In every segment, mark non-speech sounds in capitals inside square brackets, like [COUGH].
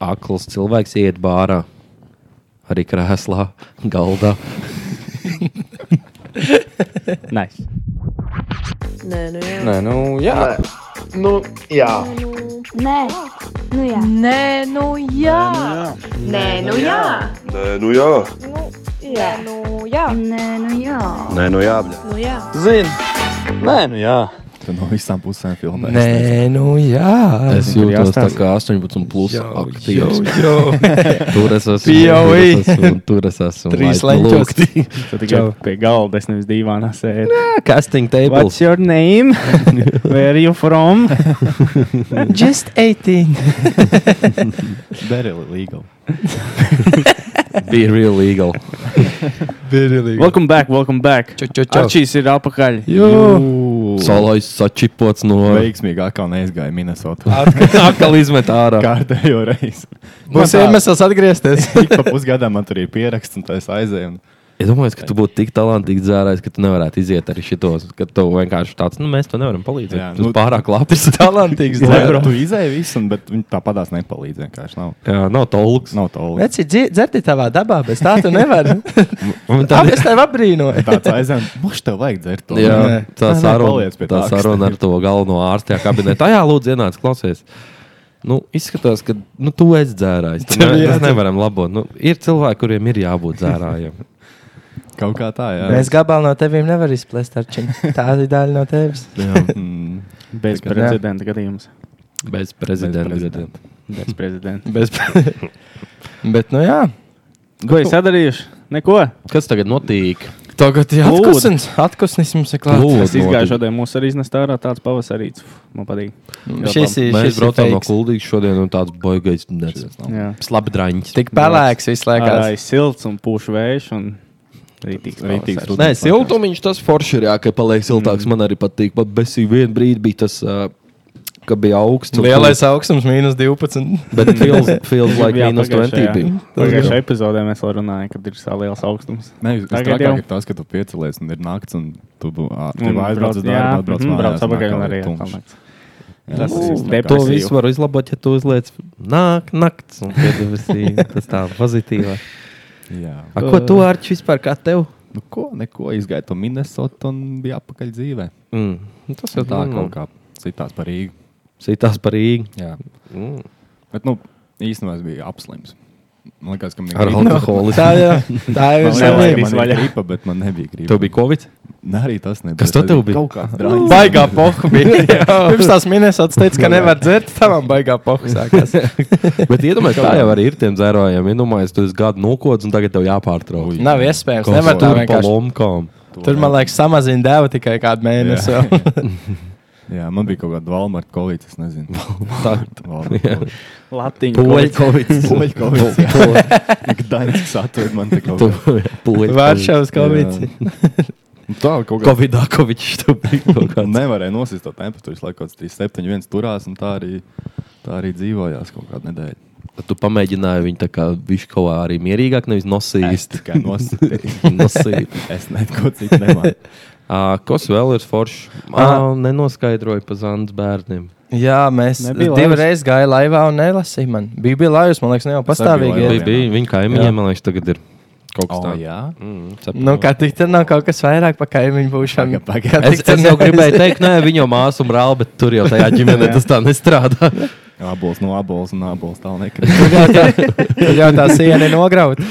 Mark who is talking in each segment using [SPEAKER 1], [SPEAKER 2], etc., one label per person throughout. [SPEAKER 1] akls cilvēks iet bārā, arī krēslā, galdā.
[SPEAKER 2] Nice.
[SPEAKER 3] Nē, nu jā.
[SPEAKER 4] Nē, nu, jā.
[SPEAKER 5] Nē. Nu, jā.
[SPEAKER 6] Nē, nu jā.
[SPEAKER 3] Nē, nu jā. Nē, nu jā.
[SPEAKER 7] Nē, nu jā.
[SPEAKER 3] Jā, nu jā.
[SPEAKER 6] Nē, nu jā.
[SPEAKER 7] Nē, nu jā.
[SPEAKER 3] Nu jā.
[SPEAKER 4] Zini, nē, nu jā.
[SPEAKER 8] Tu no visām pusēm filmē.
[SPEAKER 4] Nē, nu jā.
[SPEAKER 1] Es
[SPEAKER 8] Tur
[SPEAKER 1] jūtos tā
[SPEAKER 8] jāstāsta.
[SPEAKER 1] kā 18, plus
[SPEAKER 4] Jau,
[SPEAKER 1] aktīvs.
[SPEAKER 4] jau, jau.
[SPEAKER 1] [LAUGHS] Tur es esmu.
[SPEAKER 4] POV.
[SPEAKER 1] tur es esmu, Tur es esmu.
[SPEAKER 4] Trīs
[SPEAKER 1] laipni
[SPEAKER 4] leņķos.
[SPEAKER 1] lūgti.
[SPEAKER 2] Tu tikai pie galda, es nevis dīvainā sēdē.
[SPEAKER 1] Ah, Casting table.
[SPEAKER 2] What's your name? Where are you from? [LAUGHS] Just 18.
[SPEAKER 8] Very legal.
[SPEAKER 1] Be real legal.
[SPEAKER 4] Vienīgi.
[SPEAKER 2] Welcome back, welcome back.
[SPEAKER 4] Čau, čau, čau.
[SPEAKER 2] Čačīs ir apakaļ.
[SPEAKER 8] Solo.
[SPEAKER 1] Salais sačipots no.
[SPEAKER 8] Veiksmīgi atkal neizgāja Minnesotā.
[SPEAKER 1] [LAUGHS] Atkal izmet ārā.
[SPEAKER 8] Kārtējo reizi.
[SPEAKER 4] Mums ir iemesls [LAUGHS] atgriezties.
[SPEAKER 8] Ik pa pusgadam man tur ir pieraksts, un tā es aizēju. Un...
[SPEAKER 1] Es domāju, ka tu būtu tik talantīgs dzērājs, ka tu nevarētu iziet arī šitos. Ka tu vienkārši tāds, nu, mēs to nevaram palīdzēt. Jā,
[SPEAKER 8] Jā,
[SPEAKER 1] nu,
[SPEAKER 8] nu-
[SPEAKER 1] pārāk labs, [LAUGHS] talantīgs
[SPEAKER 8] Lai
[SPEAKER 1] dzērājs.
[SPEAKER 8] tu izēji visu, un, bet viņi tāpatās nepalīdz. Vienkārši nav.
[SPEAKER 1] Jā, nav tolks.
[SPEAKER 8] Nav to līnijas.
[SPEAKER 4] Veci, dzerti tavā dabā, bez tā tu nevari.
[SPEAKER 1] Un
[SPEAKER 4] [LAUGHS] Tā
[SPEAKER 1] tad-
[SPEAKER 4] es tev apbrīnoju. [LAUGHS]
[SPEAKER 8] Tāds aizem, mums tev vajag dzert to.
[SPEAKER 1] Jā,
[SPEAKER 4] Nē.
[SPEAKER 1] tā
[SPEAKER 8] Nē, nē,
[SPEAKER 1] saruna,
[SPEAKER 8] paliec pie
[SPEAKER 1] tā
[SPEAKER 8] tā, kas
[SPEAKER 1] saruna ar
[SPEAKER 8] tev-
[SPEAKER 1] to galveno ārstu tajā [LAUGHS] kabinetā. Jā, lūdzu, ienāc, klausies. Nu, izskatās, ka nu, tu esi dzērājs. [LAUGHS] Tu
[SPEAKER 4] Tev
[SPEAKER 1] Ne,
[SPEAKER 4] jā-
[SPEAKER 1] mēs nevaram labot. Nu, ir cilvēki, kuriem ir jābūt dzērājiem.
[SPEAKER 8] Kaut kā tā, jā.
[SPEAKER 4] Mēs gabalu no tevīm nevaram izplēst, Arčin. Tā ir daļa no tevis.
[SPEAKER 8] Mm,
[SPEAKER 2] Bez prezidenta gadījums.
[SPEAKER 1] [LAUGHS] Bez prezidenta.
[SPEAKER 8] Bez
[SPEAKER 1] gadiem.
[SPEAKER 8] prezidenta.
[SPEAKER 2] Bez
[SPEAKER 4] [LAUGHS]
[SPEAKER 2] prezidenta.
[SPEAKER 4] Bez... Bet, nu jā,
[SPEAKER 2] Ko es sadarījuši? Neko.
[SPEAKER 1] Kas tagad notiek?
[SPEAKER 4] tagad ir
[SPEAKER 2] Lūd.
[SPEAKER 4] atkusnis. Atkusnis mums ir
[SPEAKER 1] Lūd.
[SPEAKER 4] klāts.
[SPEAKER 2] Es izgāju
[SPEAKER 1] notiek.
[SPEAKER 2] šodien, mums arī iznest ārā tāds pavasarīts. Uf, Man patīk.
[SPEAKER 4] Šis ir
[SPEAKER 1] Mēs
[SPEAKER 4] šis ir
[SPEAKER 1] braucām no
[SPEAKER 4] fakes.
[SPEAKER 1] Kuldīgas šodien, un tāds baigais nedzird.
[SPEAKER 2] Jā.
[SPEAKER 1] Slabdraņķis.
[SPEAKER 4] Tik pelēks visu
[SPEAKER 2] Ārā
[SPEAKER 4] laiku.
[SPEAKER 2] ir silts un pūš vējš. Un... Rītīgs.
[SPEAKER 8] Rītīgs
[SPEAKER 2] pavasars.
[SPEAKER 8] rudenis.
[SPEAKER 1] Nē, siltumiņš tas forši ir, jā, ka paliek siltāks. Mm. Man arī patīk, bet besī vienu brīdi bija tas, uh, ka bija augsts. un
[SPEAKER 4] Lielais augstums - minus 12.
[SPEAKER 1] Bet feels, feels like
[SPEAKER 2] Jā,
[SPEAKER 1] minus
[SPEAKER 2] pagājušajā-
[SPEAKER 1] 20 bija.
[SPEAKER 2] Pagājušajā epizodē mēs vēl runājām, kad ir tā liels augstums.
[SPEAKER 8] Nē, es
[SPEAKER 2] Tagad
[SPEAKER 8] domāju,
[SPEAKER 2] jau.
[SPEAKER 8] ka tas, ka tu piecelies un ir naktis, un tu
[SPEAKER 2] Un
[SPEAKER 8] aizbrauc uz
[SPEAKER 2] jā,
[SPEAKER 8] darbu, atbrauc
[SPEAKER 2] mhm,
[SPEAKER 8] mājās,
[SPEAKER 2] brauc
[SPEAKER 8] un
[SPEAKER 2] apakaļ
[SPEAKER 8] atkal
[SPEAKER 2] un
[SPEAKER 8] ir
[SPEAKER 2] arī
[SPEAKER 8] tumšs.
[SPEAKER 2] atpakaļ.
[SPEAKER 8] Jā, tas
[SPEAKER 2] Ū,
[SPEAKER 8] ir
[SPEAKER 2] dep-
[SPEAKER 8] dep.
[SPEAKER 1] To
[SPEAKER 2] Depresīvu.
[SPEAKER 1] visu var izlabot, ja tu uzliec nāk, naktis un piedevasī. Tas tā pozitīva.
[SPEAKER 8] Jā.
[SPEAKER 1] A, ko tu arči vispār kā tev?
[SPEAKER 8] Nu, ko, neko, izgāja to Minnesota un bija apakaļ dzīvē.
[SPEAKER 1] Mm. nu Tas jau
[SPEAKER 8] Tā kaut kā citās par Rīgu.
[SPEAKER 1] Sitās par Rīgu.
[SPEAKER 8] Jā.
[SPEAKER 1] Mm.
[SPEAKER 8] Bet, nu, īstenībā es biju apslims. Man liekas, ka man
[SPEAKER 1] Ar
[SPEAKER 8] gripa.
[SPEAKER 1] alkoholu.
[SPEAKER 4] Tā jau tā [LAUGHS] ir.
[SPEAKER 8] Man liekas, ka
[SPEAKER 4] slimība.
[SPEAKER 2] viss
[SPEAKER 8] man
[SPEAKER 2] vaļā.
[SPEAKER 8] ir gripa, bet man nebija gripa.
[SPEAKER 1] Tev bija covid?
[SPEAKER 8] Nē, arī tas nebija.
[SPEAKER 1] Kas to tev bija? [LAUGHS]
[SPEAKER 8] Kaut kāds drāmas.
[SPEAKER 4] Baigā poha [LAUGHS] bija. Pirms tās minēs atsteic, ka nevar dzert, tavam baigā poha [LAUGHS] sākās.
[SPEAKER 1] Bet iedomājieties, tā jau arī ir tiem dzērājiem. Iedomājieties, tu esi gadu nokods un tagad tev jāpārtrauc.
[SPEAKER 8] Ui.
[SPEAKER 4] Nav iespējams.
[SPEAKER 1] Kaut
[SPEAKER 4] Nevar
[SPEAKER 1] kā
[SPEAKER 4] tā
[SPEAKER 1] tur pa
[SPEAKER 4] vienkārši.
[SPEAKER 1] lomkām.
[SPEAKER 4] Tur, man liekas, samazina dēvu tikai kādu mēnesi.
[SPEAKER 8] Jā.
[SPEAKER 4] [LAUGHS] vēl.
[SPEAKER 8] Jā, man bija kaut kāda Walmart kolīte, es nezinu. [LAUGHS]
[SPEAKER 1] Tā. [LAUGHS]
[SPEAKER 8] Walmart
[SPEAKER 1] Jā.
[SPEAKER 8] kolīte.
[SPEAKER 2] Latīņu
[SPEAKER 1] Poļu
[SPEAKER 2] kolekcija.
[SPEAKER 1] covid.
[SPEAKER 8] Poļu kolīte. Gdaņas atved man te
[SPEAKER 1] [LAUGHS]
[SPEAKER 8] kaut kā.
[SPEAKER 1] Poļu
[SPEAKER 4] Varšavas komīcija.
[SPEAKER 8] [LAUGHS] Nu, Tā kaut kā.
[SPEAKER 1] Covid-19 tev bija [LAUGHS] kaut
[SPEAKER 8] Un
[SPEAKER 1] kāds.
[SPEAKER 8] [LAUGHS] Nevarēja nosist to temperatūru, lai kaut kāds 3,71 turās, un tā arī, tā arī dzīvojās kaut kādu nedēļu.
[SPEAKER 1] Tu pamēģināji viņu tā kā viškovā arī mierīgāk, nevis
[SPEAKER 8] Es
[SPEAKER 1] nosīst.
[SPEAKER 8] tikai nosīju.
[SPEAKER 1] [LAUGHS] Nosīt.
[SPEAKER 8] es neko citu nemāju.
[SPEAKER 1] Uh, kas vēl ir foršs?
[SPEAKER 4] Ah.
[SPEAKER 1] Uh, nenoskaidroju par Zandes bērniem.
[SPEAKER 4] Jā, mēs
[SPEAKER 2] Nebija laivas.
[SPEAKER 4] divas reizes gājām laivā un nelasījām. Man bija bijis laivas, man liekas, ne jau pastāvīgi.
[SPEAKER 8] biju
[SPEAKER 1] Bija,
[SPEAKER 4] ir.
[SPEAKER 8] Jā.
[SPEAKER 1] bija viņa kaimiņiem,
[SPEAKER 4] Jā.
[SPEAKER 1] man liekas, tagad ir kaut kas
[SPEAKER 8] Oh,
[SPEAKER 1] tāds.
[SPEAKER 8] jā,
[SPEAKER 1] Mm, saprotu.
[SPEAKER 4] Nu, kā tik tur nav kaut kas vairāk par kaimiņu būšanu.
[SPEAKER 8] Paga, paga.
[SPEAKER 4] Kā
[SPEAKER 1] Es,
[SPEAKER 4] tik tur
[SPEAKER 1] es jau
[SPEAKER 4] nav-
[SPEAKER 1] gribēju teikt, nē, viņa māsu un brāli, bet tur jau tajā ģimenē tas tā nestrādā.
[SPEAKER 4] [LAUGHS]
[SPEAKER 8] apelsīns, no apelsīns, un apelsīns tālu nekrīt.
[SPEAKER 4] Tur jau tā siena ir nograuta.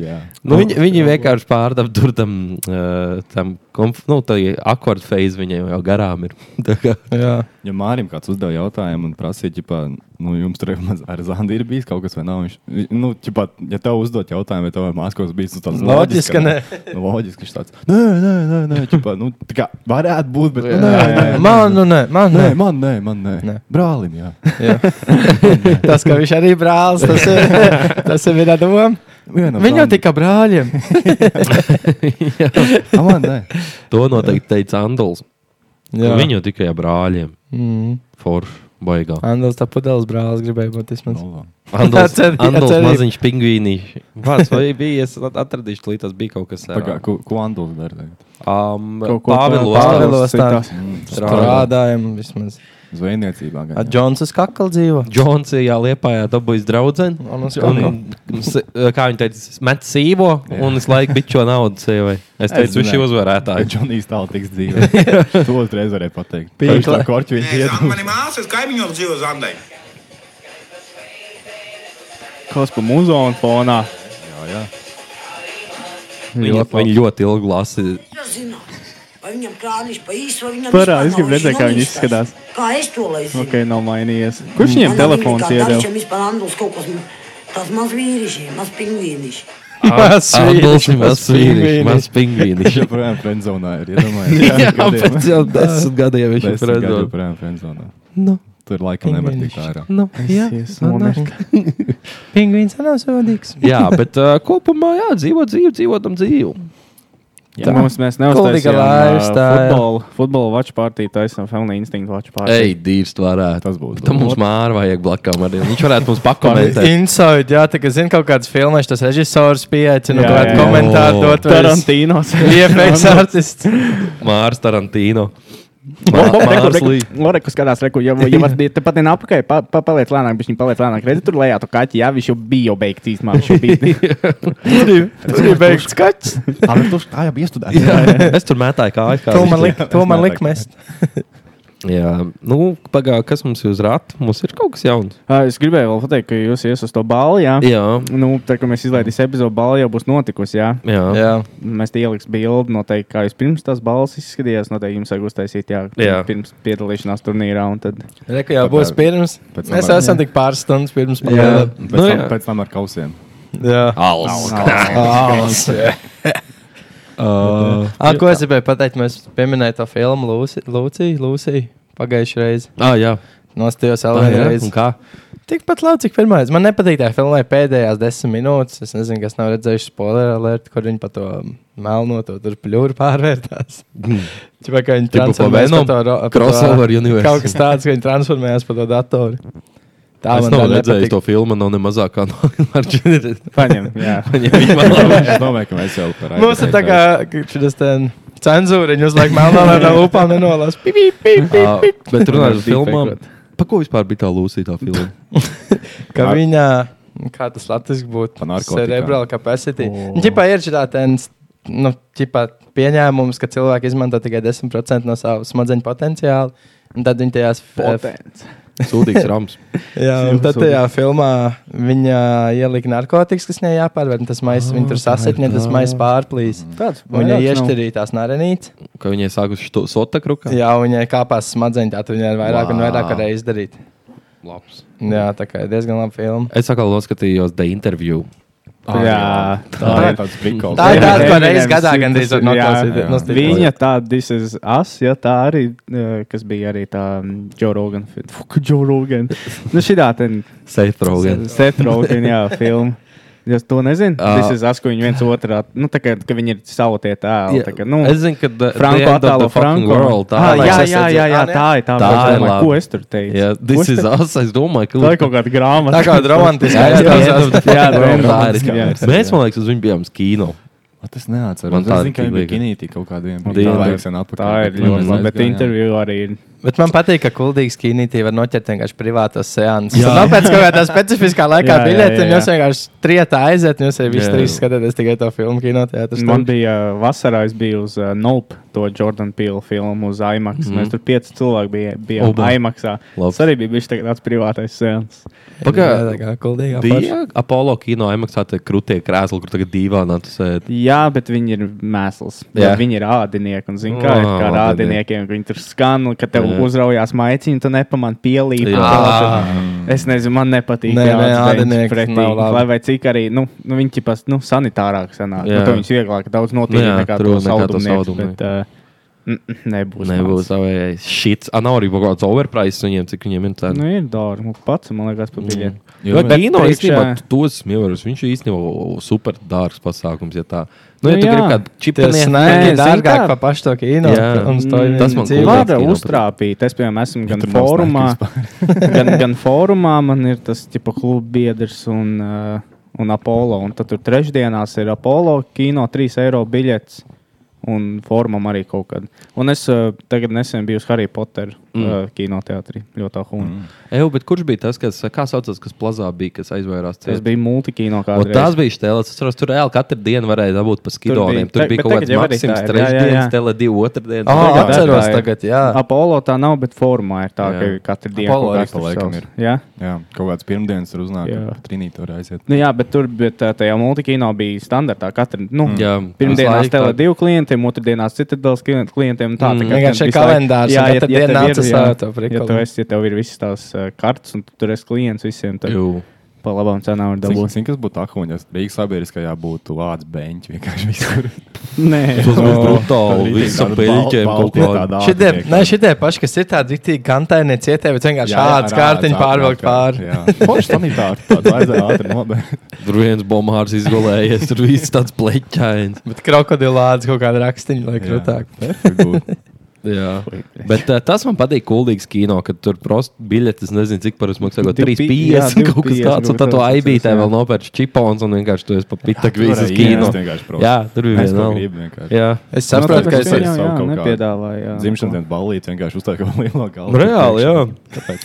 [SPEAKER 8] Jā.
[SPEAKER 1] Nu, viņi, viņi vienkārši pārdeva tur tam, uh, tam konf, nu, tā akordu feizi viņai jau garām ir. Tā kā-
[SPEAKER 4] Jā,
[SPEAKER 8] Ja Mārim kāds uzdeva jautājumu un prasīja, ķipā, nu, jums tur jau maz- ar Zandu ir bijis kaut kas vai nav, viņš, nu, ķipā, ja tev uzdot jautājumu, vai tev ar māskos bijis, nu, tāds
[SPEAKER 4] Loģiski, ka
[SPEAKER 8] nē. Nu, loģiski, viņš tāds, nē, nē, nē, nē, ķipā, nu, tā kā varētu būt, bet, nu, nē, nē, nē,
[SPEAKER 4] man, nu, nē, man,
[SPEAKER 8] nē,
[SPEAKER 4] nē.
[SPEAKER 8] man, nē, man, nē,
[SPEAKER 4] Nē.
[SPEAKER 8] brālim, jā.
[SPEAKER 4] Jā. Tas, ka viņš arī ir brālis, tas ir, [LAUGHS] tas ir viena doma.
[SPEAKER 8] Vienam
[SPEAKER 4] Viņam
[SPEAKER 8] Zandam.
[SPEAKER 4] tika brāļiem.
[SPEAKER 8] A, man,
[SPEAKER 4] [LAUGHS]
[SPEAKER 8] nē.
[SPEAKER 1] To noteikti teica Anduls.
[SPEAKER 4] Jā.
[SPEAKER 1] Viņu tikai brāļiem.
[SPEAKER 4] Mm.
[SPEAKER 1] Forši. Baigā.
[SPEAKER 4] Andrēs tā pudeles brālis gribēja būt vismaz.
[SPEAKER 8] Nu, labi.
[SPEAKER 1] Anduls,
[SPEAKER 4] Ar cerību, ar
[SPEAKER 1] Anduls
[SPEAKER 4] cerību.
[SPEAKER 1] maziņš pingvīnišs. Vārds vai bija? Es at- atradīšu, lai tas bija kaut kas
[SPEAKER 8] Tā kā,
[SPEAKER 1] tāds.
[SPEAKER 8] ko, ko Anduls dara tagad?
[SPEAKER 1] Um,
[SPEAKER 2] Kaut ko
[SPEAKER 1] Pāvils.
[SPEAKER 2] tā-
[SPEAKER 4] Pāvilos
[SPEAKER 2] citās.
[SPEAKER 4] tā
[SPEAKER 8] Mm.
[SPEAKER 1] Strādā.
[SPEAKER 4] strādājam vismaz.
[SPEAKER 8] Zvejniecībā. gan,
[SPEAKER 4] Ar
[SPEAKER 8] jā.
[SPEAKER 4] Džonsu skakli dzīvo.
[SPEAKER 1] Džonsijā liepājā dabūjis draudzeni.
[SPEAKER 4] Un uz
[SPEAKER 1] Un, mm,
[SPEAKER 4] kalniem.
[SPEAKER 1] s- kā viņa teica, es metu sīvo un es laiku bičo naudu sievai. Es
[SPEAKER 8] Es
[SPEAKER 1] teicu, viņš ir
[SPEAKER 8] zināju. Tā ir
[SPEAKER 1] uzvarētājs.
[SPEAKER 8] Džonijs tālāk tiks dzīvē. to uzreiz varēja pateikt.
[SPEAKER 4] Pīkla.
[SPEAKER 8] Viņš tā korķi viņš
[SPEAKER 5] Nē,
[SPEAKER 8] iet.
[SPEAKER 5] zam, manim māsas kaimiņos dzīvo Zandai.
[SPEAKER 2] Kaut kas pa muzonu fonā.
[SPEAKER 8] Jā, jā.
[SPEAKER 1] Viņa, viņa ļoti ilgi lasa.
[SPEAKER 7] Zinu, vai viņam krāniņš pa īsu, vai viņam
[SPEAKER 2] Parā,
[SPEAKER 7] vispār
[SPEAKER 2] es gribu
[SPEAKER 7] nav,
[SPEAKER 2] redzēt, kā
[SPEAKER 7] nav
[SPEAKER 2] viņi
[SPEAKER 7] īstais.
[SPEAKER 2] izskatās.
[SPEAKER 7] Kā es to lai zinu.
[SPEAKER 2] Ok, nav mainījies. Kurš viņiem
[SPEAKER 7] Man nav
[SPEAKER 2] telefons
[SPEAKER 7] kā
[SPEAKER 2] iedeva?
[SPEAKER 7] Dažiem vispār Andrus kaut kas, tāds maz vīrišķi, maz pingvīnišķi.
[SPEAKER 4] Mazs
[SPEAKER 1] Andults,
[SPEAKER 4] vīrišķi,
[SPEAKER 1] mazs vīrišķis, mazs
[SPEAKER 8] Viņš [LAUGHS]
[SPEAKER 1] pingvīnišķis.
[SPEAKER 8] [LAUGHS] joprojām friendzonā ir. Iedomājies.
[SPEAKER 1] Jā, pēc jau desmit gadiem viņš ir
[SPEAKER 8] Desmit gadi
[SPEAKER 1] redzējis.
[SPEAKER 8] joprojām friendzonā.
[SPEAKER 1] Nu,
[SPEAKER 8] Tur laikam nevar tikt
[SPEAKER 4] [LAUGHS]
[SPEAKER 8] ārā.
[SPEAKER 1] nu, jā,
[SPEAKER 4] Pingvīns ah, nav sodīgs.
[SPEAKER 1] jā, bet uh, kopumā jā, dzīvo dzīvi, dzīvo tam dzīvi.
[SPEAKER 2] Jā, mums mēs
[SPEAKER 4] Kuldīga
[SPEAKER 2] neuztaisījām ā,
[SPEAKER 4] lifestyle.
[SPEAKER 2] futbolu, futbolu watch party, taisām Family Instinct watch party.
[SPEAKER 1] Ej, dīvst varētu.
[SPEAKER 8] Tas būtu
[SPEAKER 1] Tam mums māra vajag blakām arī. Viņš varētu mums pakomentēt.
[SPEAKER 4] Inside, jā, tā kā zina kaut kādas filmas, tas režisors
[SPEAKER 2] Jā,
[SPEAKER 4] pieaicina, nu kaut
[SPEAKER 2] jā,
[SPEAKER 4] kādu
[SPEAKER 2] jā.
[SPEAKER 4] komentāru dot. vai es-
[SPEAKER 2] Tarantīnos.
[SPEAKER 4] [LAUGHS] VFX
[SPEAKER 2] [LAUGHS]
[SPEAKER 4] artists.
[SPEAKER 1] Mārs Tarantino.
[SPEAKER 2] Loreku skatās, reku, ja, ja var, ja tepat nenāk apakaļ, pa, pa, paliec lēnāk, bet viņš paliec lēnāk. Redzi, tur lejā tu kaķi, jā, viņš jau bija jau beigts īstumā. Viņš jau bija.
[SPEAKER 4] Tur ir beigts skats.
[SPEAKER 8] Tā jau bija. Tā jau bija studēta.
[SPEAKER 1] Mārs. Es tur mētāju kāju. kā
[SPEAKER 4] To
[SPEAKER 1] viņš
[SPEAKER 4] man
[SPEAKER 1] tur-
[SPEAKER 4] lika, to man lika mest.
[SPEAKER 1] Jā, nu, pagājušajā, kas mums ir uz rāta, mums ir kaut kas jauns.
[SPEAKER 2] Ā, Ah, es gribēju vēl pateikt, ka jūs ies uz to balli, jā.
[SPEAKER 1] Jā,
[SPEAKER 2] Nu, tā kā mēs izlaidīsim epizodi, balva jau būs notikusi. Jā.
[SPEAKER 1] jā. jā.
[SPEAKER 4] Jā.
[SPEAKER 2] Mēs te ieliksim bildi, noteikti, kā jūs pirms tās balvas izskatījāties. Noteikti jums vajag uztaisīt, jā,
[SPEAKER 1] Jā.
[SPEAKER 2] pirms piedalīšanās turnīrā. un Tad...
[SPEAKER 4] Reku jau būs pirms.
[SPEAKER 8] Pēc
[SPEAKER 4] Mēs
[SPEAKER 8] tam-
[SPEAKER 4] esam tik pāris stundas pirms.
[SPEAKER 1] Jā.
[SPEAKER 8] Pēc,
[SPEAKER 1] Nu,
[SPEAKER 8] tam,
[SPEAKER 1] jā.
[SPEAKER 8] pēc tam ar kausiem.
[SPEAKER 4] Jā.
[SPEAKER 1] Alus.
[SPEAKER 4] Alus.
[SPEAKER 1] Uh,
[SPEAKER 4] Ah, ko es gribēju pateikt? Mēs pieminējām to filmu Lūsija. Lūsija, Lūsija. Pagājušajā reizē.
[SPEAKER 1] ah, jā,
[SPEAKER 4] Nostājos
[SPEAKER 1] tā
[SPEAKER 4] vēl
[SPEAKER 1] ir.
[SPEAKER 4] vienreiz.
[SPEAKER 1] Un kā?
[SPEAKER 4] Tikpat labi, cik pirmā reize. Man nepatīk tā filma pēdējās desmit minūtes. Es nezinu, kas nav redzējuši spoiler alert, kur viņi pa to melno to tur pļūru pārvērtās. [LAUGHS] Čipa, ka
[SPEAKER 1] Tipu Hmm.
[SPEAKER 4] viņi
[SPEAKER 1] pa
[SPEAKER 4] transformējās
[SPEAKER 1] Venom?
[SPEAKER 4] pa to ro- pa to-
[SPEAKER 1] Crossover universe.
[SPEAKER 4] Kaut kas tāds, ka viņi transformējās pa to datoru.
[SPEAKER 1] Tā,
[SPEAKER 4] man
[SPEAKER 1] es nav
[SPEAKER 4] tā
[SPEAKER 1] redzējis
[SPEAKER 4] nepatika.
[SPEAKER 1] to filmu, nav ne mazākā no Marģina.
[SPEAKER 2] Paņem,
[SPEAKER 4] [LAUGHS]
[SPEAKER 2] jā.
[SPEAKER 8] [LAUGHS] Es domāju, ka mēs jau par
[SPEAKER 4] Mums ir tā kā ka šis ten cenzūra, viņi uzliek melnā ar upām nenolās. Pip, pip, pip, pip,
[SPEAKER 1] Uh,
[SPEAKER 4] pip.
[SPEAKER 1] bet runājot par filmām,
[SPEAKER 2] Deepfakeot.
[SPEAKER 1] pa ko vispār bija tā lūsītā filma?
[SPEAKER 4] Ka viņa, kā tas latviski
[SPEAKER 8] Pa
[SPEAKER 4] būtu,
[SPEAKER 8] narkotikām.
[SPEAKER 4] cerebral capacity. Čipa ir šitā ten, nu, čipa pieņēmums, ka cilvēki izmanto tikai 10% no savu smadzeņu potenciālu. Un tad viņi tajās f-
[SPEAKER 2] Potens.
[SPEAKER 1] Sūdīgs rams.
[SPEAKER 4] Jā, un tad tajā filmā viņa ielika narkotikas, kas viņai jāpārvērt. un Tas maisa viņa tur
[SPEAKER 8] Ah,
[SPEAKER 4] sasitņa, tas maisa pārplīs.
[SPEAKER 2] Tāds
[SPEAKER 4] Un Viņa
[SPEAKER 2] vairāk nav.
[SPEAKER 4] iešķirīja tās narenītes.
[SPEAKER 1] Ka viņai sākus šo sota krukā?
[SPEAKER 4] Jā, un viņai kāpās smadzeņi, tā tad viņai ir vairāk un vairāk
[SPEAKER 1] Vau.
[SPEAKER 4] varēja izdarīt.
[SPEAKER 1] Labs.
[SPEAKER 4] Jā, tā kā ir diezgan laba filma.
[SPEAKER 1] Es atkal noskatījos The Interview.
[SPEAKER 2] Jā,
[SPEAKER 8] Tā ir tāds
[SPEAKER 4] Ah,
[SPEAKER 8] prikols.
[SPEAKER 4] Tā ir
[SPEAKER 2] Jā,
[SPEAKER 4] tāda, ko
[SPEAKER 2] [LAUGHS] Eminems
[SPEAKER 4] reiz gadā
[SPEAKER 2] ir
[SPEAKER 4] gandrīz
[SPEAKER 2] tas-
[SPEAKER 4] var noklausīt-
[SPEAKER 2] jā.
[SPEAKER 4] nostiprot.
[SPEAKER 2] Viņa tāda, this is us, ja tā arī, eh, kas bija arī tā mm, Joe Rogan. fi- Fuck, Joe Rogan. Nu, šitā ten
[SPEAKER 1] Seth Rogen.
[SPEAKER 2] Seth Rogan, jā, filma. Es to nezinu.
[SPEAKER 1] Ā.
[SPEAKER 2] Tas ir tas, ko viņi viens otrā, nu, tā kā, ka viņi ir sautie
[SPEAKER 1] Jā,
[SPEAKER 2] tēli. tā kā, Nu,
[SPEAKER 1] es zinu, ka the-
[SPEAKER 2] Franko
[SPEAKER 1] the end of the
[SPEAKER 2] attēlo
[SPEAKER 1] fucking
[SPEAKER 2] Franko.
[SPEAKER 1] world, tā ir.
[SPEAKER 2] Ā, jā,
[SPEAKER 4] laiks, es
[SPEAKER 2] jā,
[SPEAKER 4] redzēju.
[SPEAKER 2] jā, jā,
[SPEAKER 4] Ā, nē.
[SPEAKER 2] tā ir tā.
[SPEAKER 1] Ah, Tā
[SPEAKER 2] bet
[SPEAKER 1] ir
[SPEAKER 2] es domāju,
[SPEAKER 1] labi.
[SPEAKER 2] Ko es tur teicu?
[SPEAKER 1] Jā,
[SPEAKER 2] Ko
[SPEAKER 1] this
[SPEAKER 2] es
[SPEAKER 1] is
[SPEAKER 2] te-
[SPEAKER 1] us. Es domāju, ka
[SPEAKER 2] [LAUGHS] Tā ir kaut kāda grāmata.
[SPEAKER 4] Tā
[SPEAKER 8] [LAUGHS]
[SPEAKER 4] kā romantiska
[SPEAKER 1] Jā, jā, jā, jā,
[SPEAKER 4] izskatās.
[SPEAKER 1] jā,
[SPEAKER 2] Jā, jā,
[SPEAKER 1] jā, jā.
[SPEAKER 2] jā.
[SPEAKER 1] Mēs, man liekas, uz viņu bijām uz kino.
[SPEAKER 8] Tas neatceros.
[SPEAKER 1] Man
[SPEAKER 8] Man
[SPEAKER 1] tā
[SPEAKER 8] tā zinu, ka
[SPEAKER 1] bija.
[SPEAKER 8] bija kinīti kaut kādiem.
[SPEAKER 1] Dienu.
[SPEAKER 2] Tā ir ļoti labi, bet interviju arī ir.
[SPEAKER 4] Bet man patīk, ka kuldīgs kīnītī var noķert vienkārši privātos seansus.
[SPEAKER 1] Jā.
[SPEAKER 4] Jā, nav pēc kaut
[SPEAKER 2] [LAUGHS]
[SPEAKER 4] kādā specifiskā laikā
[SPEAKER 2] Jā, jā,
[SPEAKER 4] biļete, un
[SPEAKER 2] jā,
[SPEAKER 4] jūs vienkārši trietā aiziet, un jūs jau visi
[SPEAKER 1] Jā.
[SPEAKER 4] trīs skatāties tikai to filmu kinoteātrī.
[SPEAKER 2] Man bija uh, vasarā, es biju uz uh, Nope, to Jordan Peele filmu uz IMAX. Mm. Mēs tur pieci cilvēki bija, bija
[SPEAKER 1] Mhm. Oba.
[SPEAKER 2] IMAXā.
[SPEAKER 1] Labs.
[SPEAKER 2] Tas arī bija bijis tāds privātais sēns.
[SPEAKER 1] Pagā-
[SPEAKER 4] kā kuldīgā forša.
[SPEAKER 1] Bija Apollo kino, imaksā tie krūtie krēsli, kur tagad divānā tu sēdi.
[SPEAKER 2] Jā, bet viņi ir mēsls.
[SPEAKER 1] Jā.
[SPEAKER 2] Jā. Viņi ir ādinieki. Un, zin, kā ir kā ar
[SPEAKER 1] Ā,
[SPEAKER 2] ādiniekiem, viņi tur skan, ka
[SPEAKER 1] Jā.
[SPEAKER 2] tev jā. uzraujās maiciņu, tu nepamani pielīpi.
[SPEAKER 1] Jā.
[SPEAKER 2] Es nezinu, man nepatīk. jā,
[SPEAKER 4] Nē, nē,
[SPEAKER 2] tas beidz
[SPEAKER 4] ādinieks
[SPEAKER 2] pretī.
[SPEAKER 4] nav labi.
[SPEAKER 2] Lai vai cik arī, nu, nu viņi tipas, nu, sanitārāk sanāk.
[SPEAKER 1] Jā.
[SPEAKER 2] Nu, to viņus vieglāk daudz notīk
[SPEAKER 1] Nu jā,
[SPEAKER 2] nekā
[SPEAKER 1] true,
[SPEAKER 2] to
[SPEAKER 1] nekā to
[SPEAKER 2] saudumu.
[SPEAKER 1] saudumnieku.
[SPEAKER 2] Bet uh, n- n- nebūs.
[SPEAKER 1] Nebūs savējais šits. Ah, nav arī kaut kāds overprice viņiem, cik viņiem ir
[SPEAKER 2] Nu,
[SPEAKER 1] tāda.
[SPEAKER 2] ir dārgi. Nu, pats man liekas, par biļeti.
[SPEAKER 1] Mm. Jo
[SPEAKER 2] bet
[SPEAKER 1] kino
[SPEAKER 2] priekšā-
[SPEAKER 1] īstenībā tu tos smievaros. Viņš ir īstenībā super dārgs pasākums, ja tā. Nu, ja
[SPEAKER 2] Nu
[SPEAKER 1] tu
[SPEAKER 2] jā.
[SPEAKER 1] gribi kādu
[SPEAKER 4] Tie
[SPEAKER 1] čipaniet.
[SPEAKER 4] snaigi
[SPEAKER 2] zini
[SPEAKER 4] ir dārgāk
[SPEAKER 2] kā?
[SPEAKER 4] par pašu to kino.
[SPEAKER 1] Jā.
[SPEAKER 4] un to
[SPEAKER 1] Mm,
[SPEAKER 4] ir
[SPEAKER 1] tas man
[SPEAKER 4] dzīve.
[SPEAKER 1] kuldīgs.
[SPEAKER 2] Vāra
[SPEAKER 1] kino
[SPEAKER 2] uztrāpīt. Es, piemēram, esmu gan
[SPEAKER 8] tur nav
[SPEAKER 2] fórumā,
[SPEAKER 8] snaigi
[SPEAKER 2] [LAUGHS] gan, gan fórumā. Man ir tas tipa kluba biedrs un, uh, un Apollo. Un tad tur trešdienās ir Apollo kino 3 eiro biļets. Un formam arī kaut kad. Un es uh, tagad nesen biju uz Harry Potteru. mm. uh, kinoteātrī. Ļoti ahūna. Mm.
[SPEAKER 1] Eju, bet kurš bija tas, kas, kā saucās, kas plazā bija, kas aizvairās?
[SPEAKER 2] Tas bija multikino kā
[SPEAKER 1] O, tas bija štēlis. Es saprotu, tur reāli katru dienu varēja dabūt pa skidoniem.
[SPEAKER 2] bija-
[SPEAKER 1] Tur
[SPEAKER 2] te-
[SPEAKER 1] bija
[SPEAKER 2] bet
[SPEAKER 1] kaut kāds
[SPEAKER 2] tagad jau arī tā ir.
[SPEAKER 1] maksimums,
[SPEAKER 2] Jā, jā, jā.
[SPEAKER 1] trešdienas, tele divu, otrdienas.
[SPEAKER 4] Ah,
[SPEAKER 1] Tagad-
[SPEAKER 2] Tagad
[SPEAKER 4] atceros
[SPEAKER 2] tā ir.
[SPEAKER 4] tagad, jā.
[SPEAKER 2] Apollo tā nav, bet formā ir tā,
[SPEAKER 1] Jā.
[SPEAKER 2] jā. ka katru dienu
[SPEAKER 4] Apollo
[SPEAKER 2] kaut
[SPEAKER 8] arī
[SPEAKER 2] kas tur
[SPEAKER 8] pa laikam
[SPEAKER 2] savs.
[SPEAKER 8] ir.
[SPEAKER 2] Jā?
[SPEAKER 8] Jā, kaut kāds pirmdienas tur uznāk,
[SPEAKER 2] Jā.
[SPEAKER 8] ka trinīte var aiziet.
[SPEAKER 2] Nu, jā, bet tur bet, tā- tajā multikino bija standartā. Katra, nu,
[SPEAKER 1] Jā,
[SPEAKER 2] Pirmdienās
[SPEAKER 1] visu laiku
[SPEAKER 2] tēlā
[SPEAKER 1] tā.
[SPEAKER 2] divu klientiem, otrdienās citadelas klientiem. un Tā
[SPEAKER 1] Mm.
[SPEAKER 2] kā
[SPEAKER 4] Vienkārši
[SPEAKER 2] visu
[SPEAKER 4] ir
[SPEAKER 2] laiku-
[SPEAKER 4] kalendārs, un
[SPEAKER 2] ja
[SPEAKER 4] katru dienu
[SPEAKER 2] tev
[SPEAKER 4] nāc
[SPEAKER 2] ir, jā,
[SPEAKER 4] ar savu to
[SPEAKER 2] Ja
[SPEAKER 4] prikolu.
[SPEAKER 2] tev, esi, ja tev ir visas tās uh, kartes, un tu tur esi klients visiem, tad Jū.
[SPEAKER 1] Jū.
[SPEAKER 2] pa labām cenām var
[SPEAKER 4] [LAUGHS]
[SPEAKER 2] dabūt.
[SPEAKER 8] Zini, kas būtu ahūņa, ja Rīgas sabiedriskajā būtu vārds beņķis vienkārši
[SPEAKER 1] [LAUGHS]
[SPEAKER 8] visur.
[SPEAKER 2] [LAUGHS] Nē,
[SPEAKER 1] Tas bija brutāli. Visam beļķiem kaut kā.
[SPEAKER 4] Šitie, ne, šitie paši, kas ir tādi rītīgi kantaini, cietēji, bet vienkārši šāds kārtiņš pārvilkt pāri.
[SPEAKER 8] Pošs sanitāri, [LAUGHS] tāds aizēja ātri [LAUGHS] nobērt.
[SPEAKER 1] Tur viens bombārs izgulējies, tur viss tāds
[SPEAKER 2] [LAUGHS]
[SPEAKER 1] pleķains.
[SPEAKER 4] Bet krokodilāts kaut kāda rakstiņa, lai
[SPEAKER 8] [LAUGHS]
[SPEAKER 4] krūtāk.
[SPEAKER 1] [LAUGHS] Jā. Bet uh, tas man patīk, kuldīgs kino, kad tur prosti biļetes, nezinu, cik par uzmaksu, kaut
[SPEAKER 2] Divi-
[SPEAKER 1] 3,50
[SPEAKER 2] jā,
[SPEAKER 1] kaut kas
[SPEAKER 2] 2,50
[SPEAKER 1] tāds, un tad
[SPEAKER 2] kaut
[SPEAKER 1] to
[SPEAKER 2] kas tāds,
[SPEAKER 1] aibītē
[SPEAKER 2] jā.
[SPEAKER 1] vēl nopērš čipons un vienkārši tu esi pa pitak visas kino. Jā, tur bija
[SPEAKER 8] Es to
[SPEAKER 1] viena.
[SPEAKER 8] gribu vienkārši.
[SPEAKER 1] Jā.
[SPEAKER 2] Nu,
[SPEAKER 4] Es saprotu,
[SPEAKER 8] tas
[SPEAKER 4] ka
[SPEAKER 8] ir
[SPEAKER 4] es
[SPEAKER 8] savu
[SPEAKER 2] jau
[SPEAKER 8] kaut kādu
[SPEAKER 2] nepiedāvāju.
[SPEAKER 8] Dzimšanas dienas ballīte vienkārši uztaisīja kaut ko lielo galvu.
[SPEAKER 1] Reāli, jā.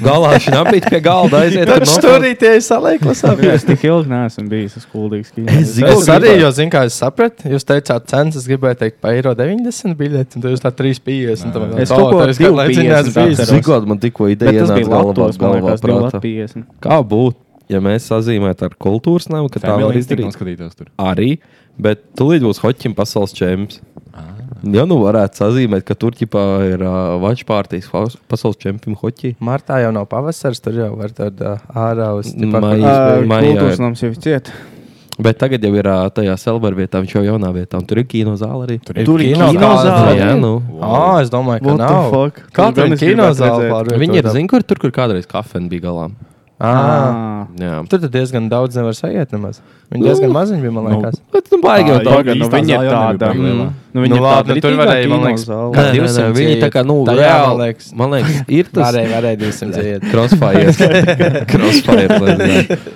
[SPEAKER 1] Galā šī apgabala pie galda aiziet. tur
[SPEAKER 4] Tur
[SPEAKER 1] nopelnīt.
[SPEAKER 4] stūrīties salēklas [LAUGHS]
[SPEAKER 1] [LAUGHS]
[SPEAKER 2] Es tik ilgi neesmu bijis uz kuldīgas kīnas.
[SPEAKER 1] zinu,
[SPEAKER 4] Es
[SPEAKER 1] ka
[SPEAKER 4] arī,
[SPEAKER 1] gribētu.
[SPEAKER 4] jo zinu, kā es sapratu, jūs teicāt, cenas, es gribēju teikt, pa eiro 90 biļeti, un tad jūs tā 3,50. un tā vēl
[SPEAKER 2] Es
[SPEAKER 4] tā,
[SPEAKER 2] kaut ko
[SPEAKER 4] tā es kā
[SPEAKER 2] 2,50
[SPEAKER 4] leģendārs bijis.
[SPEAKER 2] atceros.
[SPEAKER 1] Zikot, man tikko
[SPEAKER 2] Bet
[SPEAKER 1] ideja
[SPEAKER 2] tas bija
[SPEAKER 1] ienāca galvā,
[SPEAKER 2] Latvijas
[SPEAKER 1] galvā prātā.
[SPEAKER 2] Banka.
[SPEAKER 1] Kā būtu, ja mēs sazīmētu ar kultūras namu, ka tā var
[SPEAKER 8] izdarīt.
[SPEAKER 1] izdarīt?
[SPEAKER 8] Noskatītos tur.
[SPEAKER 1] Arī, bet tulīt būs hoķim pasaules čempions.
[SPEAKER 2] Ah.
[SPEAKER 1] Jā, nu varētu sazīmēt, ka tur ķipā ir uh, vačpārtīs pasaules čempions hoķi.
[SPEAKER 4] Martā jau nav pavasars, tur jau var tādā ārā uz
[SPEAKER 1] Maijā. Maijā ir.
[SPEAKER 2] Kultūras nams jau ciet.
[SPEAKER 1] Bet tagad jau ir uh, tajā Selvar vietā, viņš jau jaunā vietā, un tur ir kino zāle arī.
[SPEAKER 8] Tur ir
[SPEAKER 4] Tur ir kinozāle.
[SPEAKER 1] Jā, nu.
[SPEAKER 4] Ā, es domāju, ka
[SPEAKER 2] What the
[SPEAKER 4] nav.
[SPEAKER 2] fuck?
[SPEAKER 4] Kā
[SPEAKER 2] Tur
[SPEAKER 4] tur
[SPEAKER 2] gan
[SPEAKER 4] ir
[SPEAKER 2] es gribētu
[SPEAKER 4] kinozāle
[SPEAKER 2] redzēt.
[SPEAKER 4] pārvietot?
[SPEAKER 1] Viņi ir, zini, kur tur, kur kādreiz kafēna bija galā.
[SPEAKER 4] Ā,
[SPEAKER 2] Ah.
[SPEAKER 1] Jā.
[SPEAKER 4] Tur tad diezgan daudz nevar sajiet nemaz. Viņi diezgan maziņi bija, man
[SPEAKER 8] Nu,
[SPEAKER 4] liekas.
[SPEAKER 1] Bet, nu, baigi jau
[SPEAKER 8] Tā,
[SPEAKER 1] tā.
[SPEAKER 8] jā.
[SPEAKER 2] Pagaid, nu
[SPEAKER 8] īstā
[SPEAKER 2] viņa ir
[SPEAKER 8] zāle jau nebija
[SPEAKER 2] tāda.
[SPEAKER 8] baigi
[SPEAKER 2] mm,
[SPEAKER 8] lielā.
[SPEAKER 2] Nu viņa
[SPEAKER 4] Nu,
[SPEAKER 2] ir
[SPEAKER 4] labi,
[SPEAKER 2] tāda.
[SPEAKER 4] nu, tur
[SPEAKER 2] ritīgā
[SPEAKER 4] varēja, man liekas,
[SPEAKER 2] kinozāle.
[SPEAKER 1] Kā
[SPEAKER 4] Nē, nē, nē,
[SPEAKER 1] 200 viņi
[SPEAKER 4] iet.
[SPEAKER 1] tā kā, nu,
[SPEAKER 4] Tajā, man
[SPEAKER 1] reāli,
[SPEAKER 4] liekas.
[SPEAKER 1] man [LAUGHS] liekas, ir tas.
[SPEAKER 4] Varēja, varēja 200 iet.
[SPEAKER 1] Crossfire. [LAUGHS] Crossfire. lai [LAUGHS] zinātu.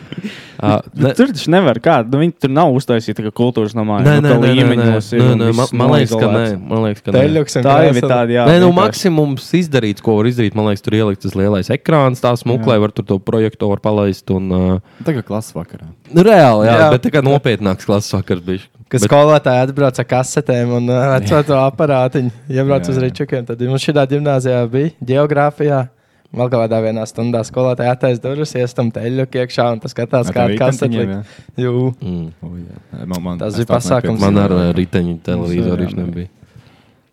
[SPEAKER 1] Ā, ne-
[SPEAKER 2] Tur taču nevar kādu. Nu, viņi tur nav uztaisīti kā kultūras namā.
[SPEAKER 1] Nē,
[SPEAKER 2] nu,
[SPEAKER 1] nē,
[SPEAKER 2] tā
[SPEAKER 1] nē, nē, nē,
[SPEAKER 2] līmeņos ir
[SPEAKER 1] nē,
[SPEAKER 2] un
[SPEAKER 1] nē, man-
[SPEAKER 2] viss
[SPEAKER 1] man liekas, ka
[SPEAKER 2] noizolēts.
[SPEAKER 1] nē. Man liekas, ka nē.
[SPEAKER 4] Teļuks un
[SPEAKER 2] Tā jau ir
[SPEAKER 4] krēsls.
[SPEAKER 2] tāda, jā.
[SPEAKER 1] Nē, nu,
[SPEAKER 2] vienkārši.
[SPEAKER 1] maksimums izdarīts, ko var izdarīt. Man liekas, tur ielikt tas lielais ekrāns, tā smuklē, var tur to projektoru palaist. Un, uh,
[SPEAKER 8] Tagad klases vakarā.
[SPEAKER 1] nu, reāli, jā, jā.
[SPEAKER 4] Jā.
[SPEAKER 1] bet tā kā nopietnāks klases vakars bija.
[SPEAKER 4] Kad skolotāji atbrauc ar kasetēm un veco to aparātiņu, iebrauc
[SPEAKER 8] Jā,
[SPEAKER 4] uz
[SPEAKER 8] jā.
[SPEAKER 4] rīčukiem, tad mums šajā gimnājā bija geogrāfija. Vēl kādā vienā stundā skolotāja attaisno durvis, iestājas teļu iekšā un tas skatās,
[SPEAKER 8] Ar
[SPEAKER 4] kāda
[SPEAKER 8] tiem
[SPEAKER 4] kasete
[SPEAKER 8] ikantiņiem,
[SPEAKER 4] likt. Jū.
[SPEAKER 1] Mm.
[SPEAKER 8] O, Oh, jā. Man- man-
[SPEAKER 4] Tas
[SPEAKER 8] es
[SPEAKER 4] bija
[SPEAKER 8] tā
[SPEAKER 4] pasākums.
[SPEAKER 1] Man
[SPEAKER 8] nepiedzimu.
[SPEAKER 1] ar uh, riteņu televizoru viņš nebija.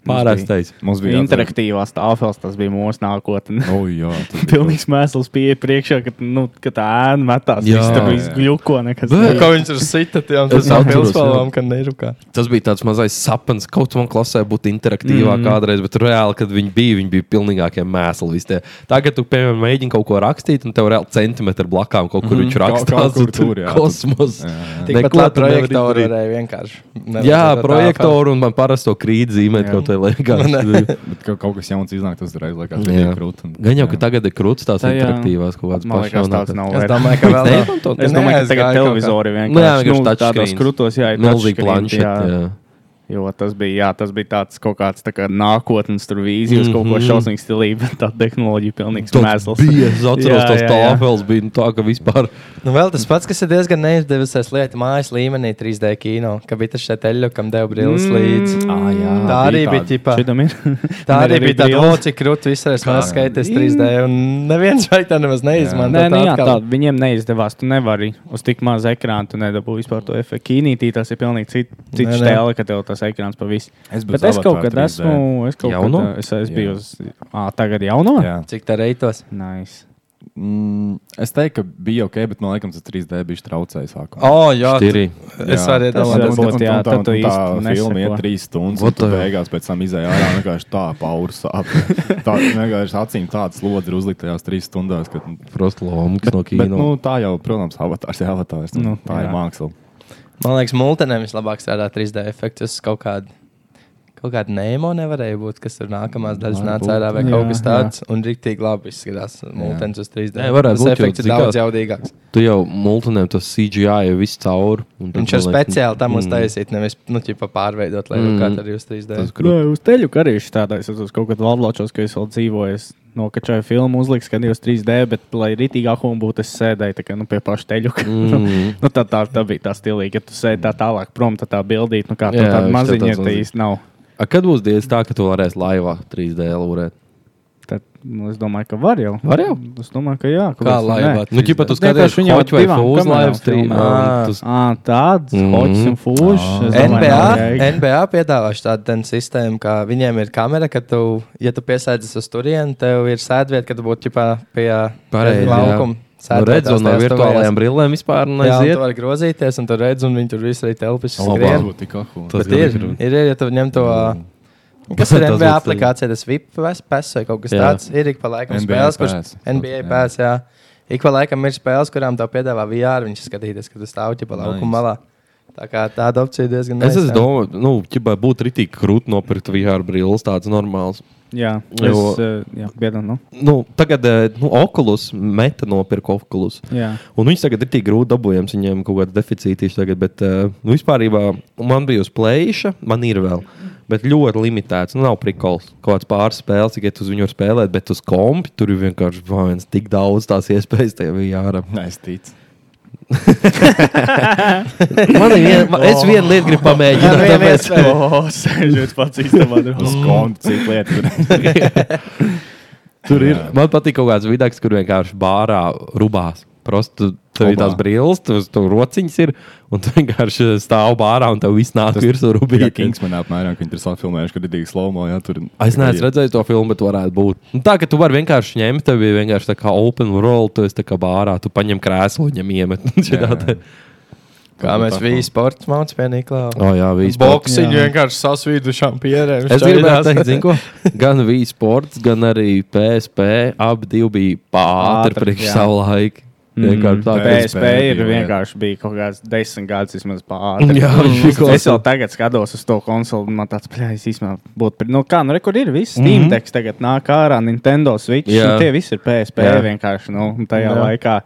[SPEAKER 1] Pārākstais.
[SPEAKER 8] Mums bija
[SPEAKER 2] Interaktīvās tāfeles tas bija mūsu nākotnē.
[SPEAKER 8] O, jā, tas bija
[SPEAKER 2] [LAUGHS] Pilnīgs mēsls pieeja priekšā, ka, nu, ka tā ēna metās.
[SPEAKER 1] Jā.
[SPEAKER 2] Jā, tā bija gluko nekas.
[SPEAKER 1] Bet-
[SPEAKER 2] tāds.
[SPEAKER 4] Kā viņš tur sita, tad
[SPEAKER 1] Es
[SPEAKER 4] tas nav
[SPEAKER 1] atceros,
[SPEAKER 4] pilsvalām, ka nerukā.
[SPEAKER 1] Tas bija tāds mazais sapnis, kaut kā man klasē būtu interaktīvāk mm. kādreiz, bet reāli, kad viņi bija, viņi bija pilnīgākie mēsli. visi tie. Tagad, kad tu, piemēram, mēģini kaut ko rakstīt, un tev reāli centimetri blakām kaut kur mm. viņš
[SPEAKER 8] kaut-
[SPEAKER 1] rakstās,
[SPEAKER 8] Mhm. kaut kur
[SPEAKER 1] un
[SPEAKER 8] tur,
[SPEAKER 1] tur
[SPEAKER 8] jā.
[SPEAKER 1] kosmos.
[SPEAKER 4] Tikpat
[SPEAKER 1] Neko
[SPEAKER 4] kā
[SPEAKER 1] tu nevari
[SPEAKER 4] projektori
[SPEAKER 1] izdarīt.
[SPEAKER 4] varēja vienkārši.
[SPEAKER 1] Jā,
[SPEAKER 4] nevajadzētu tā
[SPEAKER 1] projektoru un man parasti to krīt zīmēt, kaut
[SPEAKER 8] [LAUGHS]
[SPEAKER 1] kā vienkārši.
[SPEAKER 8] Bet ka- kaut kas jauns iznāk, tas reiz liekas, ka
[SPEAKER 1] Jā.
[SPEAKER 8] ir krūti.
[SPEAKER 1] Gan jau, ka tagad ir krūts tās
[SPEAKER 2] Tā jā.
[SPEAKER 1] interaktīvās kaut kādas
[SPEAKER 2] Man liekas, tāds nav.
[SPEAKER 4] Es
[SPEAKER 2] vairs.
[SPEAKER 4] domāju, ka vēl nav.
[SPEAKER 1] Neizmanto?
[SPEAKER 2] Es
[SPEAKER 4] Nē,
[SPEAKER 2] domāju, ka
[SPEAKER 4] es
[SPEAKER 2] tagad
[SPEAKER 4] gāju kaut
[SPEAKER 2] televizori
[SPEAKER 1] Nu jā,
[SPEAKER 2] vienkārši
[SPEAKER 1] vienkārši
[SPEAKER 2] nu, tādos
[SPEAKER 1] touchscreens.
[SPEAKER 2] krūtos, jā, ir
[SPEAKER 1] Milzīgi
[SPEAKER 2] touchscreens,
[SPEAKER 1] planšeti.
[SPEAKER 2] jā.
[SPEAKER 1] jā.
[SPEAKER 2] Jo tas bija, jā, tas bija tāds kaut kāds tā kā nākotnes tur vīzijas, mm -hmm. kaut ko
[SPEAKER 1] Mhm.
[SPEAKER 2] šausmīgs stilīgi, bet [LAUGHS] tā tehnoloģija pilnīgs
[SPEAKER 1] Tas
[SPEAKER 2] mēsls.
[SPEAKER 1] bija,
[SPEAKER 2] [LAUGHS]
[SPEAKER 1] es atceros,
[SPEAKER 2] Jā,
[SPEAKER 1] tas
[SPEAKER 2] jā, jā.
[SPEAKER 1] tālākais bija nu tā, ka vispār.
[SPEAKER 4] Nu, vēl tas pats, kas ir diezgan neizdevusies lieta mājas līmenī 3D kino, ka bija tas šeit teļu, kam deva brilles līdzi.
[SPEAKER 8] Ah, jā,
[SPEAKER 4] Tā arī bija ģipa.
[SPEAKER 2] Mm. Šitam ir.
[SPEAKER 4] [LAUGHS] Tā arī bija tāda
[SPEAKER 2] brīva.
[SPEAKER 4] loģika, krūtis, visai smēķis, skaities 3D. Un neviens vajag tā nemaz neizmanto.
[SPEAKER 2] Nē, nu, jā,
[SPEAKER 4] atkal.
[SPEAKER 2] tā, viņiem neizdevās. Tu nevari uz tik mazu ekrānu, tu nedabūji vispār to efektu. Kīnītī tas ir pilnīgi cits cit
[SPEAKER 4] Nē, nē.
[SPEAKER 2] stēle, ka tev tas ekrāns pavisam.
[SPEAKER 8] Es
[SPEAKER 2] Bet es kaut kad esmu, es kaut
[SPEAKER 1] Jauno?
[SPEAKER 2] kad, es, es
[SPEAKER 8] Jā.
[SPEAKER 2] biju uz, ā, tagad jauno?
[SPEAKER 8] Jā.
[SPEAKER 4] Cik tā reitos?
[SPEAKER 2] Nice.
[SPEAKER 8] Mm, es teiktu, ka bija ok, bet man liekas, tas 3D bija traucējis sākumā.
[SPEAKER 4] O, jā,
[SPEAKER 1] Tīri.
[SPEAKER 4] tu- es varu
[SPEAKER 2] Tas
[SPEAKER 8] Un- un-
[SPEAKER 4] iedomāties.
[SPEAKER 2] varbūt,
[SPEAKER 8] un-
[SPEAKER 2] jā,
[SPEAKER 8] un tā-
[SPEAKER 2] tad
[SPEAKER 8] un
[SPEAKER 2] tu īsti
[SPEAKER 8] tā filma
[SPEAKER 2] neseko.
[SPEAKER 8] ir trīs stundas, un
[SPEAKER 1] What
[SPEAKER 8] tu
[SPEAKER 1] the-
[SPEAKER 8] beigās pēc tam izējā ārā vienkārši tā paurs.
[SPEAKER 1] [LAUGHS]
[SPEAKER 8] Tā vienkārši acīm tāds lodzi ir uzlikt tajās trīs stundās, kad nu,
[SPEAKER 1] Prost lomas no
[SPEAKER 8] Bet,
[SPEAKER 1] kino.
[SPEAKER 8] nu, tā jau, protams, avatārs ir avatārs. Nu,
[SPEAKER 2] Nu,
[SPEAKER 8] tā jā. ir
[SPEAKER 2] jā.
[SPEAKER 8] māksla.
[SPEAKER 4] Man liekas, multenēm vislabāk strādā 3D efekts. Kaut kāda Kaut kāda nemo nevarēja būt, kas tur nākamās daļas
[SPEAKER 8] Varbūt.
[SPEAKER 4] nāca ārā vai
[SPEAKER 2] Jā,
[SPEAKER 4] kaut kas tāds. Un rīktīgi labi izskatās. Multens uz 3D.
[SPEAKER 1] Nē, varētu
[SPEAKER 4] tas
[SPEAKER 1] būt, jo
[SPEAKER 4] efekts ir
[SPEAKER 1] cik kā-
[SPEAKER 4] daudz jaudīgāks.
[SPEAKER 1] Tu jau multinēm tas CGI jau viss cauri. un tad, Mm,
[SPEAKER 4] Viņš ir
[SPEAKER 1] man liekas,
[SPEAKER 4] speciāli tam
[SPEAKER 2] Mm.
[SPEAKER 4] uztaisīt, nevis nu, ķipa, pārveidot, lai mm.
[SPEAKER 1] Mm.
[SPEAKER 4] kā arī uz 3D.
[SPEAKER 1] Tas grūti.
[SPEAKER 2] Nē, uz teļu arī ir tāds. Es uz kaut kādā valdločos, ka es vēl dzīvoju. Es nokačēju filmu, uzliku, ka 3D, bet, lai rītīgā humora būtu, es sēdēju tā kā, nu, pie paša teļu.
[SPEAKER 1] Mm.
[SPEAKER 2] nu, tā, tā, tā bija tā stilīga. Ja tu sēdi tā tālāk prom, tad tā bildīt, nu, kā
[SPEAKER 1] Jā,
[SPEAKER 2] jā,
[SPEAKER 1] viņš
[SPEAKER 2] tāda
[SPEAKER 1] tā
[SPEAKER 2] maziņa
[SPEAKER 1] tāds
[SPEAKER 2] tā
[SPEAKER 1] maziņ.
[SPEAKER 2] īsti nav.
[SPEAKER 1] A, Kad būs diena tā, ka tu varēsi laivā 3D lūrēt?
[SPEAKER 2] Tad, nu, es domāju, ka var jau.
[SPEAKER 1] Var jau?
[SPEAKER 2] Es domāju, ka jā. kaut
[SPEAKER 4] Kā
[SPEAKER 2] kāds-
[SPEAKER 4] laivā?
[SPEAKER 2] Nē.
[SPEAKER 1] Nu, ķipa, tu
[SPEAKER 2] Nē, tas
[SPEAKER 1] skaties,
[SPEAKER 2] viņa
[SPEAKER 1] viņa
[SPEAKER 2] jau
[SPEAKER 1] kaut vai
[SPEAKER 2] divām
[SPEAKER 1] fūz
[SPEAKER 2] kamerām
[SPEAKER 1] laivs trī.
[SPEAKER 2] filmā.
[SPEAKER 1] Ā,
[SPEAKER 4] Ā.
[SPEAKER 1] tas-
[SPEAKER 2] Ā, Tāds
[SPEAKER 1] Mhm.
[SPEAKER 2] hoci un fūšs.
[SPEAKER 4] NBA, NBA piedāvāšu tādu ten sistēmu, ka viņiem ir kamera, ka tu, ja tu piesaisties uz turieni, tev ir sēdvieta, kad būtu ķipā pie
[SPEAKER 1] Pareizi, jā.
[SPEAKER 4] laukuma.
[SPEAKER 1] Nu, redz, un no virtuālajām brillēm vispār
[SPEAKER 4] Aiziet,
[SPEAKER 1] neaiziet.
[SPEAKER 4] var grozīties, un tur redz, un viņi tur visur ir telpas.
[SPEAKER 1] Labā.
[SPEAKER 4] skrien.
[SPEAKER 8] būtu tik ahūna.
[SPEAKER 1] Tas
[SPEAKER 4] Bet ir,
[SPEAKER 1] grūti.
[SPEAKER 4] ir, ir, ja tu ņem to.
[SPEAKER 1] [LAUGHS]
[SPEAKER 4] Kas
[SPEAKER 1] Tas
[SPEAKER 4] ir NBA
[SPEAKER 1] būtu-
[SPEAKER 4] aplikācija, tas VIP pass E vai kaut kas
[SPEAKER 1] Jā.
[SPEAKER 4] tāds? Ir ik pa laikam
[SPEAKER 8] NBA
[SPEAKER 4] spēles,
[SPEAKER 8] pass.
[SPEAKER 4] kuras NBA
[SPEAKER 8] Jā.
[SPEAKER 4] pass, E jā. Ik pa laikam ir spēles, kurām tev piedāvā VR, viņš skatīties, kad tu stāv ķipa laukuma
[SPEAKER 8] Nice.
[SPEAKER 4] malā. Tā kā tāda opcija diezgan
[SPEAKER 1] Es, es
[SPEAKER 4] nice, jā.
[SPEAKER 1] domāju, nu, ķipa, būtu rītīgi krūti nopirkt VR brilles, tāds normāls.
[SPEAKER 2] Jā,
[SPEAKER 1] Jo-
[SPEAKER 2] es, eh, jā, biedam, nu.
[SPEAKER 1] Nu, tagad, eh, nu, Oculus, Meta nopirka Oculus.
[SPEAKER 2] Jā.
[SPEAKER 1] Un viņš tagad ir tik grūti dabūjams, viņiem kaut kāda deficīta ir tagad. Bet, eh, nu, vispār, man bija uz plēša, man ir vēl. Bet ļoti limitēts. Nu, nav prikols. Kaut kāds pāris spēles, tikai tu uz viņu var spēlēt, bet uz kompi tur ir vienkārši vājens. Tik daudz tās iespējas tev ir jārāp.
[SPEAKER 8] Nē, es ticu.
[SPEAKER 1] [LAUGHS] Man ir viena, man- es vienu lietu gribu [LAUGHS] pamēģināt. tāpēc-
[SPEAKER 2] Sēžot pats īstenībā.
[SPEAKER 8] Uz konta, cik lietas.
[SPEAKER 1] Tur ir. Man patīk kaut kāds vidaks, kur vienkārši bārā rubās. Prosti, tev ir
[SPEAKER 8] Obā.
[SPEAKER 1] tās brilles, tev tur rociņas ir, un tu vienkārši stāv bārā, un tev viss nāk
[SPEAKER 8] Tas-
[SPEAKER 1] virsū
[SPEAKER 8] Bija
[SPEAKER 1] rubītes.
[SPEAKER 8] Kings manā apmērā, ka viņi tur sāfilmējuši, kad ir tik slomo, jā, tur.
[SPEAKER 1] Es neesmu redzējis to filmu, bet varētu būt. Nu, tā, ka tu vari vienkārši ņemt, tev ir vienkārši tā kā open roll, tu esi tā kā bārā, tu paņem krēslu un ņem iemet. [LAUGHS] Jā,
[SPEAKER 8] Jā, jā.
[SPEAKER 4] Kā mēs visi sports mācām, vienī klāvā.
[SPEAKER 1] oh, jā visi sports.
[SPEAKER 4] Boksiņu vienkārši sasvīdušām pierēm.
[SPEAKER 1] Es gribēju teikt, [LAUGHS] zinu,
[SPEAKER 2] [LAUGHS]
[SPEAKER 1] ko. Gan Vīs sports, gan arī PSP. Abi divi bija
[SPEAKER 2] Ātri,
[SPEAKER 1] pāri priekš
[SPEAKER 2] jā.
[SPEAKER 1] savu laiku. Vienkārši tā,
[SPEAKER 8] Pēc-
[SPEAKER 1] ka
[SPEAKER 2] PSP
[SPEAKER 8] PSP
[SPEAKER 2] ir
[SPEAKER 8] bija, jā.
[SPEAKER 2] vienkārši bija kaut kāds desmit gadus vismaz pāri.
[SPEAKER 1] [LAUGHS] Jā, viņš ir
[SPEAKER 2] es jau
[SPEAKER 1] konsoli.
[SPEAKER 2] tagad skatos uz to konsoli, un man tāds plēsis īstenībā būtu. pri- Nu, kā, nu, re, kur ir viss? Steam Deck tagad nāk ārā, Nintendo Switch.
[SPEAKER 1] Mhm. Jā.
[SPEAKER 2] nu, Tie visi ir PSP
[SPEAKER 1] Jā.
[SPEAKER 2] vienkārši. Nu, un tajā
[SPEAKER 1] Jā.
[SPEAKER 2] laikā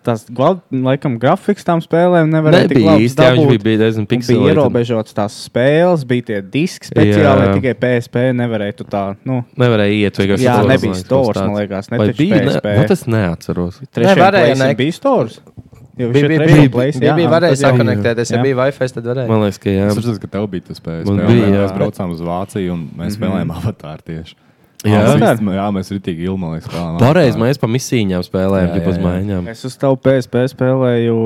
[SPEAKER 2] tas, gla- laikam, grafiks tam spēlēm nevarēja tik
[SPEAKER 1] nebija
[SPEAKER 2] labi
[SPEAKER 1] īsti. Jā, viņš
[SPEAKER 2] dabūt.
[SPEAKER 1] bija- bija diezgan
[SPEAKER 2] Un Bija
[SPEAKER 1] pixelēts.
[SPEAKER 2] ierobežots tās spēles, bija tie diski speciāli,
[SPEAKER 1] Jā.
[SPEAKER 2] tikai PSP nevarēja tu tā. Nu,
[SPEAKER 1] Nevarēja iet, vienkārši
[SPEAKER 2] jā,
[SPEAKER 1] stores,
[SPEAKER 2] nebija
[SPEAKER 1] man liekas,
[SPEAKER 2] stores,
[SPEAKER 1] kaut
[SPEAKER 2] man
[SPEAKER 1] kas
[SPEAKER 2] liekas,
[SPEAKER 1] tāds.
[SPEAKER 2] ne
[SPEAKER 1] Vai
[SPEAKER 2] taču
[SPEAKER 1] bija?
[SPEAKER 2] PSP.
[SPEAKER 1] Ne, nu, tas neatceros.
[SPEAKER 2] Trešajā
[SPEAKER 4] varēja,
[SPEAKER 2] plēsim
[SPEAKER 4] ne?
[SPEAKER 2] bija stores. Jā,
[SPEAKER 4] Bija, bija, bija, bija, bija, bija varēja sakonektēties, ja
[SPEAKER 2] jā.
[SPEAKER 4] bija Wi-Fi, tad varēja.
[SPEAKER 1] Man liekas, ka
[SPEAKER 8] Es
[SPEAKER 1] jā.
[SPEAKER 8] saprotu, ka tev bija tas spēks.
[SPEAKER 1] Man bija, jā.
[SPEAKER 8] Mēs braucām uz Vāciju un mēs spēlējām avatāru tieši.
[SPEAKER 1] Jā.
[SPEAKER 8] Mēs visi- jā, mēs ritīgi ilgi, man liekas, spēlējām.
[SPEAKER 1] Pareizi,
[SPEAKER 8] Avatāru.
[SPEAKER 1] mēs pa misijām spēlējām,
[SPEAKER 8] Jā,
[SPEAKER 1] jau
[SPEAKER 8] jā,
[SPEAKER 1] uz
[SPEAKER 8] jā.
[SPEAKER 1] maiņām.
[SPEAKER 2] Es uz tavu PSP spēlēju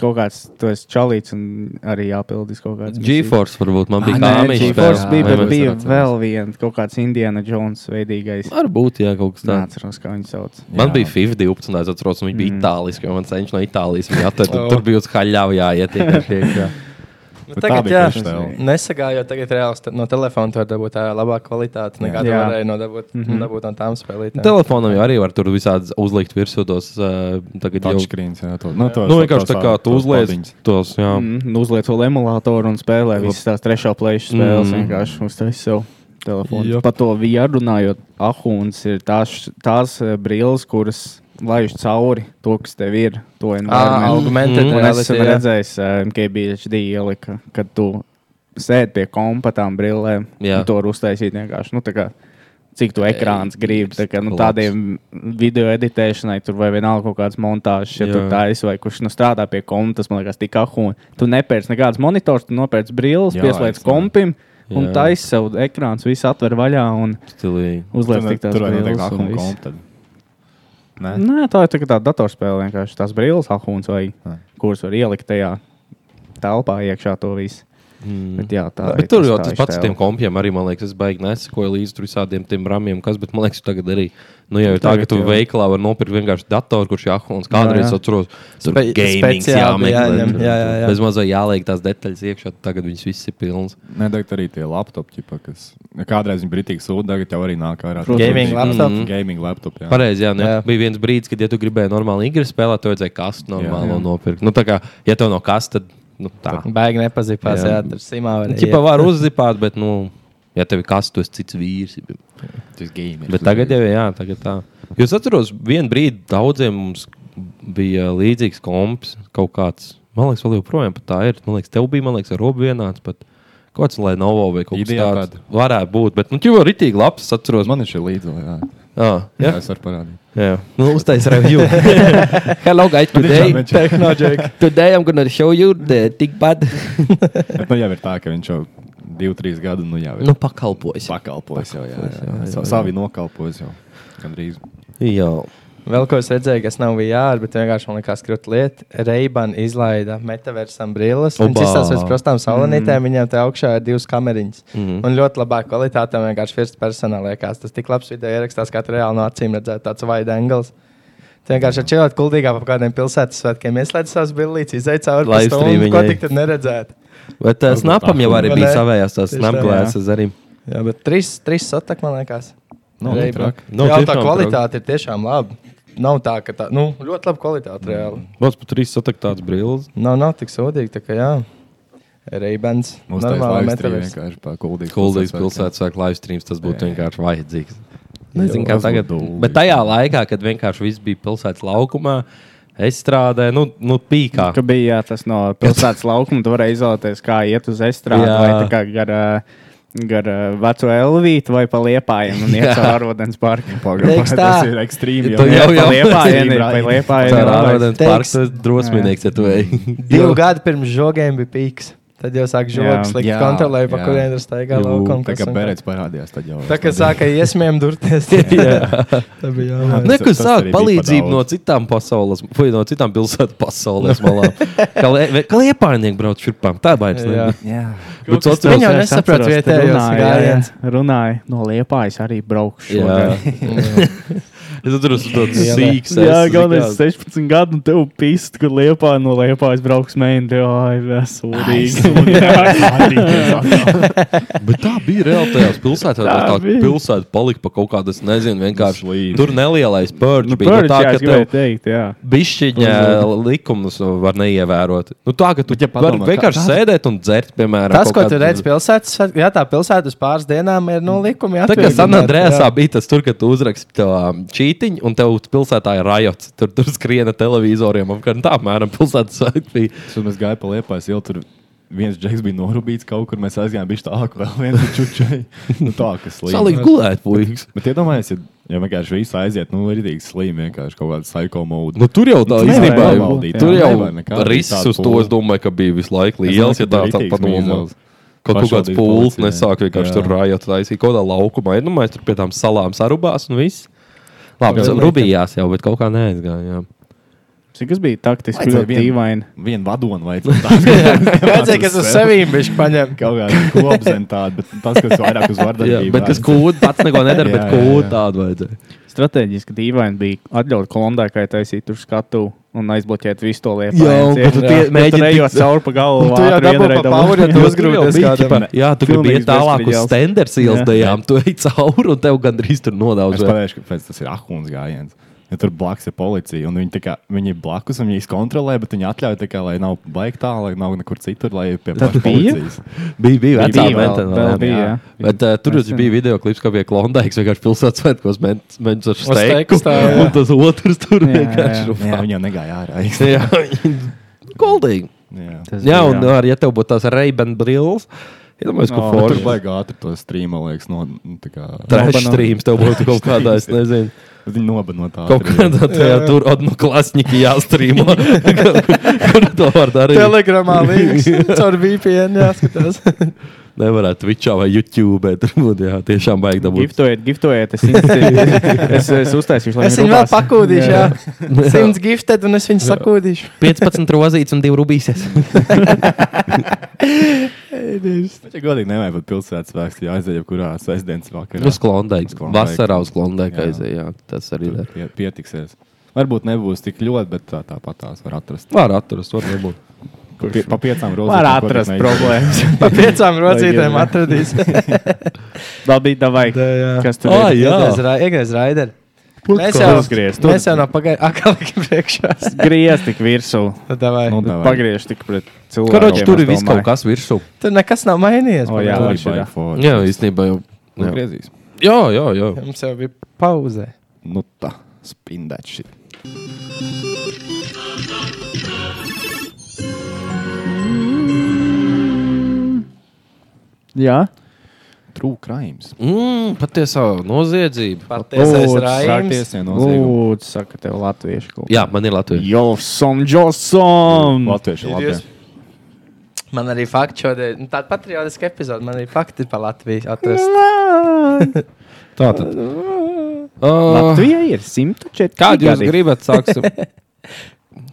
[SPEAKER 2] kaut kāds, tu esi čalīts un arī jāpildīs kaut kāds.
[SPEAKER 1] GeForce varbūt man
[SPEAKER 2] misijas.
[SPEAKER 1] bija
[SPEAKER 2] Ah, nē,
[SPEAKER 1] kāmiņš.
[SPEAKER 2] GeForce
[SPEAKER 1] spēlē.
[SPEAKER 2] bija,
[SPEAKER 1] Vai
[SPEAKER 2] bet
[SPEAKER 1] mēs-
[SPEAKER 2] bija
[SPEAKER 8] atceramies.
[SPEAKER 2] vēl viens kaut kāds Indiana Jones veidīgais.
[SPEAKER 1] Varbūt, jā, kaut kas tāds.
[SPEAKER 2] Nāceros, kā viņu sauc.
[SPEAKER 1] Man
[SPEAKER 8] Jā.
[SPEAKER 1] bija FIFA 12, es atceros, un viņš bija mm. itālijs, jo man senčs no Itālijas bija jāatver.
[SPEAKER 4] O.
[SPEAKER 1] Tur bija uz haļļāvu jāiet. vienkārši iekšā.
[SPEAKER 4] Nu,
[SPEAKER 8] Bet tā
[SPEAKER 4] tagad,
[SPEAKER 8] bija
[SPEAKER 4] jā,
[SPEAKER 8] tieši tev.
[SPEAKER 4] nesagājot, tagad reāli sta- no telefona tu vari dabūt tā labāku kvalitāti nekā tu
[SPEAKER 2] Jā.
[SPEAKER 4] varēji no dabūt, mm -hmm. dabūt no tām spēlītēm.
[SPEAKER 1] Telefonam jau arī var tur visādi uzlikt virsū tos. Uh, tagad jau
[SPEAKER 8] Touchscreens, jā, to. Nu, to
[SPEAKER 1] nu, vienkārši tā kā tu uzliec tos. Jā. Mm.
[SPEAKER 2] Mm, uzliec to emulātoru un spēlē visas tās trešā plēša spēles mm. vienkārši uztais sev. Telefonu.
[SPEAKER 4] Jop.
[SPEAKER 2] Par to VR runājot, ahūns ir tās, tās eh, brilles, kuras laiž cauri to, kas tev ir. To
[SPEAKER 4] Ā,
[SPEAKER 2] environment.
[SPEAKER 4] augmented
[SPEAKER 1] Mm,
[SPEAKER 2] Un es
[SPEAKER 4] reality,
[SPEAKER 2] esmu
[SPEAKER 4] jā.
[SPEAKER 2] redzējis, eh, MKBHD ielika, kad tu sēdi pie kompatām brillēm.
[SPEAKER 1] Jā.
[SPEAKER 2] un To var uztaisīt vienkārši. Nu, tā kā, cik tu ekrāns gribi. Tā kā, nu,
[SPEAKER 1] Labs.
[SPEAKER 2] tādiem video editēšanai, tur vai vienalga kaut kāds montāžs, ja
[SPEAKER 1] Jā.
[SPEAKER 2] tur taisa vai kurš nu, strādā pie kompas, tas man liekas, tik ahūni. Tu nepērc nekādas monitors, tu nopērc brilles,
[SPEAKER 8] Jā,
[SPEAKER 2] pieslēdz
[SPEAKER 8] es-
[SPEAKER 2] kompim. Un
[SPEAKER 1] Jā.
[SPEAKER 2] taisa sev ekrāns, viss atver vaļā un
[SPEAKER 1] Stilīgi.
[SPEAKER 2] uzliek tik tādas
[SPEAKER 8] Tur vajag teikt,
[SPEAKER 2] brilles.
[SPEAKER 8] ah, un
[SPEAKER 2] un viss.
[SPEAKER 8] kompta. Nē,
[SPEAKER 2] Nē, tā ir tā kā tāda datorspēle vienkārši. Tās brilles, ahūns vai
[SPEAKER 8] Nē.
[SPEAKER 2] kuras var ielikt tajā telpā iekšā to visu. Mm. Bet, jā, tā
[SPEAKER 1] Hmm. Bet
[SPEAKER 2] ir
[SPEAKER 1] tur
[SPEAKER 2] tas
[SPEAKER 1] jau
[SPEAKER 2] tā
[SPEAKER 1] tas pats ar
[SPEAKER 2] iztēle.
[SPEAKER 1] tiem kompiem arī, man liekas, es baigi nesakoju līdzi tur visādiem tiem ramiem, kas, bet man liekas, tagad arī, nu, jau ir tā, ka
[SPEAKER 2] Tagad
[SPEAKER 1] tu
[SPEAKER 2] jau.
[SPEAKER 1] veiklā vari nopirkt vienkārši datoru, kurš jāhons
[SPEAKER 2] Jā,
[SPEAKER 1] kādreiz
[SPEAKER 2] jā.
[SPEAKER 1] atceros. Tur
[SPEAKER 4] Spe-
[SPEAKER 1] gamings
[SPEAKER 4] speciāli
[SPEAKER 1] jāmeklē,
[SPEAKER 4] bija jāņem,
[SPEAKER 1] tur
[SPEAKER 4] jā, jā, jā.
[SPEAKER 1] Bez mazā jāliek tās detaļas iekšā, tagad viņas viss ir pilns.
[SPEAKER 8] nedegt arī tie laptopi, ķipa, kas kādreiz viņi britīgi sūta, tagad jau arī nāk ārā.
[SPEAKER 2] Protams.
[SPEAKER 4] Gaming laptop?
[SPEAKER 8] Mm. Gaming laptop, jā.
[SPEAKER 1] Pareizi, jā, nu, jā.
[SPEAKER 4] Jā.
[SPEAKER 1] Bija viens brīdis, kad, ja tu gribēji normāli īri spēlēt, tev vajadzēja kastu normālo
[SPEAKER 8] jā.
[SPEAKER 1] nopirkt. Nu, tā kā, ja tev nav kastu, tad nu, tā.
[SPEAKER 4] Baigi nepazīstās,
[SPEAKER 1] Jā.
[SPEAKER 4] jā, tur simā var
[SPEAKER 1] Čipa var uzzipāt, bet, nu, ja tev ir kas, tu esi cits vīrs.
[SPEAKER 8] Tas game.
[SPEAKER 1] Bet tagad jau jā, tagad tā. Jo es atceros, vienu brīdi daudziem mums bija līdzīgs komps kaut kāds. Man liekas, vēl joprojām pat tā ir. Man liekas, tev bija, man liekas, ar robu vienāds. Pat. Kāds lai nav vai kaut kas
[SPEAKER 8] Ideja
[SPEAKER 1] tāds varētu būt, bet nu, jau ir rītīgi labs, es atceros. Man...
[SPEAKER 8] Man ir šī līdzīga. Jā.
[SPEAKER 1] Ah,
[SPEAKER 8] jā,
[SPEAKER 1] jā,
[SPEAKER 8] es varu parādīt.
[SPEAKER 1] jā. Nu, uztais review. Hello, guys,
[SPEAKER 8] Tiešām
[SPEAKER 1] today.
[SPEAKER 8] viņš jau-
[SPEAKER 1] Today I'm gonna show you the tik bad.
[SPEAKER 8] Bet, nu, jau ir tā, ka viņš jau 2-3 gadu nu, jau ir
[SPEAKER 1] nu, pakalpojis.
[SPEAKER 8] pakalpojis. Jau, jā, jā, jā, jā. Savi nokalpojis jau. Gandrīz.
[SPEAKER 1] Jā.
[SPEAKER 4] Vēl ko es redzēju, kas nav VR, bet vienkārši man liekas, ka krūtis lieta. Reiban izlaida metaversam brilles. Viņš
[SPEAKER 1] Oba!
[SPEAKER 4] izstāsta pēc prostām salonītēm, mm. viņam te augšā ir divas kameriņas. Mm. Un ļoti labā kvalitātē man vienkārši first personā liekas. Tas tik labs video ierakstās, kā tu reāli no acīm redzēt tāds wide angles. Tu vienkārši čilot kuldīgā pa kādiem pilsētas svētkiem, ieslēdz savas billītes, izdeja cauri
[SPEAKER 1] Live
[SPEAKER 4] pusstundai. Ko
[SPEAKER 1] streaming,
[SPEAKER 4] tik tad neredzēt?
[SPEAKER 1] Bet uh, snapam jau arī
[SPEAKER 4] Vai
[SPEAKER 1] bija
[SPEAKER 4] ne?
[SPEAKER 1] savējās tās
[SPEAKER 4] Tieši tā,
[SPEAKER 1] snapglēses arī.
[SPEAKER 4] Jā, bet trīs, trīs satak, man liekas.
[SPEAKER 8] Nu, nu,
[SPEAKER 4] Ray-Ban.
[SPEAKER 8] traki.
[SPEAKER 1] Nu,
[SPEAKER 4] Jā, tā
[SPEAKER 1] tiešām
[SPEAKER 4] kvalitāte ir tiešām laba. Nav tā, ka tā, nu, ļoti laba kvalitāte reāli.
[SPEAKER 1] Mums pat trīs sataktāts brilles.
[SPEAKER 4] Mm. Nav, nav tik sodīgi, tā kā jā. Reibens.
[SPEAKER 8] Mums tā ir
[SPEAKER 4] normāla metaverse.
[SPEAKER 8] vienkārši pa kuldīgas
[SPEAKER 1] Kuldīgas pilsētas sāk live streams, tas būtu vienkārši vajadzīgs. Nezinu, kā
[SPEAKER 8] tas
[SPEAKER 1] tagad.
[SPEAKER 8] būtu dūli.
[SPEAKER 1] Bet tajā laikā, kad vienkārši viss bija pilsētas laukumā, es strādāju, nu, nu pīkā.
[SPEAKER 2] Ka bija jā, tas no
[SPEAKER 1] [LAUGHS]
[SPEAKER 2] pilsētas laukuma, tur varēja izvēlēties, kā iet uz estrādi
[SPEAKER 1] Jā.
[SPEAKER 2] vai tā kā gar, ā, gar ā, veco Elvītu vai pa liepājiem un
[SPEAKER 1] [LAUGHS]
[SPEAKER 2] iet
[SPEAKER 1] Jā.
[SPEAKER 2] caur ūdens parku.
[SPEAKER 4] Teiks tā.
[SPEAKER 8] Tas ir ekstrīms.
[SPEAKER 1] Tu
[SPEAKER 2] Jā,
[SPEAKER 1] jau-
[SPEAKER 2] pa
[SPEAKER 1] jau- [LAUGHS]
[SPEAKER 2] liepājiem, ir, pa
[SPEAKER 8] Rainis.
[SPEAKER 1] Tā ir
[SPEAKER 2] liepājiem.
[SPEAKER 1] ārvadens
[SPEAKER 4] Teiks-
[SPEAKER 1] parks, tas drosmīgs, ja tu ej.
[SPEAKER 4] Divu gadu pirms žogiem bija pīks. Tad jau sāk
[SPEAKER 2] Jā.
[SPEAKER 4] žogs likt
[SPEAKER 8] Jā,
[SPEAKER 4] kontrolē, pa
[SPEAKER 8] jā.
[SPEAKER 4] kuriem ir staigā
[SPEAKER 1] Jū,
[SPEAKER 4] laukam.
[SPEAKER 8] Tā
[SPEAKER 4] kas
[SPEAKER 8] kā
[SPEAKER 4] un
[SPEAKER 8] bērns parādījās, tad jau.
[SPEAKER 4] Tā kā sāka iesmiem durties.
[SPEAKER 1] [LAUGHS]
[SPEAKER 4] Tā bija jau.
[SPEAKER 8] Tas-
[SPEAKER 1] Nekur
[SPEAKER 8] tas
[SPEAKER 1] sāk
[SPEAKER 8] arī bija
[SPEAKER 1] palīdzību
[SPEAKER 8] pa daudz.
[SPEAKER 1] no citām pasaules, vai no citām pilsētas pasaules malām. Kā lie- Kā liepājnieki brauc šurpām, tā bainas.
[SPEAKER 4] Jā.
[SPEAKER 8] Jā.
[SPEAKER 1] Bet
[SPEAKER 4] kas
[SPEAKER 1] sociāli-
[SPEAKER 4] Viņi jau nesaprot vietējos gājienus.
[SPEAKER 2] Runāja, no liepājas arī braukšu.
[SPEAKER 1] Jā.
[SPEAKER 2] šodien.
[SPEAKER 1] Es atceros, ka tas ir
[SPEAKER 4] Jā.
[SPEAKER 1] sīks.
[SPEAKER 2] Jā, galvenais 16 gadu, un tev pīst, ka liepā no liepājas brauks mēnesi. Ai, [LAUGHS] veselīgi.
[SPEAKER 1] Bet tā bija reāli tajās pilsētās.
[SPEAKER 2] Tā
[SPEAKER 1] Tā, tā
[SPEAKER 2] bija.
[SPEAKER 1] pilsēta palika pa kaut kādas, nezinu, vienkārši.
[SPEAKER 8] Slīdi.
[SPEAKER 1] Tur nelielais pērģis nu, bija. Nu,
[SPEAKER 2] Pērķis,
[SPEAKER 1] tā,
[SPEAKER 2] jā,
[SPEAKER 1] ka
[SPEAKER 2] es gribēju
[SPEAKER 1] tev
[SPEAKER 2] teikt, jā.
[SPEAKER 1] bišķiņa likumus var neievērot. Nu, tā, ka tu
[SPEAKER 8] Bet, ja
[SPEAKER 1] vari
[SPEAKER 8] padomā, kā
[SPEAKER 1] vienkārši
[SPEAKER 8] tas-
[SPEAKER 1] sēdēt un dzert, piemēram,
[SPEAKER 4] Tas,
[SPEAKER 1] kaut
[SPEAKER 4] ko tu
[SPEAKER 1] kādu-
[SPEAKER 4] redz pilsētas, svētku- jā, tā pilsēta uz pāris dienām ir nu, no likuma.
[SPEAKER 1] Tā kā San Andrēsā bija tas, tur, kad tu uzraksti to um, čītiņu, un tev pilsētā ir rajots. Tur, tur skriena televizoriem, apmēram tā, apmēram pilsētas svētki bija.
[SPEAKER 8] Tad mēs gājām pa liepais ielu. Tur viens džeks bija norūpīts kaut kur. Mēs aizgājām bišķi tālāk, vēl viens čučai. Nu, tā, kas slīd.
[SPEAKER 1] Salīgi gulēt, puikas.
[SPEAKER 8] Bet iedomājieties, ja, ja vienkārši viss aiziet, nu, ir rītīgi slīm, vienkārši kaut kāda psycho mode.
[SPEAKER 1] Nu, tur jau tā
[SPEAKER 8] Nevar
[SPEAKER 1] īstenībā
[SPEAKER 8] novaldīt,
[SPEAKER 1] bija. Tur
[SPEAKER 8] jā,
[SPEAKER 1] jau
[SPEAKER 8] nevar nekā,
[SPEAKER 1] rises
[SPEAKER 8] tāda
[SPEAKER 1] uz to,
[SPEAKER 8] pūle.
[SPEAKER 1] es domāju, ka bija visu laiku
[SPEAKER 8] Es
[SPEAKER 1] liels, ja
[SPEAKER 8] domāju,
[SPEAKER 1] tā
[SPEAKER 8] ka tur
[SPEAKER 1] tā
[SPEAKER 8] rītīgs
[SPEAKER 1] padomā.
[SPEAKER 8] mīzels.
[SPEAKER 1] Kaut, kaut kāds
[SPEAKER 8] Pašvaldības
[SPEAKER 1] pūlis
[SPEAKER 8] policija.
[SPEAKER 1] nesāk vienkārši
[SPEAKER 8] Jā.
[SPEAKER 1] tur rājot, taisīja kaut kādā laukumā. Ir, nu, mēs tur pie tām salām sarūpās un viss. Labi,
[SPEAKER 4] Jā.
[SPEAKER 1] tas rubijās jau, bet kaut kā neaizgājām.
[SPEAKER 2] Cik tas bija taktiski
[SPEAKER 8] Vajadzēja
[SPEAKER 2] ļoti
[SPEAKER 8] vienu.
[SPEAKER 2] dīvaini.
[SPEAKER 8] Vienu vadonu vajadzēja.
[SPEAKER 4] Vajadzēja, kas uz sevīm bija paņemts.
[SPEAKER 8] [LAUGHS] Kaut kāda kopzem tāda, bet tas, kas vairāk uz
[SPEAKER 1] Jā,
[SPEAKER 8] vardarbību.
[SPEAKER 1] bet tas kūda pats neko nedara,
[SPEAKER 8] [LAUGHS] Jā,
[SPEAKER 1] bet
[SPEAKER 8] jā,
[SPEAKER 1] kūda
[SPEAKER 8] jā.
[SPEAKER 1] tāda vajadzēja.
[SPEAKER 2] Strateģiski dīvaini bija atļaut kolondēkai taisīt tur skatu un aizbloķēt visu to lietu.
[SPEAKER 1] Jā, un kad tu tie- mēģini
[SPEAKER 2] mēģināt
[SPEAKER 1] tikt-
[SPEAKER 2] ejot cauri pa galvu.
[SPEAKER 4] Un tu jau
[SPEAKER 2] ātri vien
[SPEAKER 4] dabū pa
[SPEAKER 2] reidam.
[SPEAKER 4] pauri, ja tu
[SPEAKER 2] [LAUGHS] Jā,
[SPEAKER 4] uzgrūdies
[SPEAKER 2] jau bija,
[SPEAKER 4] kādam.
[SPEAKER 2] ķipa,
[SPEAKER 1] Jā, tu gribi
[SPEAKER 2] Pilnīgs
[SPEAKER 1] iet tālāk uz
[SPEAKER 2] bezspriģels.
[SPEAKER 1] standarts ielas
[SPEAKER 2] Jā.
[SPEAKER 1] dejām. Tu ej cauri un tev gandrīz tur
[SPEAKER 8] Es
[SPEAKER 1] nodaudz.
[SPEAKER 8] pateikšu, ka tas ir ahūns gājiens. Ja tur blakus ir policija, un viņi, tā kā, viņi ir blakus, un viņi kontrolē, bet viņi atļauj, tā kā, lai nav baigta tā, lai nav nekur citur, lai ir pie pašas
[SPEAKER 1] [LAUGHS]
[SPEAKER 2] bija?
[SPEAKER 8] policijas.
[SPEAKER 1] Bija, bija vecā
[SPEAKER 2] Bija vēl,
[SPEAKER 1] mentena.
[SPEAKER 2] vēl
[SPEAKER 1] jā.
[SPEAKER 2] bija, jā.
[SPEAKER 1] Bet, uh, tur jau bija video klips, kā bija Klondaiks. Vienkārši pilsētas svētkos mēģinājums ar steiku.
[SPEAKER 4] steiku stāv, jā.
[SPEAKER 1] Un tas otrs tur
[SPEAKER 2] Jā, jā,
[SPEAKER 1] vienkārši
[SPEAKER 2] jā.
[SPEAKER 8] Jā,
[SPEAKER 1] rupā.
[SPEAKER 8] viņi jau negāja ārā.
[SPEAKER 1] Jā, Goldīgi.
[SPEAKER 8] [LAUGHS] Jā.
[SPEAKER 2] Tas
[SPEAKER 1] Jā,
[SPEAKER 2] bija,
[SPEAKER 1] un ar, ja tev būtu tās Reibens brilles, ja domāju, ka
[SPEAKER 2] O,
[SPEAKER 8] Tur
[SPEAKER 1] forši.
[SPEAKER 8] baigā ātri to streamu, liekas, no nu, tā kā.
[SPEAKER 1] Trešais
[SPEAKER 2] Nobano-
[SPEAKER 1] streams tev būtu kaut kādā,
[SPEAKER 2] [LAUGHS]
[SPEAKER 1] es nezinu,
[SPEAKER 8] Viņi nobanot tā.
[SPEAKER 1] kaut kādā tajā tur odnoklāsniki jāstrīmo. Kur to var darīt?
[SPEAKER 4] Telegramā līnijas caur VPN jāskatās.
[SPEAKER 1] Nevarētu Twitchā vai YouTube, bet tur būtu jā, tiešām baigi dabūt.
[SPEAKER 2] Giftojiet, giftojiet,
[SPEAKER 1] [LAUGHS]
[SPEAKER 2] es, institīvi- es, es uztaisīšu, lai
[SPEAKER 4] Es viņu vēl
[SPEAKER 2] rubās.
[SPEAKER 4] pakūdīšu, jā.
[SPEAKER 2] Jā.
[SPEAKER 1] [LAUGHS]
[SPEAKER 4] Simts gifted un es viņu sakūdīšu.
[SPEAKER 1] 15 rozītes un 2 rubīsies.
[SPEAKER 8] Bet, ja godīgi, nevajag pat pilsētas vēstures, jāaiziet jebkurā sestdienas vakarā.
[SPEAKER 1] [LAUGHS] Uz Klondaiks.
[SPEAKER 8] Klondaiks.
[SPEAKER 1] Vasarā uz Klondaiks
[SPEAKER 8] Jā.
[SPEAKER 1] aizēja. Tas arī
[SPEAKER 8] Tur
[SPEAKER 1] ir.
[SPEAKER 8] pie- Pietiksies. Varbūt nebūs tik ļoti, bet tā, tāpat tās var atrast.
[SPEAKER 1] Var atrast, var nebūt.
[SPEAKER 8] Pa pie- Pa piecām rozēm.
[SPEAKER 2] Var atrast problēmas.
[SPEAKER 4] Pa piecām
[SPEAKER 2] rodzītēm
[SPEAKER 4] rocītēm atradīs.
[SPEAKER 2] Tā bija davai. Kas tur
[SPEAKER 1] Ai,
[SPEAKER 2] bija?
[SPEAKER 1] jā.
[SPEAKER 4] Iegriez raideri. Mēs jau
[SPEAKER 2] Uzgriezt.
[SPEAKER 4] Mēs jau no [LAUGHS] pagājušā priekšā.
[SPEAKER 2] Griezt tik virsū.
[SPEAKER 4] Tad davai.
[SPEAKER 8] Nu, davai.
[SPEAKER 2] Pagriež tik pret cilvēku.
[SPEAKER 1] Karoči, tur ir viss kaut kas virsū.
[SPEAKER 4] Tur nekas nav mainījies.
[SPEAKER 2] O,
[SPEAKER 4] pagaid.
[SPEAKER 2] jā.
[SPEAKER 8] Tur
[SPEAKER 2] Lāču,
[SPEAKER 8] bija
[SPEAKER 2] jā.
[SPEAKER 8] forši.
[SPEAKER 1] Jā, īstenībā jau.
[SPEAKER 8] Nu,
[SPEAKER 1] Jā,
[SPEAKER 8] griezīs.
[SPEAKER 1] jā, jā. jā.
[SPEAKER 4] Mums jau bija pauze.
[SPEAKER 8] Nu tā, spindēt šī.
[SPEAKER 2] Jā.
[SPEAKER 8] Trūkrājums.
[SPEAKER 1] Mm, patiesā noziedzība.
[SPEAKER 4] Patiesais
[SPEAKER 2] Lūdzu,
[SPEAKER 4] rājums.
[SPEAKER 8] Tiesnē nozīme.
[SPEAKER 2] Lūdzu, saka tev latviešu kaut
[SPEAKER 1] Jā, man ir Latvija.
[SPEAKER 2] Jolsom, Jolsom!
[SPEAKER 8] Mm.
[SPEAKER 1] [LAUGHS]
[SPEAKER 8] Latvieši labi.
[SPEAKER 4] jūs- Man arī fakti šodien, nu, tāda patriotiska epizode, man arī fakti par Latviju atrast.
[SPEAKER 8] Tā tad.
[SPEAKER 1] Uh,
[SPEAKER 2] Latvijai ir 104.
[SPEAKER 1] kādu jūs
[SPEAKER 2] gadi.
[SPEAKER 1] gribat? [LAUGHS] Sāksim.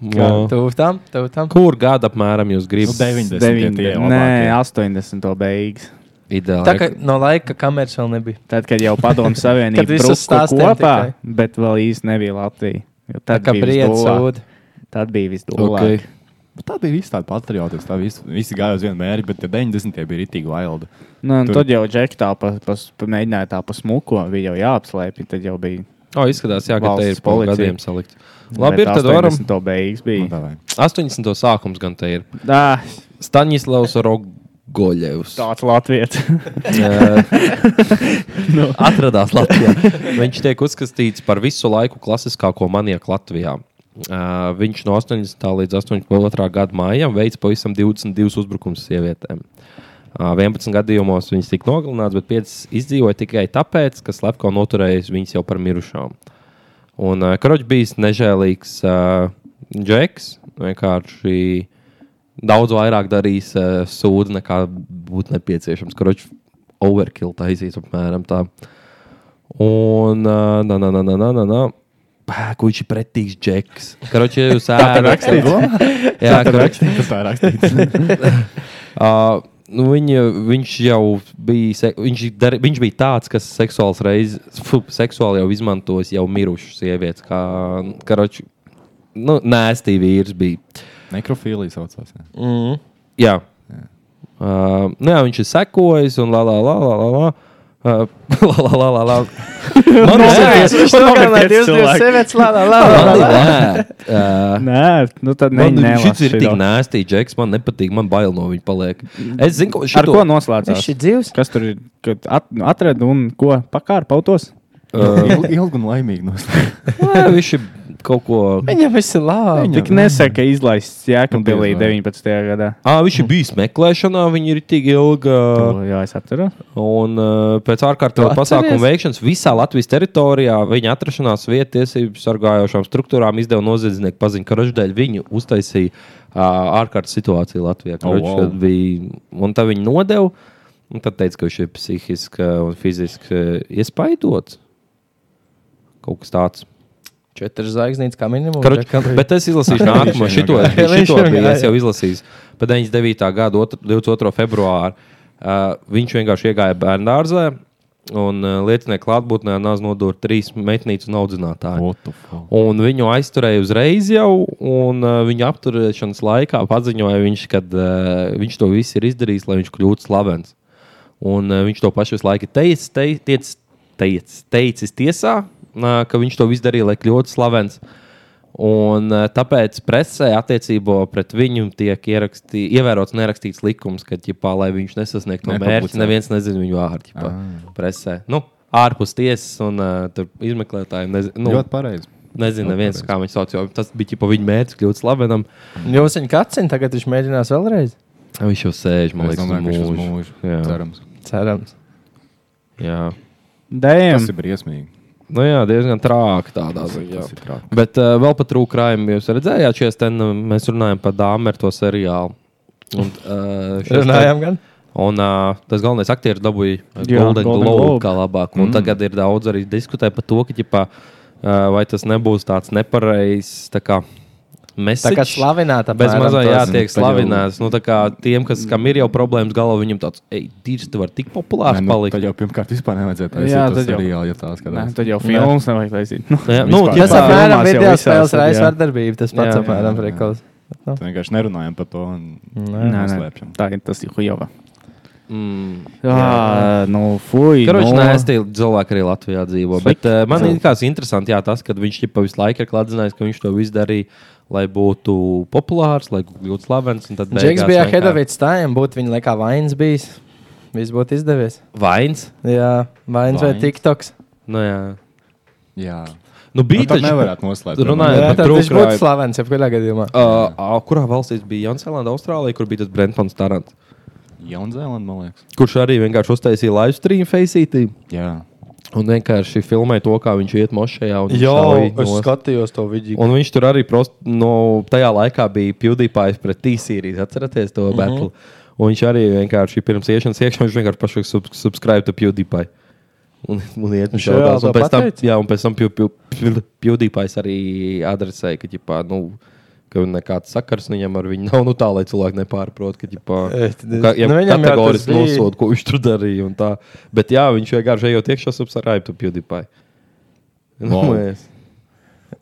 [SPEAKER 4] Jā,
[SPEAKER 1] Jā.
[SPEAKER 4] tuvu tam, tuvu tam.
[SPEAKER 1] Kur gada apmēram jūs
[SPEAKER 8] Nu,
[SPEAKER 1] gribat?
[SPEAKER 8] 90. tie
[SPEAKER 2] 90. Nē,
[SPEAKER 8] labākie.
[SPEAKER 2] 80. beigas.
[SPEAKER 1] Ideāli.
[SPEAKER 4] Tā kā no laika kameras vēl nebija.
[SPEAKER 2] Tad, kad jau
[SPEAKER 1] [LAUGHS]
[SPEAKER 2] padomu
[SPEAKER 4] Kad
[SPEAKER 2] savienība
[SPEAKER 4] visus
[SPEAKER 2] bija
[SPEAKER 4] stāstiem
[SPEAKER 2] kopā,
[SPEAKER 4] tikai.
[SPEAKER 2] bet vēl īsti nebija Latvija. Jo
[SPEAKER 4] Tā
[SPEAKER 2] Tad
[SPEAKER 4] kā
[SPEAKER 2] bija
[SPEAKER 4] brīvs
[SPEAKER 2] visdolāk.
[SPEAKER 4] sūdi.
[SPEAKER 2] Tad bija visdolāk.
[SPEAKER 1] okay.
[SPEAKER 2] Okay.
[SPEAKER 8] Bet Tā bija viss tāda patriotiska. tā Visi, visi gāja uz vienu mērķi, bet tie 90. bija itī wild.
[SPEAKER 2] Nu, un
[SPEAKER 8] Tur-
[SPEAKER 2] tad jau Džek tā pa, pa, pa, mēģināja tā pasmuko, bija jau jāapslēpj, tad jau bija. nu,
[SPEAKER 1] O, izskatās, jā, ka te
[SPEAKER 2] Valsts
[SPEAKER 1] ir pa
[SPEAKER 2] policija. Nu,
[SPEAKER 1] gadiem salikt. Labi, ir, tad varam.
[SPEAKER 2] 80. beigas
[SPEAKER 8] Nu,
[SPEAKER 2] bija.
[SPEAKER 8] tā vai. [LAUGHS]
[SPEAKER 1] 80. sākums gan te ir.
[SPEAKER 2] Dā,
[SPEAKER 1] Staņislavs Rogoļevs.
[SPEAKER 2] tāds Latvijas.
[SPEAKER 1] nu. [LAUGHS] atradās Latvijā. Viņš tiek uzskatīts par visu laiku klasiskāko manieku Latvijā. Uh, viņš no 80. līdz 82. gada maijam veica pavisam 22 uzbrukumus sievietēm. Uh, 11 gadījumos viņas tika nogalināts, bet 5 izdzīvoja tikai tāpēc, ka Slepko noturējis viņas jau par mirušām. Un uh, Kroķis bija nežēlīgs uh, džeks, vienkārši daudz vairāk darījis uh, sūdu nekā būtu nepieciešams. Kroķis overkill taisīs apmēram tā. Un, uh, na, na, na, na, na, na, na. Pā, ko viņš ir pretīgs džeks. Kroķis, ja
[SPEAKER 8] [LAUGHS]
[SPEAKER 1] jūs ēdat. [LAUGHS] Jā,
[SPEAKER 8] tā
[SPEAKER 1] kroķis.
[SPEAKER 8] ir rakstīts. Tā ir rakstīts.
[SPEAKER 1] Uh, nu viņa, viņš jau bija, se, viņš, dar, viņš bija tāds, kas seksuāls reiz, fu, seksuāli jau izmantojis jau mirušas sievietes. Kā karoči, nu, nē, stīvi vīrs bija.
[SPEAKER 8] Nekrofīlija saucās. jā.
[SPEAKER 1] [LAUGHS] Jā. Uh, nu, jā, viņš ir sekojis un la la la la la. la. Uh, [LAUGHS] la, la, la, la, la. Man liekas,
[SPEAKER 4] Viņš to kā lai
[SPEAKER 2] nometniec
[SPEAKER 4] 22
[SPEAKER 2] cilvēku.
[SPEAKER 4] sievietes lādā,
[SPEAKER 1] [LAUGHS]
[SPEAKER 4] lādā,
[SPEAKER 1] man
[SPEAKER 4] lādā.
[SPEAKER 1] ir lēt. Uh,
[SPEAKER 2] Nē, nu tad ne,
[SPEAKER 1] Man šis ir tik
[SPEAKER 2] nelasu.
[SPEAKER 1] nēsti, Džeks. Man nepatīk, man bail no viņa paliek. Es zinu, ka
[SPEAKER 2] Ar
[SPEAKER 1] šito,
[SPEAKER 2] ko
[SPEAKER 4] Viņš
[SPEAKER 2] noslēdzās?
[SPEAKER 4] ir dzīvs.
[SPEAKER 2] Kas tur ir? Kad at, atrada un ko pakārpautos?
[SPEAKER 1] Uh.
[SPEAKER 8] Il- Ilgi un laimīgi noslēgts.
[SPEAKER 1] Nē, viņš ir kaut ko.
[SPEAKER 4] Viņam viss ir
[SPEAKER 1] Ah,
[SPEAKER 4] labi.
[SPEAKER 2] Tik nesaka, ka izlaists Jēkabīlī
[SPEAKER 8] Nu, diez vai.
[SPEAKER 2] 19. gadā.
[SPEAKER 1] À, viņš ir bijis meklēšanā, viņa ir tik ilga.
[SPEAKER 2] To, jā, es atceros.
[SPEAKER 1] Un uh, pēc ārkārtas pasākuma veikšanas visā Latvijas teritorijā viņa atrašanās vietā tiesību sargājošām struktūrām izdeva noziedznieku paziņu, ka Roždēļ viņu uztaisīja uh, ārkārtas situācija Latvijā.
[SPEAKER 8] Oh,
[SPEAKER 1] Oh, wow.
[SPEAKER 8] wow.
[SPEAKER 1] bija, un tā viņa nodeva. Un tad teica, ka viņš ir psihiski eh, un fiziski eh, iespaidots. Kaut kas tāds.
[SPEAKER 4] Četras zvaigznītes kā minimums.
[SPEAKER 1] Karoč, bet es izlasīšu
[SPEAKER 4] [LAUGHS]
[SPEAKER 1] nākamo. Šito,
[SPEAKER 4] Jā, Nu, viņš
[SPEAKER 1] šito
[SPEAKER 4] jau
[SPEAKER 1] bija, es
[SPEAKER 4] gāja.
[SPEAKER 1] jau izlasīju. Pēc 99. gada otr- 22. februāra uh, viņš vienkārši iegāja bērnu dārzā. Un uh, liecinieku klātbūtnē nāca nodot trīs meitnīcu un audzinātāju.
[SPEAKER 8] What the fuck?
[SPEAKER 1] Un viņu aizturēja uzreiz jau, un uh, viņa apturēšanas laikā paziņoja, viņš, kad uh, viņš to visu ir izdarījis, lai viņš kļūtu slavens. Un uh, viņš to pašu visu laiku teica, teic, teic, teic, teicis tiesā, uh, ka viņš to visu darīja, lai kļūtu slavens. Un eh, tāpēc presē attiecībā pret viņu tiek ierakstī, ievērots nerakstīts likums, ka, ģipā, lai viņš nesasniegtu to
[SPEAKER 8] Nepublicē.
[SPEAKER 1] mērķi, neviens nezina viņu vārdu. ģipā, Presē. Nu, ārpus tiesas un uh, tur izmeklētājiem nezina. Nu,
[SPEAKER 8] Ļoti Nu, pareizi.
[SPEAKER 1] nezina neviens, kā viņš sauc, jo tas bija ģipā, viņa mērķis kļūt slavenam.
[SPEAKER 4] Jūs viņu kacina, tagad viņš mēģinās vēlreiz.
[SPEAKER 1] Viņš jau sēž, man
[SPEAKER 8] Es
[SPEAKER 1] liekas,
[SPEAKER 8] domāju, ka viņš uz mūžu.
[SPEAKER 1] Jā.
[SPEAKER 8] Cerams.
[SPEAKER 4] Cerams.
[SPEAKER 1] Jā.
[SPEAKER 8] Tas
[SPEAKER 2] Dēļ.
[SPEAKER 8] ir briesmīgi.
[SPEAKER 1] Nu, jā, diezgan trāki tādā ziņā.
[SPEAKER 8] Tas ir traki.
[SPEAKER 1] Bet uh, vēl par trūkumu jūs redzējāt, šie ten eh, mēs runājam par Dāmerto seriālu. Un, uh,
[SPEAKER 4] Runājām gan.
[SPEAKER 1] Un uh, tas galvenais aktieris dabūja eh,
[SPEAKER 2] Jā,
[SPEAKER 1] Golden
[SPEAKER 2] Golden
[SPEAKER 1] Globe
[SPEAKER 2] Globe.
[SPEAKER 1] kā labāko. Mm. Tagad ir daudz arī diskutē par to, ka, ģipā, uh, vai tas nebūs tāds nepareizs. Tā kā,
[SPEAKER 4] Tā kā
[SPEAKER 1] message.
[SPEAKER 4] slavināta.
[SPEAKER 1] Bez
[SPEAKER 4] apmēram
[SPEAKER 1] mazā
[SPEAKER 4] tos.
[SPEAKER 1] jātiek
[SPEAKER 8] tad jau-
[SPEAKER 1] slavināts. Nu, tā kā tiem, kas, kam ir jau problēmas galvā, viņam tāds - ej, tīrs, tu vari tik populārs
[SPEAKER 8] Nē, nu,
[SPEAKER 1] palikt.
[SPEAKER 8] Tad jau pirmkārt vispār nevajadzētu
[SPEAKER 2] Jā,
[SPEAKER 8] taisīt to
[SPEAKER 2] tad jau.
[SPEAKER 8] seriālu, ja tās
[SPEAKER 2] Nē,
[SPEAKER 8] skatās.
[SPEAKER 2] tad jau filmas nevajag taisīt. [LAUGHS] Nu,
[SPEAKER 1] Jā,
[SPEAKER 8] vispār.
[SPEAKER 1] ģipā,
[SPEAKER 4] Tas
[SPEAKER 8] Jā,
[SPEAKER 4] apmēram
[SPEAKER 2] filmās jau
[SPEAKER 4] video
[SPEAKER 2] visās
[SPEAKER 4] spēles
[SPEAKER 2] ir, jā.
[SPEAKER 4] raisa vardarbība. Tas
[SPEAKER 1] Jā,
[SPEAKER 4] pats
[SPEAKER 1] jā,
[SPEAKER 4] apmēram
[SPEAKER 8] jā, jā.
[SPEAKER 4] priekals.
[SPEAKER 8] Tad vienkārši nerunājam par to un
[SPEAKER 2] Nē, nē,
[SPEAKER 8] neslēpjam.
[SPEAKER 2] tā ir tas Jujova. Jā, nu, fuj.
[SPEAKER 1] Mm. Karoči,
[SPEAKER 2] nu.
[SPEAKER 1] nē, es teiktu, cilvēki arī Latvijā dzīvo. Bet, uh, man ir tāds interesants, jā, tas, ka viņš jau visu laiku ir klātzinājis, ka viņš to visu darīja, lai būtu populārs, lai būtu slavens. un tad
[SPEAKER 4] Džeks
[SPEAKER 1] beigās
[SPEAKER 4] bija
[SPEAKER 1] vienkār-
[SPEAKER 4] Hedovits Time, būtu viņa laikā vainas bijis. Viss būtu izdevies.
[SPEAKER 1] Vains.
[SPEAKER 4] Jā, vainas vai
[SPEAKER 8] Vainas.
[SPEAKER 4] TikToks.
[SPEAKER 1] Nu, jā.
[SPEAKER 8] Jā,
[SPEAKER 1] Nu,
[SPEAKER 8] nu,
[SPEAKER 1] bija
[SPEAKER 8] tā
[SPEAKER 1] taču.
[SPEAKER 8] nevarētu noslēgt.
[SPEAKER 1] Runājot
[SPEAKER 4] Jā,
[SPEAKER 1] par
[SPEAKER 8] domāju.
[SPEAKER 4] tad viņš
[SPEAKER 1] trūkrāju.
[SPEAKER 4] būtu slavens, jebkurā gadījumā.
[SPEAKER 1] Uh, uh, kurā valstī bija Jaunzēlandē, Austrālijā, kur bija tas Brentons Tarants?
[SPEAKER 8] Jaunzēlandē, man liekas.
[SPEAKER 1] Kurš arī vienkārši uztaisīja live stream faceītī
[SPEAKER 8] Jā,
[SPEAKER 1] un vienkārši filmēja to, kā viņš iet mošajā. un
[SPEAKER 4] Jā,
[SPEAKER 1] šauj
[SPEAKER 4] es
[SPEAKER 1] nost.
[SPEAKER 4] skatījos to video.
[SPEAKER 1] Un viņš tur arī prost, no, tajā laikā bija PewDiePie pret T-Series. Atcerieties to
[SPEAKER 4] Mhm.
[SPEAKER 1] battle. Mm -hmm. Un viņš arī vienkārši pirms iešanas iekšā viņš vienkārši pašu sub subscribe to PewDiePie. Un, un iet uz
[SPEAKER 4] Viņš reāli
[SPEAKER 1] šādās. Un
[SPEAKER 4] to
[SPEAKER 1] pēc tam,
[SPEAKER 4] pateica?
[SPEAKER 1] jā, un pēc tam Pew- Pew- Pew- PewDiePie arī adresēja, ka, ģipā, nu, ka nekāds sakars viņam ar viņu nav. Nu, tā, lai cilvēki nepārprot, ka ģipā,
[SPEAKER 4] Eh, tad es-
[SPEAKER 1] ka, ja
[SPEAKER 4] nu,
[SPEAKER 1] nu,
[SPEAKER 4] viņam jau
[SPEAKER 1] kategoriski
[SPEAKER 4] tas bija.
[SPEAKER 1] nosod, ko viņš tur darīja. un tā. Bet jā, viņš vienkārši ejot iekšā subscribe to PewDiePie. Nu,
[SPEAKER 8] Wow.
[SPEAKER 1] mēs-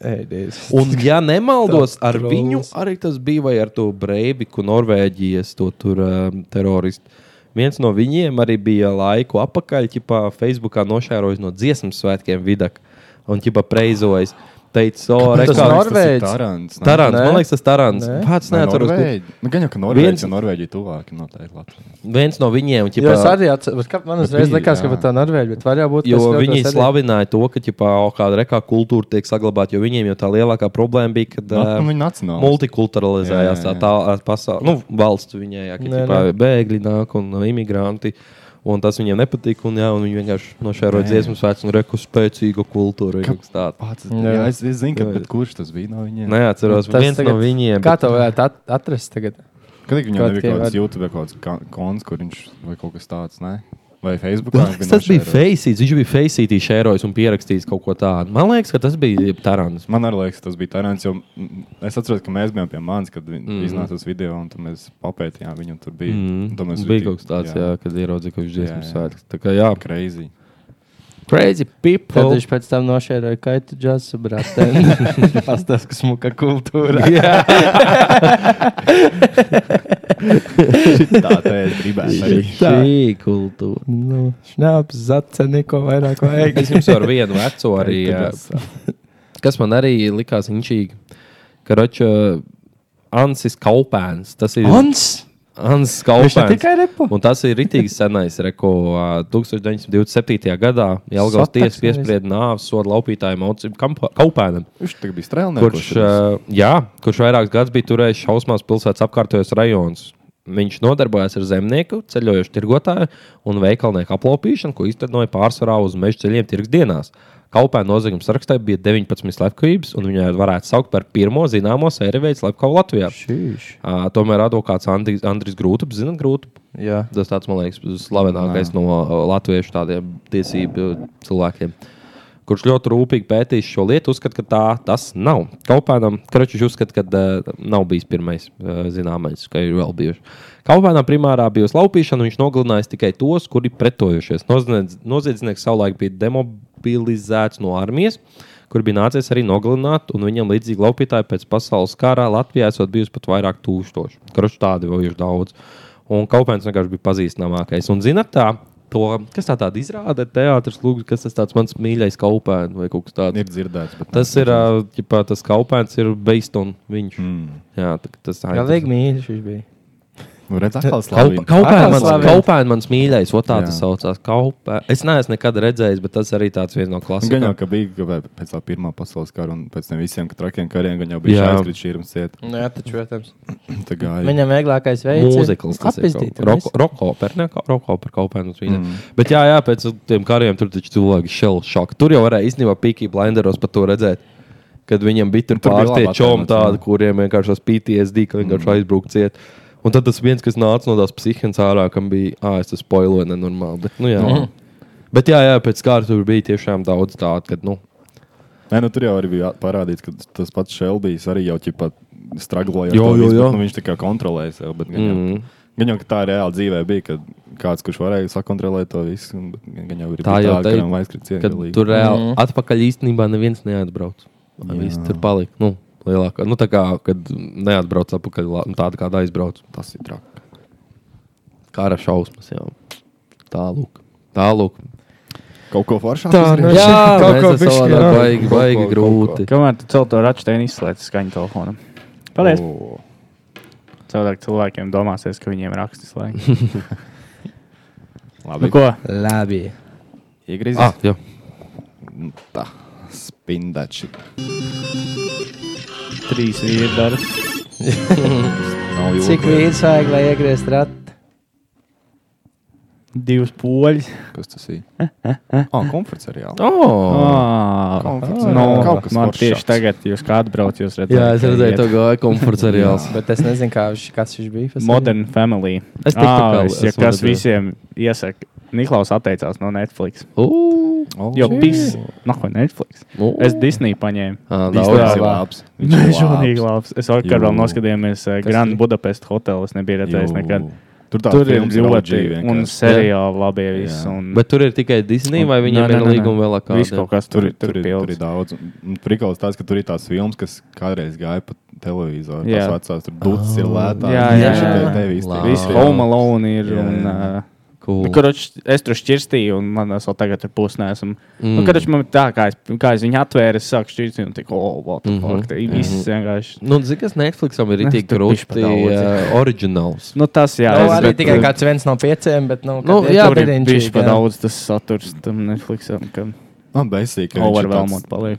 [SPEAKER 4] Ej, Dievs.
[SPEAKER 1] Un, ja nemaldos,
[SPEAKER 4] Tāds
[SPEAKER 1] ar
[SPEAKER 4] trolls.
[SPEAKER 1] viņu arī tas bija, vai ar to Breiviku, Norvēģijas to tur, um, teroristu. Viens no viņiem arī bija laiku apakaļ, ķipā Facebookā nošērojis no dziesmu svētkiem vidak un ķipā preizojis. Teica, o, re,
[SPEAKER 4] Tas
[SPEAKER 1] kā-
[SPEAKER 4] Norvēģis.
[SPEAKER 8] Tarants. ne?
[SPEAKER 1] Tarants,
[SPEAKER 4] Nē.
[SPEAKER 1] man liekas, tas Tarants.
[SPEAKER 4] Nē.
[SPEAKER 1] Pats
[SPEAKER 8] Vai
[SPEAKER 1] neatceros. kur-
[SPEAKER 8] Norvēģi? Nu, gan jau, ka Norvēģija,
[SPEAKER 1] Viens-
[SPEAKER 8] ka Norvēģija tuvāk noteikti Latvijai.
[SPEAKER 1] Viens no viņiem,
[SPEAKER 4] Jā, es
[SPEAKER 1] ķipā,
[SPEAKER 4] arī atceros, ka man uzreiz
[SPEAKER 8] bija,
[SPEAKER 4] likās, ka
[SPEAKER 8] jā.
[SPEAKER 4] pat tā Norvēģija, bet var jau būt.
[SPEAKER 1] jo
[SPEAKER 4] ka es
[SPEAKER 1] viņi
[SPEAKER 4] kļūdos arī.
[SPEAKER 1] slavināja to, ka ķipā, o, kāda rekā kultūra tiek saglabāta, jo viņiem jau tā lielākā problēma bija, kad...
[SPEAKER 8] Nu,
[SPEAKER 1] um,
[SPEAKER 8] Viņa nacionāla.
[SPEAKER 1] multikulturalizējās tā
[SPEAKER 8] Jā, jā, jā.
[SPEAKER 1] tā pasaule. Nu, valsts viņai, jā, ka
[SPEAKER 4] Nē,
[SPEAKER 1] ķipā, bēgļi nāk un uh, imigranti. Un tas viņiem nepatīk, un, jā, un viņi vienkārši nošēroja dziesmu svētku un reku spēcīgu kultūru. Kaut kas tāds.
[SPEAKER 8] Pats,
[SPEAKER 4] Jā.
[SPEAKER 8] jā, es, es zinu, ka,
[SPEAKER 1] Jā.
[SPEAKER 8] bet kurš tas bija no viņiem?
[SPEAKER 1] Neatceros,
[SPEAKER 4] Tas
[SPEAKER 1] tas Nu, viens tagad,
[SPEAKER 4] tagad-
[SPEAKER 1] no viņiem.
[SPEAKER 4] Kā to varētu at atrast tagad?
[SPEAKER 8] Kad viņam
[SPEAKER 4] Kaut
[SPEAKER 8] bija
[SPEAKER 4] tie
[SPEAKER 8] kaut kāds
[SPEAKER 4] var-
[SPEAKER 8] YouTube kaut kāds ka- konts, kur viņš vai kaut kas tāds, ne? Vai Facebook?
[SPEAKER 1] Man liekas, [LAUGHS] tas bija Faceits. Viņš bija Faceitī šērojis un pierakstījis kaut ko tādu. Man liekas, ka tas bija Tarants.
[SPEAKER 8] Man arī liekas, tas bija Tarants, jo mm, es atceros, ka mēs bijām pie manis, kad viņi
[SPEAKER 1] Mhm.
[SPEAKER 8] mm. iznāca uz video, un tad mēs papētījām viņu, un tur bija. un tad
[SPEAKER 1] bija
[SPEAKER 8] mēs Mm. rītīgi-
[SPEAKER 1] kaut kas tāds, jā. Jā, kad ieraudzīja, ka viņš ir dziesmu
[SPEAKER 8] jā.
[SPEAKER 1] svētks. Tā kā jā,
[SPEAKER 8] Crazy. [LAUGHS]
[SPEAKER 4] Crazy people. Tad
[SPEAKER 1] Tad
[SPEAKER 4] viņš
[SPEAKER 1] viņš
[SPEAKER 4] pēc tam nošēroja kaitu džasu, brāl.
[SPEAKER 1] [LAUGHS]
[SPEAKER 4] Pastāst, kas muka kultūra.
[SPEAKER 8] Tā te es gribēju arī.
[SPEAKER 1] [LAUGHS] šī kultūra.
[SPEAKER 4] Nu, šnaps, zace, neko vairāk vajag.
[SPEAKER 1] Es jums ar vienu veco arī. jā, kas man arī likās inčīgi. Karoča, Ansis Kaupēns. Tas ir
[SPEAKER 4] Hans!
[SPEAKER 1] Ansis
[SPEAKER 4] Viņš ne
[SPEAKER 1] Kaupēns.
[SPEAKER 4] tikai repo.
[SPEAKER 1] Un tas ir rītīgi senais, reko ā, 1927. gadā Jālgājas
[SPEAKER 4] Sataks
[SPEAKER 1] tiesa piesprieda nāves sodu laupītājiem Aucim Kampa- Kaupēnam,
[SPEAKER 8] Viņš tagad bija strēlnieks.
[SPEAKER 1] kurš, ā, jā, kurš vairākus gadus bija turējis šausmās pilsētas apkārtējos rajonus. Viņš nodarbojās ar zemnieku, ceļojošu tirgotāju un veikalnieku aplaupīšanu, ko izdarīja pārsvarā uz meža ceļiem tirgus dienās. Kaupēna nozieguma sarakstā bija 19 slepkavības, un viņu varētu saukt par pirmo zināmo sēriju veidu slepkavu Latvijā.
[SPEAKER 4] Šīš.
[SPEAKER 1] Uh, tomēr advokāts Andris, Andris Grūtis, zinot, grūti.
[SPEAKER 4] Jā.
[SPEAKER 1] Tas tāds, man liekas, slavenākais no uh, latviešu tādiem tiesību uh, cilvēkiem. Kurš ļoti rūpīgi pētīs šo lietu, uzskata, ka tā tas nav. Kaupēnam, Kračs uzskata, ka uh, nav bijis pirmais uh, zināmais, ka ir vēl bijuši. Kaupēnam primārā bija laupīšana, un viņš nogalinājis tikai tos, kuri pretojušies. Noziedz- Noziedznieks savulaik bija demobilizēts no armijas, kur bija nācies arī nogalināt, un viņam līdzīgi laupītāji pēc pasaules kara Latvijā esot bijusi pat vairāk tūkstoši. Kračs tādi vēl ir daudz. Un Kaupēns vienkārši bija pazīstamākais. Un zinat, tā, to, kas tā tāda izrāda, teātris, lūk, kas tas tāds mans mīļais Kaupēns vai kaut kas tāds.
[SPEAKER 8] ir dzirdēts. Bet,
[SPEAKER 1] Tas ir, ā, ģipā, tas Kaupēns ir based on viņš. Mm.
[SPEAKER 8] Hmm.
[SPEAKER 1] Jā, tā, ka tas tā
[SPEAKER 4] Jā, liek mīļš viņš bija.
[SPEAKER 8] nu, redz, atkal slavīgi.
[SPEAKER 1] Kaupēns mans,
[SPEAKER 4] Slavina.
[SPEAKER 1] Kaupēn mans mīļais, o tā
[SPEAKER 8] Jā.
[SPEAKER 1] tas saucās. Kaupē. Es neesmu nekad redzējis, bet tas arī tāds viens no
[SPEAKER 8] Gan jau,
[SPEAKER 1] klasikām.
[SPEAKER 8] ka bija ka vēl pēc tā pirmā pasaules kara un pēc tam visiem ka trakiem kariem, gan jau bija
[SPEAKER 1] Jā.
[SPEAKER 8] šāds kristījums ciet.
[SPEAKER 4] Nu, jā, taču, protams.
[SPEAKER 8] Tā gāja.
[SPEAKER 4] Viņam vieglākais veids.
[SPEAKER 1] Mūzikls, tas ir
[SPEAKER 4] apistīt.
[SPEAKER 1] Roko- roko opera, ne? Ka- roko opera, Kaupēns mans mīļais.
[SPEAKER 8] Mm.
[SPEAKER 1] Bet jā, jā, pēc tiem kariem tur taču cilvēki šel šoku. Tur jau varēja īstenībā Peaky Blinderos par to redzēt. Kad viņam bija tur
[SPEAKER 8] Tur bija
[SPEAKER 1] pārsteigti
[SPEAKER 8] laba
[SPEAKER 1] čomi
[SPEAKER 8] attēlots,
[SPEAKER 1] tādi,
[SPEAKER 8] jā. Mm.
[SPEAKER 1] kuriem vienkārši tas PTSD, ka vienkārši aizbraukt ciet. Un tad tas viens, kas nāca no tās psihiatras ārā, kam bija, ah, es tas spoiloju nenormāli. Bet, nu, jā.
[SPEAKER 8] Mm.
[SPEAKER 1] bet jā, jā, pēc kārtas tur bija tiešām daudz tādu, kad, nu,
[SPEAKER 8] Nē, nu, tur jau arī bija parādīts, ka tas pats Šelbijs arī jau ķipa straglēja. ar
[SPEAKER 1] Jo,
[SPEAKER 8] to
[SPEAKER 1] jo,
[SPEAKER 8] visu,
[SPEAKER 1] jo.
[SPEAKER 8] bet, Nu, viņš tā kā kontrolēja sev. bet Gan, mm. gan jau, ka tā reāli dzīvē bija, kad kāds, kurš varēja sakontrolēt to visu, un, bet gan- gan jau ir
[SPEAKER 1] Tā jau
[SPEAKER 8] tā,
[SPEAKER 1] tei-
[SPEAKER 8] ka aizkrīt
[SPEAKER 1] kad
[SPEAKER 8] cienīgi.
[SPEAKER 1] tur reāli
[SPEAKER 2] Mhm.
[SPEAKER 1] mm. atpakaļ īstenībā neviens neatbrauc. Viss tur palika. Nu, lielākā. Nu, tā kā, kad nu, neatbrauc atpakaļ, la- tāda kāda aizbrauc. Tas ir traki. Kara šausmas, jā. Tālāk. Tālāk.
[SPEAKER 8] Kaut ko foršāku.
[SPEAKER 4] Tā,
[SPEAKER 8] uzreiz?
[SPEAKER 4] nu,
[SPEAKER 1] Jā,
[SPEAKER 4] kaut
[SPEAKER 1] kaut
[SPEAKER 4] ko
[SPEAKER 1] kas tāds
[SPEAKER 4] bišķi, jā.
[SPEAKER 1] - baigi, baigi
[SPEAKER 8] Kaut ko,
[SPEAKER 1] grūti.
[SPEAKER 2] Kamēr tu cel to račtēnu izslēdz skaņu telefonam. Paldies!
[SPEAKER 8] O,
[SPEAKER 2] Cilvēki cilvēkiem domāsies, ka viņiem rakstis
[SPEAKER 1] [LAUGHS]
[SPEAKER 2] laikam. nu,
[SPEAKER 8] Labi.
[SPEAKER 2] ko?
[SPEAKER 4] Labi.
[SPEAKER 8] Iegriezis.
[SPEAKER 1] Ah, jā.
[SPEAKER 8] Nu, tā. Spindači.
[SPEAKER 2] Trīs vīri dara.
[SPEAKER 8] Nav jau
[SPEAKER 4] Cik vīrs vajag, lai iegriezt ratu?
[SPEAKER 2] Divas poļas.
[SPEAKER 8] Kas tas ir? Ah, komforts arī. jā.
[SPEAKER 1] Oh,
[SPEAKER 8] Komforts.
[SPEAKER 2] no,
[SPEAKER 8] Kaut
[SPEAKER 2] Ah.
[SPEAKER 8] kas
[SPEAKER 2] Nu, man
[SPEAKER 8] foršāks.
[SPEAKER 2] tieši tagad, jūs kā atbrauc, jūs redzat.
[SPEAKER 1] jā, es redzēju, to gāja komforta seriāls.
[SPEAKER 4] Bet es nezinu, kā viņš, kas viņš bija. tas
[SPEAKER 2] Modern Family.
[SPEAKER 1] Es TikTokā
[SPEAKER 2] Ā, es, ja
[SPEAKER 1] esmu
[SPEAKER 2] kas
[SPEAKER 1] redzējis.
[SPEAKER 2] visiem iesaka, Niklaus atteicās no Netflix.
[SPEAKER 1] Ū,
[SPEAKER 8] Oh,
[SPEAKER 2] Jo
[SPEAKER 8] šī-
[SPEAKER 2] pis, no ko Netflix.
[SPEAKER 1] ū.
[SPEAKER 2] Es Disney
[SPEAKER 1] [LAUGHS]
[SPEAKER 2] paņēmu.
[SPEAKER 1] Ā,
[SPEAKER 8] Viņš
[SPEAKER 1] daudz.
[SPEAKER 2] Jā.
[SPEAKER 8] ir labs. Viņš ir
[SPEAKER 2] Mežonīgi labs. Es vakar vēl
[SPEAKER 8] Jū.
[SPEAKER 2] noskatījāmies eh, Grand Budapest hotelu. Es nebiju redzējis
[SPEAKER 8] Jū.
[SPEAKER 2] nekad.
[SPEAKER 8] Tur, tā
[SPEAKER 2] Tur ir
[SPEAKER 8] filmas
[SPEAKER 2] ļoti
[SPEAKER 8] OG vienkārši.
[SPEAKER 2] un seriāli labi viss.
[SPEAKER 8] Jā.
[SPEAKER 2] un-
[SPEAKER 1] Bet tur ir tikai Disneja, vai viņiem
[SPEAKER 2] Nē, nē,
[SPEAKER 1] ir
[SPEAKER 2] nē, nē.
[SPEAKER 1] līguma vēl
[SPEAKER 2] Viss
[SPEAKER 1] kāda?
[SPEAKER 2] kaut kas
[SPEAKER 8] Tur, ir- tur, ir,
[SPEAKER 2] pilns.
[SPEAKER 8] tur ir daudz. Prikauts tāds, ka tur ir tās filmas, kas kādreiz gāja pa televizoru.
[SPEAKER 2] Jā.
[SPEAKER 8] Jā. Tās vecās, tur ducis ir lētāk.
[SPEAKER 2] Jā, jā, jā.
[SPEAKER 1] Labi.
[SPEAKER 2] Viss
[SPEAKER 1] Jā.
[SPEAKER 2] Home Alone ir.
[SPEAKER 8] Jā,
[SPEAKER 2] Un,
[SPEAKER 8] jā.
[SPEAKER 2] uh,
[SPEAKER 1] Cool.
[SPEAKER 2] nu, karoč, es tur šķirstīju, un man es vēl tagad ir pusnēs. Mm. Nu, kad es man tā kā es, kā es viņu atvēru, es sāku šķirstīt, un tik, oh, what the fuck. Mm -hmm. Viss vienkārši.
[SPEAKER 1] Nu, zini, kas Netflixam ir tik
[SPEAKER 2] tur
[SPEAKER 1] grūti
[SPEAKER 2] bišķi pa daudz, jā.
[SPEAKER 1] uh, oriģināls.
[SPEAKER 2] Nu, tas jā.
[SPEAKER 4] Nu,
[SPEAKER 2] es-
[SPEAKER 4] arī
[SPEAKER 2] bet,
[SPEAKER 4] tikai
[SPEAKER 2] eh,
[SPEAKER 4] kāds viens no pieciem, bet, nu,
[SPEAKER 1] Nu,
[SPEAKER 4] kad ir
[SPEAKER 1] jā,
[SPEAKER 2] Tur
[SPEAKER 4] tur
[SPEAKER 2] ir
[SPEAKER 4] viņš
[SPEAKER 2] bijuši pa daudz tas saturs tam Netflixam, ka
[SPEAKER 8] Man besīk, ka viņš ir
[SPEAKER 2] overwhelmot
[SPEAKER 8] tāds,
[SPEAKER 2] paliek.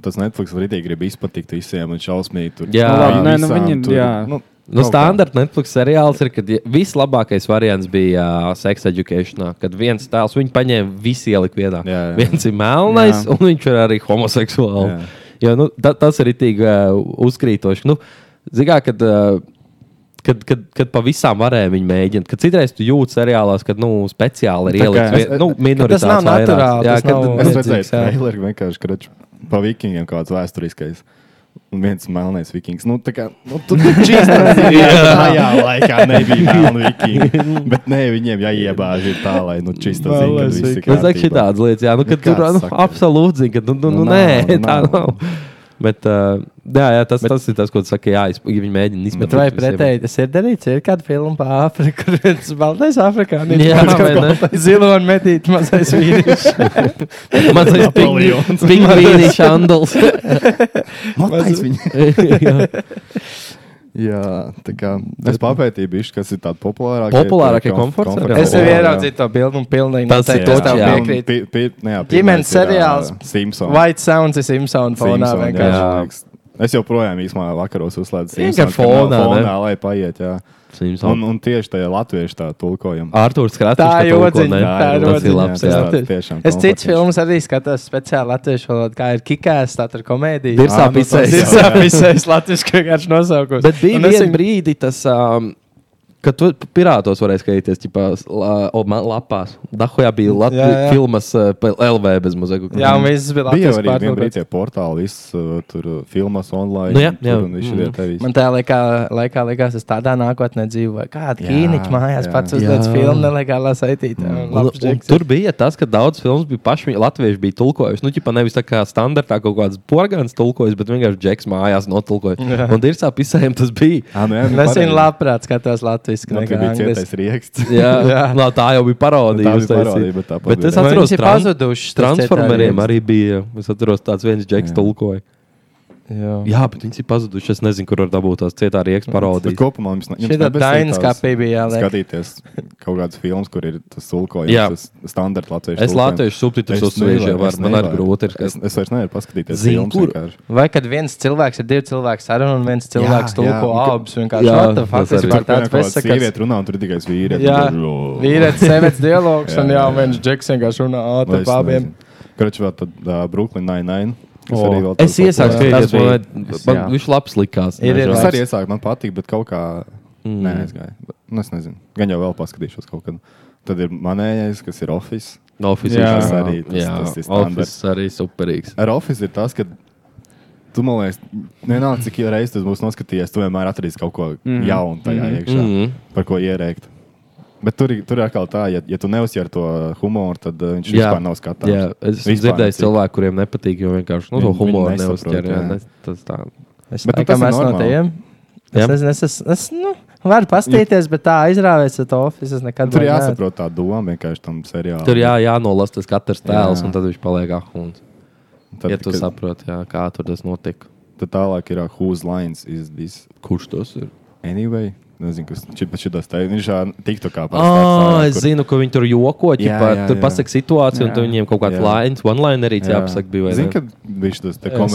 [SPEAKER 8] tas Netflix arī grib izpatikt visiem un šausmīgi tur.
[SPEAKER 1] Jā.
[SPEAKER 8] tā
[SPEAKER 1] Nu,
[SPEAKER 2] labi, nē, nu,
[SPEAKER 8] visām
[SPEAKER 2] viņi-
[SPEAKER 8] tur-
[SPEAKER 2] jā.
[SPEAKER 8] Nu,
[SPEAKER 1] Nu,
[SPEAKER 8] kaut kā.
[SPEAKER 1] standarta Netflix seriāls ir, kad ja- vislabākais variants bija uh, Sex Education, kad viens tēls viņu paņēma visi ielikt vienā.
[SPEAKER 8] Jā, jā.
[SPEAKER 1] Viens ir melnais,
[SPEAKER 2] Jā.
[SPEAKER 1] un viņš ir arī homoseksuāls.
[SPEAKER 8] Jā.
[SPEAKER 1] Jo, nu, ta, tas ir itīgi uh, uzkrītoši. Nu, Zinām, kad, uh, kad, kad, kad pa visām varēja viņu mēģināt, kad citreiz tu jūti seriālās, kad nu, speciāli ir
[SPEAKER 2] Tā kā-
[SPEAKER 1] ielikt vien- nu, minoritātes.
[SPEAKER 4] nav
[SPEAKER 1] vairāk.
[SPEAKER 4] naturāli,
[SPEAKER 1] Jā,
[SPEAKER 4] tas
[SPEAKER 1] kad- nu,
[SPEAKER 4] nav-
[SPEAKER 8] Es
[SPEAKER 1] kad-
[SPEAKER 8] redzēju,
[SPEAKER 4] Vajadzīgs,
[SPEAKER 8] ka
[SPEAKER 4] jā.
[SPEAKER 8] traileri vienkārši krāč pa vikingiem kāds vēsturiskais. Un viens melnais vikings. Nu, tā kā nu,
[SPEAKER 2] [LAUGHS]
[SPEAKER 8] tur bija čīsta. Jā, tajā laikā nebija melna vikinga.
[SPEAKER 2] [LAUGHS]
[SPEAKER 8] Bet nē, viņiem jāiebāž ir tā, lai nu čīsta zina, ka
[SPEAKER 2] Melnais
[SPEAKER 8] visi
[SPEAKER 1] Nu, zini,
[SPEAKER 8] kārtībā.
[SPEAKER 1] šitādas lietas, jā, nu, kad
[SPEAKER 8] kāds
[SPEAKER 1] tur nu,
[SPEAKER 8] saka.
[SPEAKER 1] absolūti zina, ka nu, nu, nu,
[SPEAKER 8] Nu,
[SPEAKER 1] nē,
[SPEAKER 8] nav,
[SPEAKER 1] tā
[SPEAKER 8] nav.
[SPEAKER 1] nav. Bet, uh, jā, jā tas, bet, tas ir tas, ko tu saki, jā, es, ja viņi mēģina izmetīt.
[SPEAKER 4] Bet vai
[SPEAKER 1] visiem.
[SPEAKER 4] pretēji tas ir darīts? Ir kāda filma par Āfriku, kur viens baltais afrikānis
[SPEAKER 1] Jā, [LAUGHS]
[SPEAKER 4] kaut
[SPEAKER 1] vai
[SPEAKER 4] ko
[SPEAKER 1] ne?
[SPEAKER 4] zilo un metīt mazais vīrietis.
[SPEAKER 1] Mazais pingvīns.
[SPEAKER 4] [LAUGHS]
[SPEAKER 1] Pingvīns šandals.
[SPEAKER 8] Matais viņa.
[SPEAKER 1] Jā.
[SPEAKER 8] [LAUGHS] Jā, tā kā es papētīju bišķi, kas ir tādi populārākie.
[SPEAKER 1] Populārākie
[SPEAKER 8] tie
[SPEAKER 1] komforta
[SPEAKER 8] komf-
[SPEAKER 1] seriāli.
[SPEAKER 4] Es jau
[SPEAKER 1] Jā, jā.
[SPEAKER 4] ieraudzīju to bildi un pilnīgi
[SPEAKER 1] Tas
[SPEAKER 4] noteikti
[SPEAKER 1] ir
[SPEAKER 4] to
[SPEAKER 1] tas,
[SPEAKER 4] tev
[SPEAKER 1] jā.
[SPEAKER 4] piekrīt.
[SPEAKER 8] Pi- pi- ne, jā,
[SPEAKER 4] Ģimenes
[SPEAKER 8] pirmais ir,
[SPEAKER 4] seriāls.
[SPEAKER 8] ā, Simpsons.
[SPEAKER 4] White Sounds ir Simpsons fonā
[SPEAKER 8] Simpsoni, jā,
[SPEAKER 4] vienkārši.
[SPEAKER 8] man liekas. Es joprojām īsumā vakaros uzslēdzu
[SPEAKER 1] Vienkārši
[SPEAKER 8] Simpsons kanālu
[SPEAKER 1] fonā, ne?
[SPEAKER 8] fonā, lai paiet. Jā. Un, un tieši tajā latviešu tā tulkojuma.
[SPEAKER 1] Arthurs Kratis.
[SPEAKER 4] Tā ir jodziņa, Ah, tā ir
[SPEAKER 1] Tas ir
[SPEAKER 4] jodziņa,
[SPEAKER 1] labs.
[SPEAKER 4] jā.
[SPEAKER 1] Jā.
[SPEAKER 4] Tas Es citas filmas arī skatos speciāli latviešu valodā, kā ir kikās, tā ir komēdija.
[SPEAKER 1] Dirsā
[SPEAKER 4] Ā, nu, tas
[SPEAKER 1] picēs.
[SPEAKER 4] ir [LAUGHS] sāpīsais latviešu vienkārši nosaukums.
[SPEAKER 1] Bet bija
[SPEAKER 4] Un es
[SPEAKER 1] viens
[SPEAKER 4] viņu-
[SPEAKER 1] brīdi tas. Um, Kad tu pirātos varēji skatīties, tipā, la- o, man lapās. Dahojā bija
[SPEAKER 4] Jā, jā.
[SPEAKER 1] Latvijas filmas eh, pa- LV bez muzeja.
[SPEAKER 4] Jā, un viss bija
[SPEAKER 8] Bija
[SPEAKER 4] latviešu
[SPEAKER 8] arī viena
[SPEAKER 4] pārtulkots.
[SPEAKER 8] brīdī tie portāli, viss uh, tur uh, filmas online.
[SPEAKER 1] Nu jā,
[SPEAKER 8] tur
[SPEAKER 1] jā.
[SPEAKER 8] Un viņš ir tevis.
[SPEAKER 4] Mm. Man tajā laikā, laikā likās, es tādā nākotnē dzīvoju. Kāda
[SPEAKER 8] Jā,
[SPEAKER 4] īņķa mājās
[SPEAKER 8] jā.
[SPEAKER 4] pats uzliek
[SPEAKER 1] Jā.
[SPEAKER 4] filmu nelegālā saitītē. un
[SPEAKER 1] Un, un
[SPEAKER 4] labs džeks.
[SPEAKER 1] tur bija tas, ka daudz filmu bija paši latvieši bija tulkojuši. Nu, ķipa, nevis tā kā standartā kaut kāds porgāns tulkojis, bet vienkārši džeks mājās notulkojis. Un ir sāp izsējām tas bija.
[SPEAKER 8] Ah, nu, jā,
[SPEAKER 4] Un Es viņu labprāt skatos latviešu,
[SPEAKER 8] Man
[SPEAKER 4] nekā
[SPEAKER 8] tur bija
[SPEAKER 4] angļuiski.
[SPEAKER 8] cietais rieksts. [LAUGHS]
[SPEAKER 1] Jā, jā.
[SPEAKER 4] Jā.
[SPEAKER 1] Lā, tā jau bija parodija.
[SPEAKER 8] Tā
[SPEAKER 1] jūs teicāt.
[SPEAKER 8] bija parodija, bet tā
[SPEAKER 1] bet es
[SPEAKER 8] pagodina.
[SPEAKER 4] Vai
[SPEAKER 1] atceros,
[SPEAKER 4] viņas ir
[SPEAKER 1] trans-
[SPEAKER 4] pazudušas, tas
[SPEAKER 1] Transformeriem
[SPEAKER 4] citādi
[SPEAKER 1] arī bija. Es atceros, tāds viens džeks
[SPEAKER 8] Jā.
[SPEAKER 1] tulkoja.
[SPEAKER 4] Jā.
[SPEAKER 1] Jā, bet viņi ir pazuduši. Es nezinu, kur var dabūt tās cietā rieks
[SPEAKER 8] Bet
[SPEAKER 1] parodijas.
[SPEAKER 8] kopumā mums
[SPEAKER 4] Šī ir Dainas kapī bija jāliek.
[SPEAKER 8] Skatīties kaut kādas filmas, kur ir tas
[SPEAKER 1] Jā.
[SPEAKER 8] tulkojums, tas standarta latviešu.
[SPEAKER 1] Es latviešu subtitrus uzsviežu,
[SPEAKER 8] nevaru,
[SPEAKER 1] var-
[SPEAKER 8] es
[SPEAKER 1] man arī
[SPEAKER 8] nevaru.
[SPEAKER 1] grūti ir.
[SPEAKER 8] Es, es vairs nevaru paskatīties.
[SPEAKER 1] Zini,
[SPEAKER 8] filmas
[SPEAKER 1] kur-
[SPEAKER 8] vienkārši.
[SPEAKER 4] Vai kad viens cilvēks ir divi cilvēki saruna un viens cilvēks
[SPEAKER 8] jā,
[SPEAKER 4] tulko
[SPEAKER 8] un ka-
[SPEAKER 4] abus vienkārši.
[SPEAKER 1] Jā,
[SPEAKER 4] What the fuck,
[SPEAKER 1] tas
[SPEAKER 4] Tas
[SPEAKER 1] arī.
[SPEAKER 4] vispār tāds
[SPEAKER 8] Tur kaut kāda
[SPEAKER 4] vesakars.
[SPEAKER 8] sieviete runā, un tur ir tikai vīrietis.
[SPEAKER 4] Jā,
[SPEAKER 8] Tur, "Lo."
[SPEAKER 4] vīrietis, sievietes dialogs un
[SPEAKER 8] Jā,
[SPEAKER 4] jā,
[SPEAKER 8] jā.
[SPEAKER 4] viens džeks vienkārši runā
[SPEAKER 8] Vai
[SPEAKER 4] ātri
[SPEAKER 8] nu, es
[SPEAKER 4] pābiem.
[SPEAKER 8] nezinu. Korču vēl tad uh, Brooklyn 99. kas
[SPEAKER 2] O,
[SPEAKER 8] arī vēl
[SPEAKER 1] Es
[SPEAKER 8] tāds-
[SPEAKER 1] iesāku
[SPEAKER 8] Jā.
[SPEAKER 1] skatīties,
[SPEAKER 2] Tas bija-
[SPEAKER 1] man,
[SPEAKER 2] es-
[SPEAKER 1] man
[SPEAKER 2] jā.
[SPEAKER 1] viņš labs likās.
[SPEAKER 4] Ir, ir.
[SPEAKER 8] Es
[SPEAKER 1] Nezinu.
[SPEAKER 8] arī iesāku, man patīk, bet kaut kā. Mm. Nē, es gāju. Bet, Nu, es nezinu. Gan jau vēl paskatīšos kaut kad. Tad ir manējais, kas ir Office.
[SPEAKER 1] Office
[SPEAKER 2] Jā.
[SPEAKER 1] ir-
[SPEAKER 8] Tas arī- tas-
[SPEAKER 1] jā,
[SPEAKER 8] tas ir standarts.
[SPEAKER 1] Office arī superīgs.
[SPEAKER 8] Ar Office ir tas, ka tu man liekas, nenāc, cik reizes tas būs noskatījies, tu vienmēr atradīsi kaut ko mm. jaunu tajā mm. iekšā,
[SPEAKER 1] Mhm.
[SPEAKER 8] mm. par ko ierēkt. Bet tur, ir- tur ir atkal tā, ja, ja tu neuzsver to humoru, tad uh, viņš jā. vispār nav skatāms.
[SPEAKER 1] Jā, es esmu
[SPEAKER 8] Vispār
[SPEAKER 1] dzirdēju
[SPEAKER 8] necik.
[SPEAKER 1] cilvēku, kuriem nepatīk, jo vienkārši nu, to
[SPEAKER 8] Viņi- viņi
[SPEAKER 1] humoru
[SPEAKER 8] nesaprot,
[SPEAKER 1] neuzķer. jā,
[SPEAKER 8] jā.
[SPEAKER 1] ne- Tas tā.
[SPEAKER 4] Es
[SPEAKER 8] Bet nu,
[SPEAKER 4] domāju, ka
[SPEAKER 8] tas ir
[SPEAKER 4] mēs no
[SPEAKER 8] normāli.
[SPEAKER 4] tiem.
[SPEAKER 1] Jā.
[SPEAKER 4] Es nezinu, es, es, es, nu, Var pastīties, bet tā aizrāvēs ar to oficiālu. Es nekad
[SPEAKER 8] Tur
[SPEAKER 4] vēl neesmu.
[SPEAKER 8] jāsaprot tā doma vienkārši tam seriālam.
[SPEAKER 1] Tur jā, jānolasa tas katrs tēls,
[SPEAKER 8] Jā.
[SPEAKER 1] jā. un tad viņš paliek ahuns.
[SPEAKER 8] Tad,
[SPEAKER 1] Ja tu
[SPEAKER 8] kad-
[SPEAKER 1] saproti, jā, kā tur tas notika.
[SPEAKER 8] tad tālāk ir uh, Whose Lines is this
[SPEAKER 1] Kurš tas ir?
[SPEAKER 8] anyway? Nezinu, kas šitas te ir. Viņš šā tiktokā
[SPEAKER 1] Ah, es
[SPEAKER 8] kur-
[SPEAKER 1] zinu, ka viņi tur joko,
[SPEAKER 8] Jā, jā,
[SPEAKER 1] ja tur
[SPEAKER 8] jā.
[SPEAKER 1] pasakā situāciju, un
[SPEAKER 2] Jā.
[SPEAKER 1] tad viņiem kaut kāds
[SPEAKER 8] Jā.
[SPEAKER 1] lines, one line arī
[SPEAKER 8] Jā.
[SPEAKER 1] jāpasaka. Bija, vai
[SPEAKER 8] Zini,
[SPEAKER 1] ne?
[SPEAKER 8] ka viņš tas te
[SPEAKER 4] Es kā labs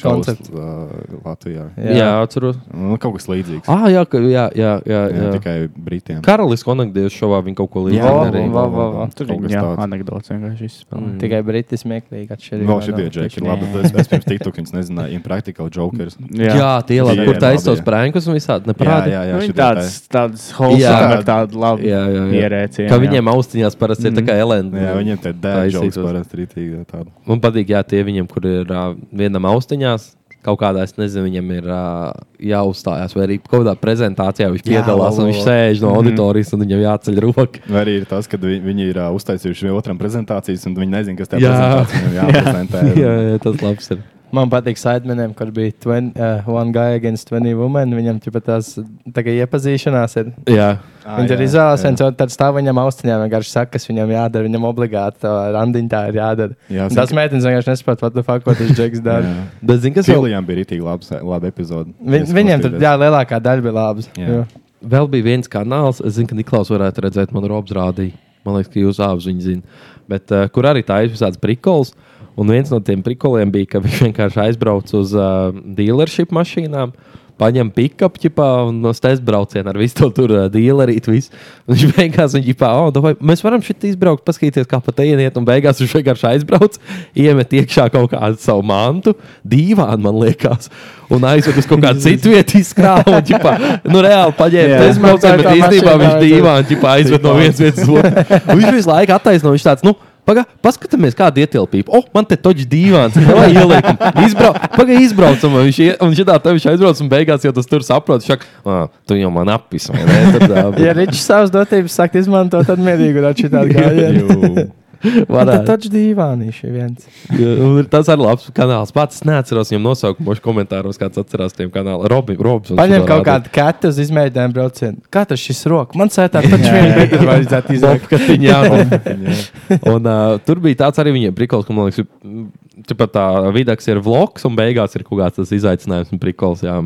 [SPEAKER 4] koncepts.
[SPEAKER 8] koncepts Latvijā.
[SPEAKER 1] jā, jā atceros.
[SPEAKER 8] Nu, kaut kas līdzīgs.
[SPEAKER 1] Ah, jā, ka- jā, jā. jā,
[SPEAKER 8] jā,
[SPEAKER 1] jā.
[SPEAKER 8] tikai Britiem.
[SPEAKER 1] Karalis konektīvas šovā viņa kaut ko
[SPEAKER 4] Jā,
[SPEAKER 1] līdzīgu
[SPEAKER 4] arī.
[SPEAKER 1] darīja.
[SPEAKER 4] vā, vā, vā.
[SPEAKER 2] Tur
[SPEAKER 8] Kaut kas
[SPEAKER 2] bija
[SPEAKER 8] tāds.
[SPEAKER 2] anekdote vienkārši izspēlēta.
[SPEAKER 4] Mm. Tikai briti smieklīgi atšķirīgi.
[SPEAKER 8] Vēl šī bija džekļa. Labi,
[SPEAKER 2] Nē.
[SPEAKER 8] es, es pirms TikTok viņas nezināju. Impractical Jokers.
[SPEAKER 1] Jā, jā tie labi,
[SPEAKER 8] Jā,
[SPEAKER 1] kur
[SPEAKER 8] jā,
[SPEAKER 1] taisa tos
[SPEAKER 8] labi, jā.
[SPEAKER 1] prankus un visādi
[SPEAKER 8] Jā,
[SPEAKER 1] neprādi.
[SPEAKER 8] jā, jā.
[SPEAKER 2] Viņa
[SPEAKER 8] šitie
[SPEAKER 2] Nu, tāds,
[SPEAKER 8] te-
[SPEAKER 2] tāds
[SPEAKER 1] Jā.
[SPEAKER 2] holsāra, tāda laba
[SPEAKER 1] Jā, jā, jā.
[SPEAKER 2] ierēciena.
[SPEAKER 1] Ka viņiem austiņās parasti ir tā kā elēna.
[SPEAKER 8] Mm. Jā, viņiem te dēļ
[SPEAKER 1] Taisītos.
[SPEAKER 8] joks parasti rītīgi tāda.
[SPEAKER 1] Man patīk, ja tie viņiem, kur ir uh, vienam austiņās, kaut kādā, es nezinu, viņam ir uh, jāuzstājās, vai arī kaut kādā prezentācijā viņš
[SPEAKER 8] Jā,
[SPEAKER 1] piedalās, un
[SPEAKER 8] lol,
[SPEAKER 1] viņš
[SPEAKER 8] lol. Mhm.
[SPEAKER 1] sēž no auditorijas, un viņam jāceļ roka. [LAUGHS]
[SPEAKER 8] Vai Nu, arī ir tas, ka vi, viņi ir uh, uztaisījuši vienam otram prezentācijas, un viņi nezina, kas tajā
[SPEAKER 1] Jā.
[SPEAKER 8] prezentācijā viņam jāprezentē.
[SPEAKER 1] jā, jā, tas labs ir.
[SPEAKER 4] Man patīk Sidemeniem, kur bija 20, uh, One Guy Against 20 Women. Viņam tipa tās tā kā iepazīšanās ir.
[SPEAKER 1] Jā,
[SPEAKER 8] Ā,
[SPEAKER 4] Viņš
[SPEAKER 8] Ah, jā,
[SPEAKER 4] ir izvēlējies,
[SPEAKER 8] jā.
[SPEAKER 4] un tad stāv viņam austiņā vienkārši saka, kas viņam jādara. Viņam obligāti tā randiņā ir jādara.
[SPEAKER 8] Jā,
[SPEAKER 4] Un
[SPEAKER 8] zini,
[SPEAKER 4] Tās
[SPEAKER 8] ka-
[SPEAKER 4] meitenes vienkārši nesaprot, what the fuck, ko tas
[SPEAKER 8] [LAUGHS]
[SPEAKER 4] džeks dara.
[SPEAKER 8] Jā.
[SPEAKER 1] bet zini, kas vēl,
[SPEAKER 8] Silijam bija rītīgi labs, labi epizode.
[SPEAKER 4] Vi,
[SPEAKER 8] Es
[SPEAKER 4] viņiem tur
[SPEAKER 8] klausījos.
[SPEAKER 4] jā, lielākā daļa bija labs.
[SPEAKER 8] Jā.
[SPEAKER 4] Jo.
[SPEAKER 1] vēl bija viens kanāls, es zinu, ka Niklaus varētu redzēt, man Robs rādīja. Man liekas, ka jūs abas viņu zinat. Bet uh, kur arī tā ir visāds prikols. Un viens no tiem prikoliem bija, ka [LAUGHS] viņš vienkārši aizbrauc uz uh, dealership mašīnām. Paņem pikapu, ģipā, un uz testa braucienu ar visu to tur uh, dealerītu. visu. Un Viņš [LAUGHS] vienkārši ir tā, oh, domāju, mēs varam šeit izbraukt, paskatīties, kā pa te ieniet, un beigās viņš vienkārši aizbrauc, iemet iekšā kaut kādu savu mantu, divānu, man liekas, un aizved uz kaut kādu citu vietu, izkrāpju, un ģipā, nu, reāli paņēma
[SPEAKER 2] Jā.
[SPEAKER 1] testa braucienu, bet
[SPEAKER 4] Tā kā
[SPEAKER 1] īstenībā
[SPEAKER 4] mašīnā
[SPEAKER 1] viņš
[SPEAKER 4] aizved.
[SPEAKER 1] divānu ģipā, aizved no vienas vietas uz otru. [LAUGHS] Un Viņš visu laiku attaisno, viņš tāds, nu, paga, paskatāmies, kāda ietilpība. O, oh, man te toģis divāns, [LAUGHS] kā ieliekam. Izbrau, paga, izbraucam, un viņš, ie- un šitā te viņš aizbrauc, un beigās jau tas tur saprot, šak, ah, tu jau man apis, vai ne? Tad,
[SPEAKER 4] Ja Ričs savas dotības sakt izmantot, tad mierīgi var [LAUGHS] atšķirt gājienu.
[SPEAKER 8] Jū.
[SPEAKER 4] Tā
[SPEAKER 1] varētu.
[SPEAKER 4] taču divānīši viens.
[SPEAKER 1] Jā, un ir- Tas ir labs kanāls. Pats es neatceros viņam nosaukumu, kurš komentāros kāds atcerās tiem kanāliem. Robi, Robs. un
[SPEAKER 4] Paņem
[SPEAKER 1] šo rādīt.
[SPEAKER 4] kaut kādu katru uz izmēģinājumu braucienu. Kā tas šis rokas? Man sētā taču vien
[SPEAKER 8] [LAUGHS]
[SPEAKER 4] bija vajadzētu izvēlēties.
[SPEAKER 1] Bobkatiņu, jā, [LAUGHS] nu, Bobkatiņu, jā. un, uh, tur bija tāds arī viņiem prikols, ka, man liekas, mm, tāpat tā vidaks ir vlogs, un beigās ir kaut kāds tas izaicinājums un prikols. Jā,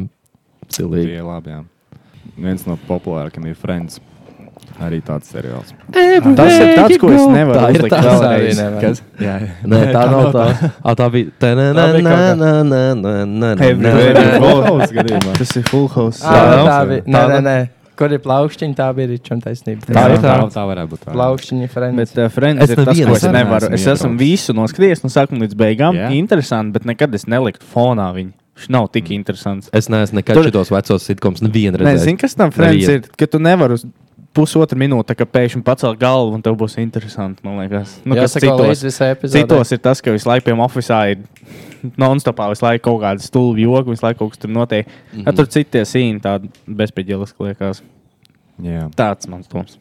[SPEAKER 8] Tie
[SPEAKER 1] silīgi.
[SPEAKER 8] ir labi, jā. Viens no populārākajiem ir Friends. Arī tāds seriāls.
[SPEAKER 2] Tas ir tāds, ko es nevaru
[SPEAKER 1] Tā ir
[SPEAKER 2] uzlikt
[SPEAKER 1] tā
[SPEAKER 2] vēlreiz.
[SPEAKER 4] arī nevar.
[SPEAKER 2] Kas?
[SPEAKER 8] Jā, jā. [LAUGHS]
[SPEAKER 1] Nē, tā nav tā. Ah, tā bija. Tā nē, nē,
[SPEAKER 4] bija kaut
[SPEAKER 1] nē, nē, nē, nē,
[SPEAKER 2] Everywhere
[SPEAKER 1] nē.
[SPEAKER 2] you go.
[SPEAKER 8] Bols gadījumā.
[SPEAKER 2] Tas ir Full House.
[SPEAKER 4] Tā,
[SPEAKER 1] nav?
[SPEAKER 4] tā bija. Nē,
[SPEAKER 1] Tā
[SPEAKER 4] nē,
[SPEAKER 1] nav?
[SPEAKER 4] nē. Kur ir plaukšķiņa, tā bija Ričam taisnība.
[SPEAKER 1] Tā ir tā.
[SPEAKER 8] Tā varētu būt.
[SPEAKER 4] Plaukšķiņa
[SPEAKER 2] Bet
[SPEAKER 4] frēns.
[SPEAKER 2] uh, Friends
[SPEAKER 1] Es
[SPEAKER 2] ir tas,
[SPEAKER 1] nevienu
[SPEAKER 2] ko es
[SPEAKER 1] neesmu
[SPEAKER 2] nevaru. Es
[SPEAKER 8] iebraucis.
[SPEAKER 2] esmu visu noskatījies no sākuma līdz beigām.
[SPEAKER 8] Jā.
[SPEAKER 2] Yeah. Interesanti, bet nekad es neliktu fonā viņu. Viņš nav tik mm. interesants.
[SPEAKER 1] Es neesmu nekad
[SPEAKER 2] Tur-
[SPEAKER 1] šitos vecos sitkoms nevienu
[SPEAKER 2] Nē,
[SPEAKER 1] redzējis.
[SPEAKER 2] zini, kas tam Friends
[SPEAKER 1] Nevienu.
[SPEAKER 2] ir? Ka tu nevari uz pusotru minūti tā kā pēkšņi pacelt galvu un tev būs interesanti. Man liekas, nu, kas
[SPEAKER 4] Jāsaka,
[SPEAKER 2] citos,
[SPEAKER 4] līdz visai epizodē.
[SPEAKER 2] citos ir tas, ka visu laiku pie oficiālā ir non-stopā visu laiku kaut kāda stulba joki, visu laiku kaut kas tur notiek. Mm -hmm. Tur citie sīni tādi bezpēdīliski liekas.
[SPEAKER 8] Jā.
[SPEAKER 2] Tāds mans domas.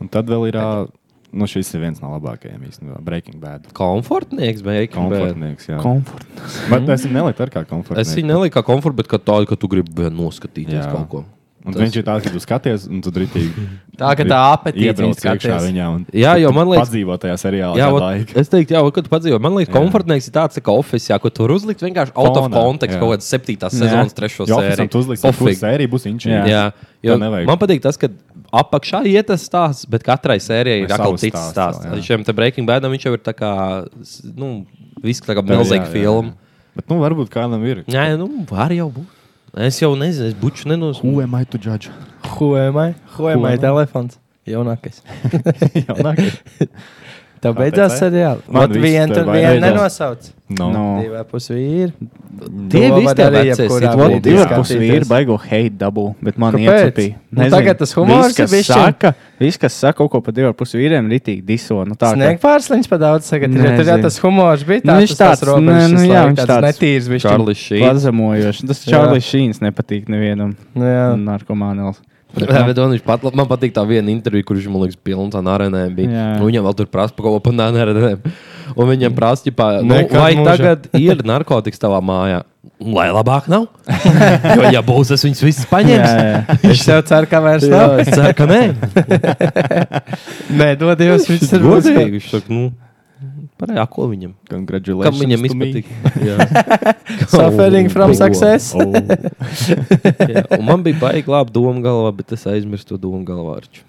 [SPEAKER 8] Un tad vēl ir. ā, Nu, šis ir viens no labākajiem īstenībā. Breaking Bad.
[SPEAKER 1] Komfortnieks, Breaking Bad.
[SPEAKER 8] Komfortnieks, jā. Kom
[SPEAKER 2] Komforts.
[SPEAKER 8] bet es viņu neliku ar kā komfortnieku.
[SPEAKER 1] Es viņu neliku kā komfortu, bet kā tādu, ka tu gribi noskatīties
[SPEAKER 8] Jā.
[SPEAKER 1] kaut ko.
[SPEAKER 8] Un
[SPEAKER 1] Tas-
[SPEAKER 8] viņš ir tāds, ka tu skaties, un tu
[SPEAKER 1] [LAUGHS]
[SPEAKER 8] drīzāk.
[SPEAKER 4] Tā, ka tā apetīte
[SPEAKER 8] iebrauc
[SPEAKER 4] viņa
[SPEAKER 8] iekšā
[SPEAKER 4] skaties.
[SPEAKER 8] viņā. un
[SPEAKER 1] Jā,
[SPEAKER 8] tu-
[SPEAKER 1] jo
[SPEAKER 8] tu
[SPEAKER 1] man liekas-
[SPEAKER 8] Padzīvo tajā seriālā.
[SPEAKER 1] Jā,
[SPEAKER 8] Jā,
[SPEAKER 1] ot, [LAUGHS]
[SPEAKER 8] laika.
[SPEAKER 1] es teiktu, jā, vot, kad tu padzīvo, man liekas,
[SPEAKER 8] Jā.
[SPEAKER 1] komfortnieks ir tāds, tā kā oficiālā, ko tur uzlikt vienkārši out of
[SPEAKER 8] Fonā,
[SPEAKER 1] context
[SPEAKER 8] jā.
[SPEAKER 1] kaut kādas septītās
[SPEAKER 2] Jā.
[SPEAKER 1] sezonas, trešo
[SPEAKER 8] Jo oficiāli tu
[SPEAKER 1] sēriju.
[SPEAKER 8] uzliksi to
[SPEAKER 1] Pofīgi.
[SPEAKER 8] sēriju, būs viņš.
[SPEAKER 2] Jā.
[SPEAKER 1] Jā, jo
[SPEAKER 8] To nevajag.
[SPEAKER 1] man patīk tas, ka apakšā iet tas stāsts, bet katrai sērijai
[SPEAKER 8] Vai
[SPEAKER 1] ir atkal
[SPEAKER 8] savs
[SPEAKER 1] cits
[SPEAKER 8] stāsts,
[SPEAKER 1] stāsts.
[SPEAKER 8] jā.
[SPEAKER 1] Šiem te Breaking Badam viņš jau ir tā kā, s- nu, viss tā kā milzīga filma.
[SPEAKER 8] Bet, nu, varbūt kādam ir.
[SPEAKER 1] Nē, nu, var jau būt. Es jau nezinu, es buču nenosūtu.
[SPEAKER 8] am I to judge?
[SPEAKER 4] Huemai, huemai telefons. Jaunākais.
[SPEAKER 8] Jaunākais.
[SPEAKER 4] Tev beidzās seriāli.
[SPEAKER 8] Man
[SPEAKER 4] Vat
[SPEAKER 8] viss
[SPEAKER 4] vienu
[SPEAKER 8] te
[SPEAKER 4] tur vienu
[SPEAKER 8] vajadzēs.
[SPEAKER 4] nenosauc.
[SPEAKER 8] No. no.
[SPEAKER 2] No.
[SPEAKER 4] Divā pusvīri.
[SPEAKER 1] Tie
[SPEAKER 4] To
[SPEAKER 1] visi
[SPEAKER 4] var
[SPEAKER 1] tie
[SPEAKER 4] arī
[SPEAKER 1] vecie
[SPEAKER 4] jebkurā
[SPEAKER 1] sitkomi.
[SPEAKER 4] brīdī
[SPEAKER 2] Divi
[SPEAKER 4] skatīties.
[SPEAKER 2] pusvīri baigo hate dabū, bet man
[SPEAKER 4] Kāpēc?
[SPEAKER 2] iecepīja.
[SPEAKER 4] Nu, tagad tas humors
[SPEAKER 2] viss, kas
[SPEAKER 4] ir bišķiņ.
[SPEAKER 2] saka, viss, kas saka kaut ko par diviem pusvīriem, ritīgi diso. Nu, tā,
[SPEAKER 4] Sniegt pārsliņš pa daudz, tagad ir, jo tur jau
[SPEAKER 2] Nezinu.
[SPEAKER 4] tas humors bija.
[SPEAKER 2] Nu,
[SPEAKER 4] tāds,
[SPEAKER 2] viņš
[SPEAKER 4] tas tās
[SPEAKER 2] tāds,
[SPEAKER 4] robežas
[SPEAKER 2] nē, nu
[SPEAKER 4] visu
[SPEAKER 2] jā,
[SPEAKER 4] laiku,
[SPEAKER 2] viņš
[SPEAKER 4] tāds
[SPEAKER 2] tāds
[SPEAKER 4] netīrs bija.
[SPEAKER 1] Čārlis Šīs.
[SPEAKER 2] Pazemojoši. Tas
[SPEAKER 4] Jā.
[SPEAKER 2] Čārlis Šīns nepatīk nevienam
[SPEAKER 4] Nu, jā.
[SPEAKER 2] Mm. narkomānam.
[SPEAKER 1] [LAUGHS] Jā, bet viņš pat, man patīk tā viena intervija, kurš man liekas, pilns ar arēnēm bija.
[SPEAKER 2] Jā.
[SPEAKER 1] Un Viņam vēl tur prasa par kaut ko par arēnēm. un viņiem prasa, ģipā, nu,
[SPEAKER 8] Nekad
[SPEAKER 1] vai
[SPEAKER 8] mūžā.
[SPEAKER 1] tagad ir narkotikas tavā mājā? Lai labāk
[SPEAKER 8] [LAUGHS]
[SPEAKER 1] nav. Jo, ja būs, es viņus visus paņemšu.
[SPEAKER 2] [LAUGHS]
[SPEAKER 4] Viņš jau cer, ka vairs nav.
[SPEAKER 1] Es ceru, ka nē.
[SPEAKER 4] Nē, dod Dievs, viņš ir
[SPEAKER 1] Godīgi. Viņš saka, nu, pareizā, ko viņam? Kam
[SPEAKER 8] Congratulations.
[SPEAKER 1] viņam
[SPEAKER 8] to me.
[SPEAKER 1] izpatīk? Jā.
[SPEAKER 4] Suffering from
[SPEAKER 1] Ko?
[SPEAKER 4] success.
[SPEAKER 8] Oh,
[SPEAKER 1] Jā, un man bija baigi laba doma galvā, bet es aizmirsu to domu galvā. Arču.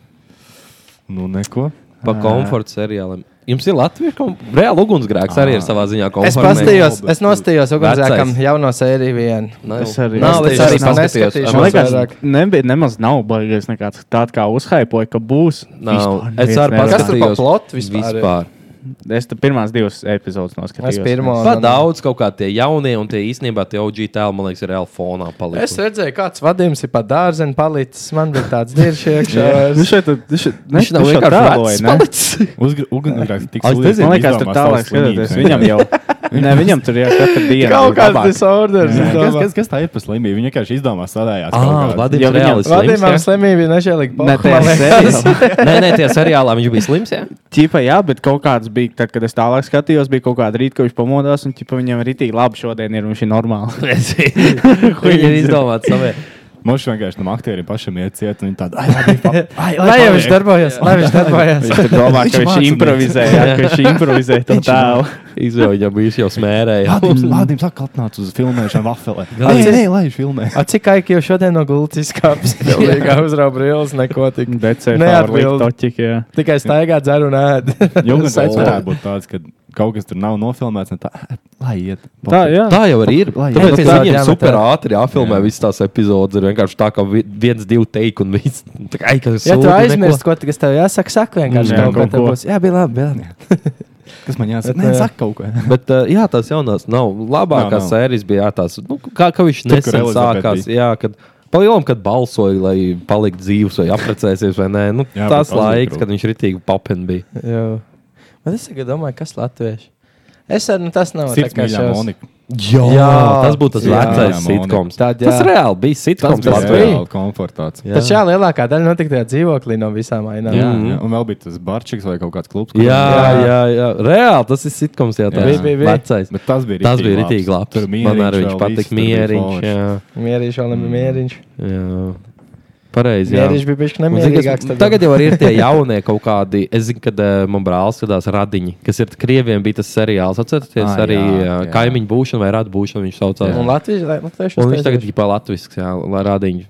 [SPEAKER 8] Nu, neko.
[SPEAKER 1] Pa komforta seriāliem. Jums ir Latvijas kom... reāla ugunsgrēks arī ir savā ziņā.
[SPEAKER 4] Es
[SPEAKER 1] komforta
[SPEAKER 4] paskatījos,
[SPEAKER 1] mēģinājums.
[SPEAKER 4] es nostājos ugunsgrēkam
[SPEAKER 1] Vecais.
[SPEAKER 4] jauno sēriju vienu.
[SPEAKER 1] Nav.
[SPEAKER 2] Es arī.
[SPEAKER 1] Nav, es
[SPEAKER 4] Paskatījos,
[SPEAKER 1] arī
[SPEAKER 4] nav,
[SPEAKER 1] paskatījos.
[SPEAKER 4] neskatīšos.
[SPEAKER 2] Man
[SPEAKER 1] Man
[SPEAKER 2] liekas,
[SPEAKER 4] vairāk.
[SPEAKER 2] nebija nemaz nav baigājis nekāds tāds, kā uzhaipoja, ka būs.
[SPEAKER 1] Nav.
[SPEAKER 2] Vispār
[SPEAKER 1] Es
[SPEAKER 2] neviens
[SPEAKER 1] arī
[SPEAKER 2] neredzēja.
[SPEAKER 4] Kas tur pa
[SPEAKER 1] paskatījos.
[SPEAKER 4] plotu vispār ir?
[SPEAKER 2] Es tam pirmās divas epizodes noskatījos.
[SPEAKER 4] Es pirmo.
[SPEAKER 1] Pa daudz kaut kā tie jaunie un tie īstenībā tie OG tēli, man liekas, ir reāli fonā
[SPEAKER 4] Es
[SPEAKER 1] palikuši.
[SPEAKER 4] redzēju, kāds vadījums ir pa dārzeņu palicis. Man bija tāds
[SPEAKER 2] [LAUGHS]
[SPEAKER 4] diršs iekšā.
[SPEAKER 2] Viņš Nu, šeit viņš,
[SPEAKER 1] Viņš nav vienkārši vecs
[SPEAKER 2] palicis.
[SPEAKER 8] Ugunsgrēks tik
[SPEAKER 1] Es
[SPEAKER 8] sliedz-
[SPEAKER 2] Man liekas, tur
[SPEAKER 8] izdomā
[SPEAKER 2] tālāk
[SPEAKER 8] savas
[SPEAKER 2] skatoties.
[SPEAKER 8] slimības
[SPEAKER 2] Viņam jau. Ne, viņam tur jau katra diena.
[SPEAKER 4] Kaut
[SPEAKER 2] ir
[SPEAKER 4] kāds
[SPEAKER 2] labāk.
[SPEAKER 4] disorders.
[SPEAKER 8] Jā,
[SPEAKER 4] es
[SPEAKER 8] Kas,
[SPEAKER 4] domāju.
[SPEAKER 8] kas, kas tā ir par slimību? Viņa vienkārši izdomā sadājās.
[SPEAKER 1] Ah,
[SPEAKER 2] Jā,
[SPEAKER 1] Vladimirs
[SPEAKER 2] viņam-
[SPEAKER 1] reāli slims.
[SPEAKER 4] Vadījumam
[SPEAKER 1] jā?
[SPEAKER 4] slimība bija nežēlīga.
[SPEAKER 2] Ne, tajā
[SPEAKER 4] [LAUGHS]
[SPEAKER 2] seriālā.
[SPEAKER 1] [LAUGHS] Nē, nē, tie seriālā viņš bija slims. Jā?
[SPEAKER 2] Ķipa, jā, bet kaut kāds bija, tad, kad es tālāk skatījos, bija kaut kāda rīta, ka viņš pamodās, un ķipa, viņam ir itī labi šodien, ir viņš ir normāli.
[SPEAKER 1] [LAUGHS] Viņa ir izdomāta savai.
[SPEAKER 8] Mums vienkārši tam aktierim pašam iet ciet, un viņi tādi,
[SPEAKER 1] [LAUGHS]
[SPEAKER 8] ai, labi, pa, ai,
[SPEAKER 4] Lai jau viņš
[SPEAKER 8] paliek."
[SPEAKER 4] darbojas, lai viņš darbojas.
[SPEAKER 2] Viņš tur domā, ka viņš
[SPEAKER 8] mācās.
[SPEAKER 2] improvizē, jā, ka viņš improvizē to tēlu.
[SPEAKER 1] Izvēlējā bija jau smērēja.
[SPEAKER 8] Vladimirs, Vladimirs atkal atnāca uz filmēšanu vafelē.
[SPEAKER 1] Jā.
[SPEAKER 8] Nē, nē, lai viņš filmē.
[SPEAKER 4] A, cik aiki jau šodien no gultas
[SPEAKER 1] [LAUGHS]
[SPEAKER 4] izkāpis? Pilnīgā uzrauba brīlis, neko tik. Neatbild.
[SPEAKER 2] Neatbild.
[SPEAKER 4] Tikai staigā dzer un ēd.
[SPEAKER 8] [LAUGHS] Jums
[SPEAKER 4] Saic-
[SPEAKER 8] varētu būt tāds, ka kaut kas tur nav nofilmēts, ne tā, lai iet.
[SPEAKER 2] [LAUGHS] Tā, jā.
[SPEAKER 1] Tā jau arī ir.
[SPEAKER 8] Lai-
[SPEAKER 1] Tāpēc
[SPEAKER 4] Epizode
[SPEAKER 1] viņiem
[SPEAKER 4] jāmetā.
[SPEAKER 1] super ātri jāfilmē
[SPEAKER 8] Jā.
[SPEAKER 1] visas tās epizodes. Ir vienkārši tā, ka vi- viens, divi teikti un viss. [LAUGHS] Tā kā, ai, kas
[SPEAKER 4] Ja tu
[SPEAKER 1] sūdi,
[SPEAKER 4] aizmirsti, ko tas tev jāsaka, saka vienkārši
[SPEAKER 8] Jā,
[SPEAKER 4] kaut ko
[SPEAKER 8] kaut
[SPEAKER 4] tev
[SPEAKER 8] ko.
[SPEAKER 4] būs. Jā, bija labi. bija labi.
[SPEAKER 8] Kas man jāsaka?
[SPEAKER 1] eh,
[SPEAKER 4] Bet,
[SPEAKER 8] Nē,
[SPEAKER 4] jā.
[SPEAKER 8] saka kaut ko. [LAUGHS]
[SPEAKER 1] neko. Bet, uh, jā, tās jaunās nav. Labākā
[SPEAKER 8] Nav, nav.
[SPEAKER 1] sērijas bija jā, tās, nu, kā, kā viņš
[SPEAKER 8] Tur, kur
[SPEAKER 1] nesen
[SPEAKER 8] Elizabete
[SPEAKER 1] sākās.
[SPEAKER 8] bija.
[SPEAKER 1] Jā, kad, Palielam, kad balsoja, lai paliktu dzīves, vai apprecēsies, vai nē. Nu, jā,
[SPEAKER 8] Jā,
[SPEAKER 1] tas
[SPEAKER 8] bet pauzīt
[SPEAKER 1] laiks,
[SPEAKER 8] grūti.
[SPEAKER 1] kad viņš ritīgi papin bija.
[SPEAKER 4] Jau. Bet es tagad domāju, kas latvieši. Es arī nu, tas nav tā
[SPEAKER 8] Sirds
[SPEAKER 4] kā
[SPEAKER 8] mīļā
[SPEAKER 4] šaus-
[SPEAKER 8] Monika.
[SPEAKER 1] Jā,
[SPEAKER 4] Jā.
[SPEAKER 1] tas būtu tas
[SPEAKER 4] Jā.
[SPEAKER 1] vecais
[SPEAKER 8] Jā, Monika.
[SPEAKER 1] sitkoms.
[SPEAKER 4] Tad, jā.
[SPEAKER 1] tas reāli bija sitkoms.
[SPEAKER 4] Tas
[SPEAKER 1] Latvijā.
[SPEAKER 4] bija.
[SPEAKER 8] reāli komfortāts. Jā.
[SPEAKER 4] Taču jā, lielākā daļa notika tajā dzīvoklī no visām ainām.
[SPEAKER 8] Jā,
[SPEAKER 4] Jā.
[SPEAKER 1] Mhm.
[SPEAKER 8] jā. Un vēl bija tas barčiks vai kaut kāds klubs.
[SPEAKER 1] Jā,
[SPEAKER 4] Jā.
[SPEAKER 1] jā, jā. Reāli tas ir sitkoms, jā, tas
[SPEAKER 8] Bija,
[SPEAKER 4] bija, bija.
[SPEAKER 1] vecais.
[SPEAKER 8] Bet tas bija
[SPEAKER 1] Tas bija
[SPEAKER 8] labs.
[SPEAKER 1] rītīgi labs.
[SPEAKER 8] Tur
[SPEAKER 1] Man arī viņš
[SPEAKER 8] vēl viss,
[SPEAKER 1] patika
[SPEAKER 8] tur bija
[SPEAKER 1] mieriņš.
[SPEAKER 8] forši.
[SPEAKER 1] Jā,
[SPEAKER 4] Mierīši vēl nebija mierīši.
[SPEAKER 1] jā. Pareizi. Mm. jā.
[SPEAKER 4] Mierīši bija pieci
[SPEAKER 1] Un, zini, kas-
[SPEAKER 4] nemierīgāks.
[SPEAKER 1] Tagad jau arī ir tie jaunie kaut kādi. Es zinu, kad uh, man brālis skatās radiņi, kas ir krieviem bija tas seriāls. Atcerieties,
[SPEAKER 8] Ah,
[SPEAKER 1] arī
[SPEAKER 8] jā,
[SPEAKER 1] jā,
[SPEAKER 8] jā.
[SPEAKER 1] kaimiņu būšana vai radu būšana viņš saucās.
[SPEAKER 4] Un
[SPEAKER 1] Un,
[SPEAKER 4] Latvijas, Latvijas,
[SPEAKER 1] un viņš tagad ir pa latvisks, jā, lai radiņš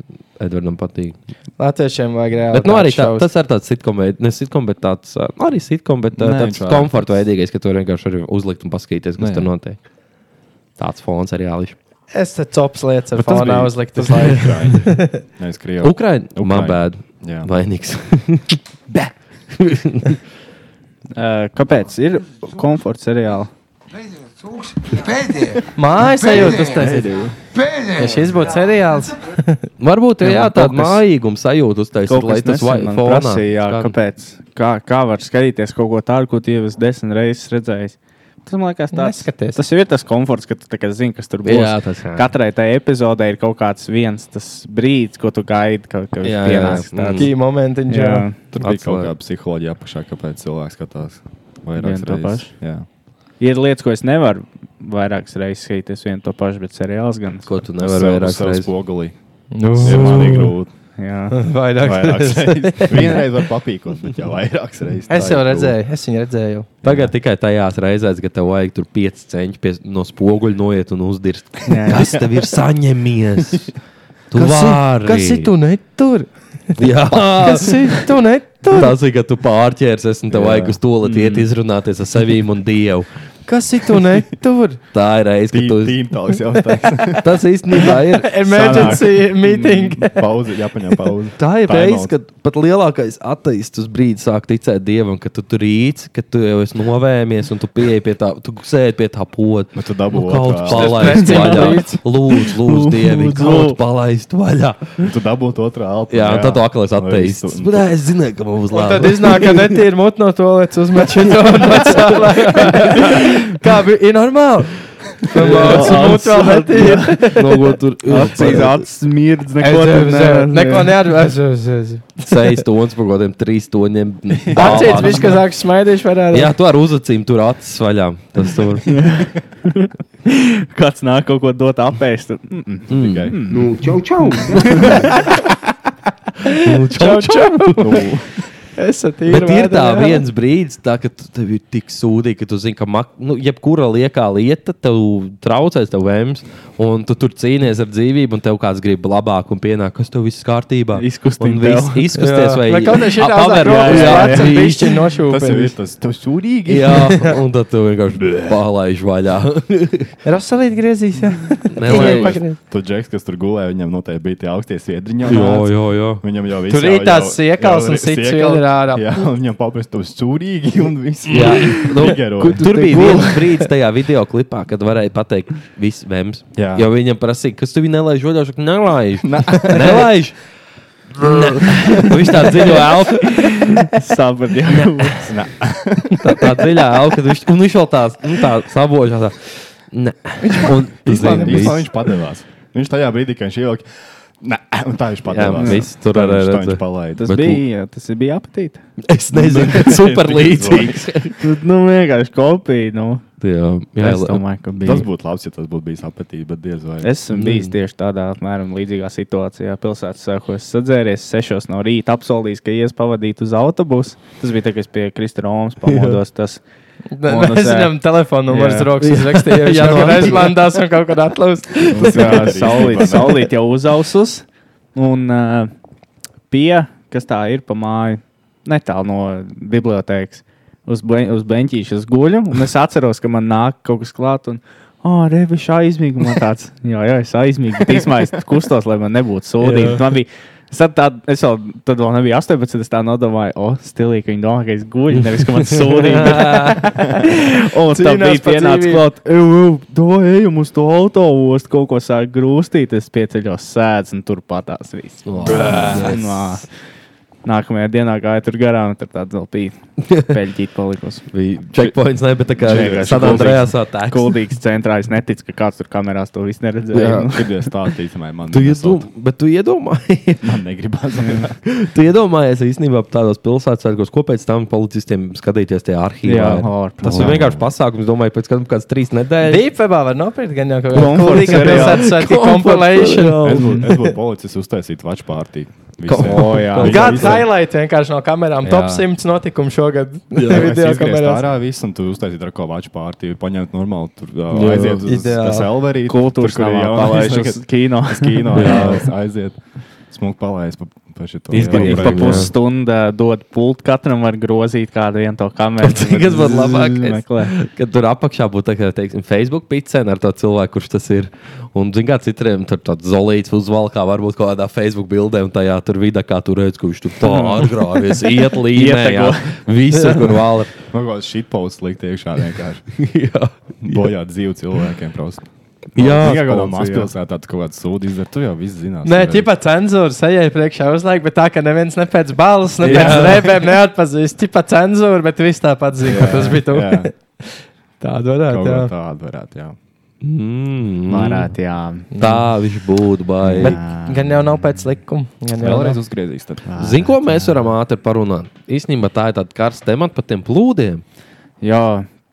[SPEAKER 1] Edvardam patīk.
[SPEAKER 4] Latviešiem vajag reāli.
[SPEAKER 1] Bet nu,
[SPEAKER 4] tāds
[SPEAKER 1] arī tā,
[SPEAKER 4] šovs.
[SPEAKER 1] tas ir tāds sitkoms, ne sitkoms, bet tāds uh, arī sitkoms, bet uh,
[SPEAKER 8] Nē,
[SPEAKER 1] tāds
[SPEAKER 8] viņš vairāk
[SPEAKER 1] komforta
[SPEAKER 8] tāds-
[SPEAKER 1] veidīgais, ka tur vienkārši arī uzlikt un paskatīties, kas
[SPEAKER 8] Nē.
[SPEAKER 1] tur notiek. Tāds fons arī jāliš.
[SPEAKER 4] Es te cops lietas ar
[SPEAKER 8] Bet tas
[SPEAKER 4] fonā
[SPEAKER 8] bija-
[SPEAKER 4] uzlikt uz
[SPEAKER 8] Tas bija
[SPEAKER 1] [LAUGHS]
[SPEAKER 4] laiku.
[SPEAKER 8] Ukraiņa. Nē, es Krievu.
[SPEAKER 1] Ukraiņa, man
[SPEAKER 8] Ukraiņa.
[SPEAKER 1] bēd,
[SPEAKER 8] Jā.
[SPEAKER 1] vainīgs. [LAUGHS]
[SPEAKER 2] Ā, Eh, Kāpēc ir komforta seriāla?
[SPEAKER 4] Mājas sajūta uztaisīt. Ja šis būtu seriāls,
[SPEAKER 1] Varbūt ir
[SPEAKER 2] Jā,
[SPEAKER 1] jā,
[SPEAKER 2] man
[SPEAKER 1] tāda
[SPEAKER 2] kaut kas-
[SPEAKER 1] māīguma sajūta uztaisīt,
[SPEAKER 2] Kaut
[SPEAKER 1] lai
[SPEAKER 2] kas
[SPEAKER 1] tas
[SPEAKER 2] nesen man
[SPEAKER 1] vairāk
[SPEAKER 2] prasīja, jā, kāpēc? Kā, kā var skatīties kaut ko tādu, ko tu jau esi desmit reizes redzējis? Tas man liekas, tāds,
[SPEAKER 4] Neskaties.
[SPEAKER 2] tas jau ir tas komforts, ka tu tā kā zini, kas tur būs.
[SPEAKER 1] Jā, tas jā.
[SPEAKER 2] Katrai tajā epizodē ir kaut kāds viens tas brīdis, ko tu gaidi, kad tev
[SPEAKER 1] Jā, jā,
[SPEAKER 2] pienāks.
[SPEAKER 1] jā.
[SPEAKER 2] tāds.
[SPEAKER 4] kī momenti, jā.
[SPEAKER 2] Jā.
[SPEAKER 8] Tur bija
[SPEAKER 1] Atslēga.
[SPEAKER 8] kaut kāda psiholoģija apakšā, kāpēc cilvēks skatās
[SPEAKER 2] Vienu
[SPEAKER 8] vairākas
[SPEAKER 2] to
[SPEAKER 8] reizes.
[SPEAKER 2] pašu.
[SPEAKER 8] Jā.
[SPEAKER 2] Ir lietas, ko es nevaru vairākas reizes skatīties vienu to pašu, bet seriāls gan.
[SPEAKER 1] Ko tu
[SPEAKER 8] Uz
[SPEAKER 1] nevari
[SPEAKER 8] sev- uz
[SPEAKER 1] vairāk
[SPEAKER 8] sev
[SPEAKER 1] redzēt?
[SPEAKER 8] spogulī.
[SPEAKER 4] Nu.
[SPEAKER 8] Ir manī grūti.
[SPEAKER 2] Jā.
[SPEAKER 1] [LAUGHS]
[SPEAKER 4] Vairāk.
[SPEAKER 8] Vairākas reizes. Vienreiz var papīkot, bet jau vairākas reizes.
[SPEAKER 4] Es
[SPEAKER 8] Tā
[SPEAKER 4] jau
[SPEAKER 8] ir grūti.
[SPEAKER 4] redzēju, es viņu redzēju.
[SPEAKER 1] Tagad tikai tajās reizēs, kad tev vajag tur 5 centi pie, no spoguļa noiet un uzdirst.
[SPEAKER 2] Jā, jā.
[SPEAKER 1] Kas tev ir saņemies? Tu
[SPEAKER 4] Kas ir-
[SPEAKER 1] vari.
[SPEAKER 4] Kas ir tu netur?
[SPEAKER 1] Jā,
[SPEAKER 4] Kas ir tu netur?
[SPEAKER 1] Tas ir, kad tu pārķērsies un tev
[SPEAKER 8] Jā. Mm.
[SPEAKER 1] vajag uz to lietu izrunāties ar sevīm un dievu.
[SPEAKER 4] Kas ir tu [LAUGHS] netur?
[SPEAKER 1] Tā ir reize, kad
[SPEAKER 8] Tī-
[SPEAKER 1] tu
[SPEAKER 8] Tīmtālis
[SPEAKER 1] [LAUGHS]
[SPEAKER 8] jautājums.
[SPEAKER 1] tas īstenībā
[SPEAKER 8] [LAUGHS]
[SPEAKER 1] ir.
[SPEAKER 4] Emergency
[SPEAKER 1] [LAUGHS]
[SPEAKER 4] meeting.
[SPEAKER 8] Pauze, jāpaņem pauze.
[SPEAKER 1] Tā ir
[SPEAKER 8] Time
[SPEAKER 1] reize,
[SPEAKER 8] out.
[SPEAKER 1] kad pat lielākais ateists brīdis sāk ticēt dievam, ka tu tur rīts, ka tu jau esi novēmies un tu pieeji pie tā, tu sēdi pie tā poda.
[SPEAKER 8] Bet tu dabū
[SPEAKER 1] Nu, kaut kā
[SPEAKER 8] otrā.
[SPEAKER 1] palaist
[SPEAKER 4] Šis
[SPEAKER 1] vaļā.
[SPEAKER 4] rīts.
[SPEAKER 1] Lūdzu, lūdzu, dievi,
[SPEAKER 8] Lūdzu.
[SPEAKER 1] kaut kā palaist vaļā.
[SPEAKER 8] Tu dabūtu otrā alpu.
[SPEAKER 1] Jā, un tad tu atkal esi ateists. Bet nē, es zināju, ka man būs
[SPEAKER 4] Un tad
[SPEAKER 1] labi.
[SPEAKER 4] iznāk, ka netīra
[SPEAKER 1] [LAUGHS]
[SPEAKER 4] mutno to lietas uzmečina. Kā bija ir normāli?
[SPEAKER 1] No, ko tur
[SPEAKER 2] Cik tāds smirdz, neko tur nevar-
[SPEAKER 4] Neko neatbalstu.
[SPEAKER 1] Sejas tons par kaut kādiem trīs toniem.
[SPEAKER 4] Acīs viņš, kas sāk smaidīšu varētu.
[SPEAKER 1] Jā, tu ar uzacīm tur acis vaļā. Tas tur.
[SPEAKER 2] Kāds nāk kaut ko dot apēst. tad, mm,
[SPEAKER 8] Tikai.
[SPEAKER 4] čau, čau.
[SPEAKER 8] Nu,
[SPEAKER 2] [LAUGHS]
[SPEAKER 4] Esat
[SPEAKER 1] Bet ir tā
[SPEAKER 4] vēdā, jā.
[SPEAKER 1] viens brīdis, tā, kad tu- tev ir tik sūdīgi, ka tu zini, ka mak, nu, jebkura liekā lieta tev traucēs, tev vēms, un tu tur cīnies ar dzīvību, un tev kāds grib labāk, un pienāk, kas tev viss kārtībā.
[SPEAKER 2] Izkustina
[SPEAKER 1] Un viss
[SPEAKER 2] tev.
[SPEAKER 1] izkusties, vai
[SPEAKER 4] Vai kaut kā šī
[SPEAKER 1] ap-
[SPEAKER 4] tā
[SPEAKER 1] apver- jā, jā.
[SPEAKER 4] bišķi
[SPEAKER 8] Tas jau ir
[SPEAKER 4] nošūpējis.
[SPEAKER 8] tas tev sūdīgi.
[SPEAKER 1] Jā, un tad tu vienkārši palaiž vaļā.
[SPEAKER 4] Rasalīt griezīs, jā.
[SPEAKER 1] Nelaiž.
[SPEAKER 4] Pagriez.
[SPEAKER 8] Tu džeks, kas tur gulēja, viņam noteikti bija tie augstie sviedriņi.
[SPEAKER 1] Jā, jā, jā.
[SPEAKER 8] Viņam jau
[SPEAKER 4] Tur ir tās siekals un cits vēl ir ārā.
[SPEAKER 8] Jā, un viņam papēs tev sūdīgi un viss.
[SPEAKER 1] Jā, nu,
[SPEAKER 8] Figaro.
[SPEAKER 1] kur- tur
[SPEAKER 4] te
[SPEAKER 1] bija
[SPEAKER 4] gulēji?
[SPEAKER 1] viens brīdis tajā video klipā, kad varēja pateikt, viss vēms.
[SPEAKER 8] Jā.
[SPEAKER 1] Jo viņam prasīja, kas tev nelaiž, jau tādu nelaiž. [LAUGHS] Nelaiž! Ne. [LAUGHS] Viņš tā dziļā elpa, [LAUGHS]
[SPEAKER 2] Sapratu, jā.
[SPEAKER 1] tā, tā dziļā elpa, viņš, un viņš vēl tāds nu, tā sabožās. Nē, un tu
[SPEAKER 8] Vispār
[SPEAKER 1] zini,
[SPEAKER 8] vispār
[SPEAKER 1] viss.
[SPEAKER 8] viņš padevās. Viņš tajā brīdī, kad viņš ielika, nē, un tā viņš padevās.
[SPEAKER 1] viss tur
[SPEAKER 8] Tā
[SPEAKER 1] arī
[SPEAKER 8] viņš- tā
[SPEAKER 1] redzēja.
[SPEAKER 8] viņš palaida.
[SPEAKER 2] Tas
[SPEAKER 1] Bet
[SPEAKER 2] bija, tas bija apetīti.
[SPEAKER 1] Es nezinu, kas super līdzīgs.
[SPEAKER 2] Nu, vienkārši kopija. Nu.
[SPEAKER 1] Jā, jā,
[SPEAKER 2] Es domāju, ka bija.
[SPEAKER 8] Tas būtu labi, ja tas būtu bijis apetīgi, bet diez vai.
[SPEAKER 2] Es esmu bijis tieši tādā apmēram līdzīgā situācijā. Pilsētas sākumā es sadzēries sešos no rīta, apsolījis, ka ies pavadīt uz autobusu. Tas bija tagad, kad es pie Kristina Romas pamodos. Tas, Un
[SPEAKER 4] Mēs
[SPEAKER 2] es, jā.
[SPEAKER 4] zinām, telefonu numurs
[SPEAKER 2] Jā.
[SPEAKER 4] rokas uzrakstīja.
[SPEAKER 1] Jā,
[SPEAKER 4] Jā, no
[SPEAKER 1] no-
[SPEAKER 4] aizlandās un kaut kad atlaust.
[SPEAKER 8] Tas
[SPEAKER 2] jā,
[SPEAKER 8] ir
[SPEAKER 2] saulīt,
[SPEAKER 8] īstenībā, ne?
[SPEAKER 2] saulīt jau uzausus. Un uh, pie, kas tā ir pa māju, netālu no bibliotekas, uz, be, uz beņķīšas guļu. Un es atceros, ka man nāk kaut kas klāt. Un, Ah, oh, revišķi aizmigumā tāds. Jā, jā, es aizmigu. Tīsmā es kustos, lai man nebūtu sūdīgi. Man bija, es, tad tā, es vēl, tad vēl nebiju 18, es tā nodomāju, o, oh, stilīgi, ka viņi domā, ka es guļu, nevis, ka man sūdīgi. [LAUGHS] Un tad
[SPEAKER 4] Cīnās
[SPEAKER 2] bija
[SPEAKER 4] par
[SPEAKER 2] pienācis
[SPEAKER 4] dzīvību.
[SPEAKER 2] klāt, ej, ejam uz to autoostu, kaut ko sāk grūstīt, es pieceļos sēdz un tur patās viss. Nā. Nākamajā dienā gāja tur garām, un tur tāds vēl
[SPEAKER 1] [LAUGHS]
[SPEAKER 2] bija peļķīt palikusi.
[SPEAKER 1] bija checkpoints, ne, bet tā kā
[SPEAKER 2] Čekā,
[SPEAKER 1] San Andrejas attēks.
[SPEAKER 2] Kuldīgs centrā, es neticu, ka kāds tur kamerās to visu neredzēja.
[SPEAKER 8] Jā, kad es tā īstenībā man
[SPEAKER 1] Tu
[SPEAKER 8] nesot.
[SPEAKER 1] iedomā- Bet tu iedomājies.
[SPEAKER 8] Man negribās.
[SPEAKER 1] [LAUGHS] Tu iedomājies īstenībā tādos pilsētas, ko pēc tam policistiem skatīties tajā arhīvā.
[SPEAKER 2] Jā,
[SPEAKER 1] ir?
[SPEAKER 2] ar-
[SPEAKER 1] tas ir vienkārši pasākums. Domāju, pēc kādām kādas trīs nedēļas.
[SPEAKER 4] Dīpebā var nopirkt gan jau kaut
[SPEAKER 2] Komforts
[SPEAKER 4] kādā kulīga
[SPEAKER 2] seriāli.
[SPEAKER 4] pilsētas svētī compilation.
[SPEAKER 8] Es būtu es būtu policists uztaisīt vaču pārtī.
[SPEAKER 2] [LAUGHS] O, jā.
[SPEAKER 4] Gada highlight vienkārši no kamerām. Top
[SPEAKER 1] Jā.
[SPEAKER 4] 100 notikumu šogad. [LAUGHS]
[SPEAKER 8] Video
[SPEAKER 4] Video
[SPEAKER 8] kamerā
[SPEAKER 4] kamerās.
[SPEAKER 8] ārā viss, un tu uztaisīji ar ko vaču pārtīvi, paņemt normāli, tur ā,
[SPEAKER 1] Jā.
[SPEAKER 8] aiziet uz
[SPEAKER 1] Ideāli.
[SPEAKER 8] Selverī.
[SPEAKER 2] Kultūras nav palaižas uz
[SPEAKER 4] [LAUGHS]
[SPEAKER 2] kino.
[SPEAKER 8] uz kino, jā, aiziet. Smuk palaižas pa, pa šito.
[SPEAKER 1] Izglītība
[SPEAKER 2] Pa
[SPEAKER 1] Jā.
[SPEAKER 2] pusstundu dod pultu, katram var grozīt kādu vienu to
[SPEAKER 1] [LAUGHS]
[SPEAKER 2] kameru.
[SPEAKER 1] Kas būtu labākais?
[SPEAKER 2] Meklē.
[SPEAKER 1] Kad tur apakšā būtu tā kā, teiksim, Facebook pīcēna ar to cilvēku, kurš tas ir. Un, zināmā mērā, citiem tur tāds zolīts uzvalkā, varbūt kaut kādā Facebook bildē, un tajā tur vidē, kā tur redz, kurš tur tā atgrāvies,
[SPEAKER 2] [LAUGHS]
[SPEAKER 1] iet līnijā, jā, visur, kur vēl ir.
[SPEAKER 8] Man Nu, kaut kāds shitposts likt iekšā
[SPEAKER 1] [LAUGHS]
[SPEAKER 8] vienkārši. Bojāt dzīvu cilvēkiem prosti.
[SPEAKER 1] Jā,
[SPEAKER 8] Tikai kaut kādā
[SPEAKER 1] spolci, jā.
[SPEAKER 8] mazpilsētā tāds kaut kāds sūdi izdara, tu jau viss zinās.
[SPEAKER 4] Nē,
[SPEAKER 8] Vai-
[SPEAKER 4] tipā cenzūra sejai priekšā uzlaik, bet tā, ka neviens ne pēc balss, ne pēc rēpēm neatpazīst. Tipā cenzūra, bet viss tāpat zina, ka tas bija tu. [LAUGHS]
[SPEAKER 8] Jā,
[SPEAKER 4] Tāda
[SPEAKER 8] Kaut
[SPEAKER 4] varētu, jā.
[SPEAKER 8] kā tāda varētu, jā.
[SPEAKER 1] Mm,
[SPEAKER 2] Varētu, jā.
[SPEAKER 1] tā viņš būtu baidījies.
[SPEAKER 4] Bet gan jau nav pēc likuma. Gan jau
[SPEAKER 8] Vēlreiz
[SPEAKER 4] nav.
[SPEAKER 8] uzgriezīs tad.
[SPEAKER 1] Zini, ko mēs varam ātri parunāt? Īstenībā tā ir tāda karsta temata par tiem plūdiem.
[SPEAKER 2] Jā,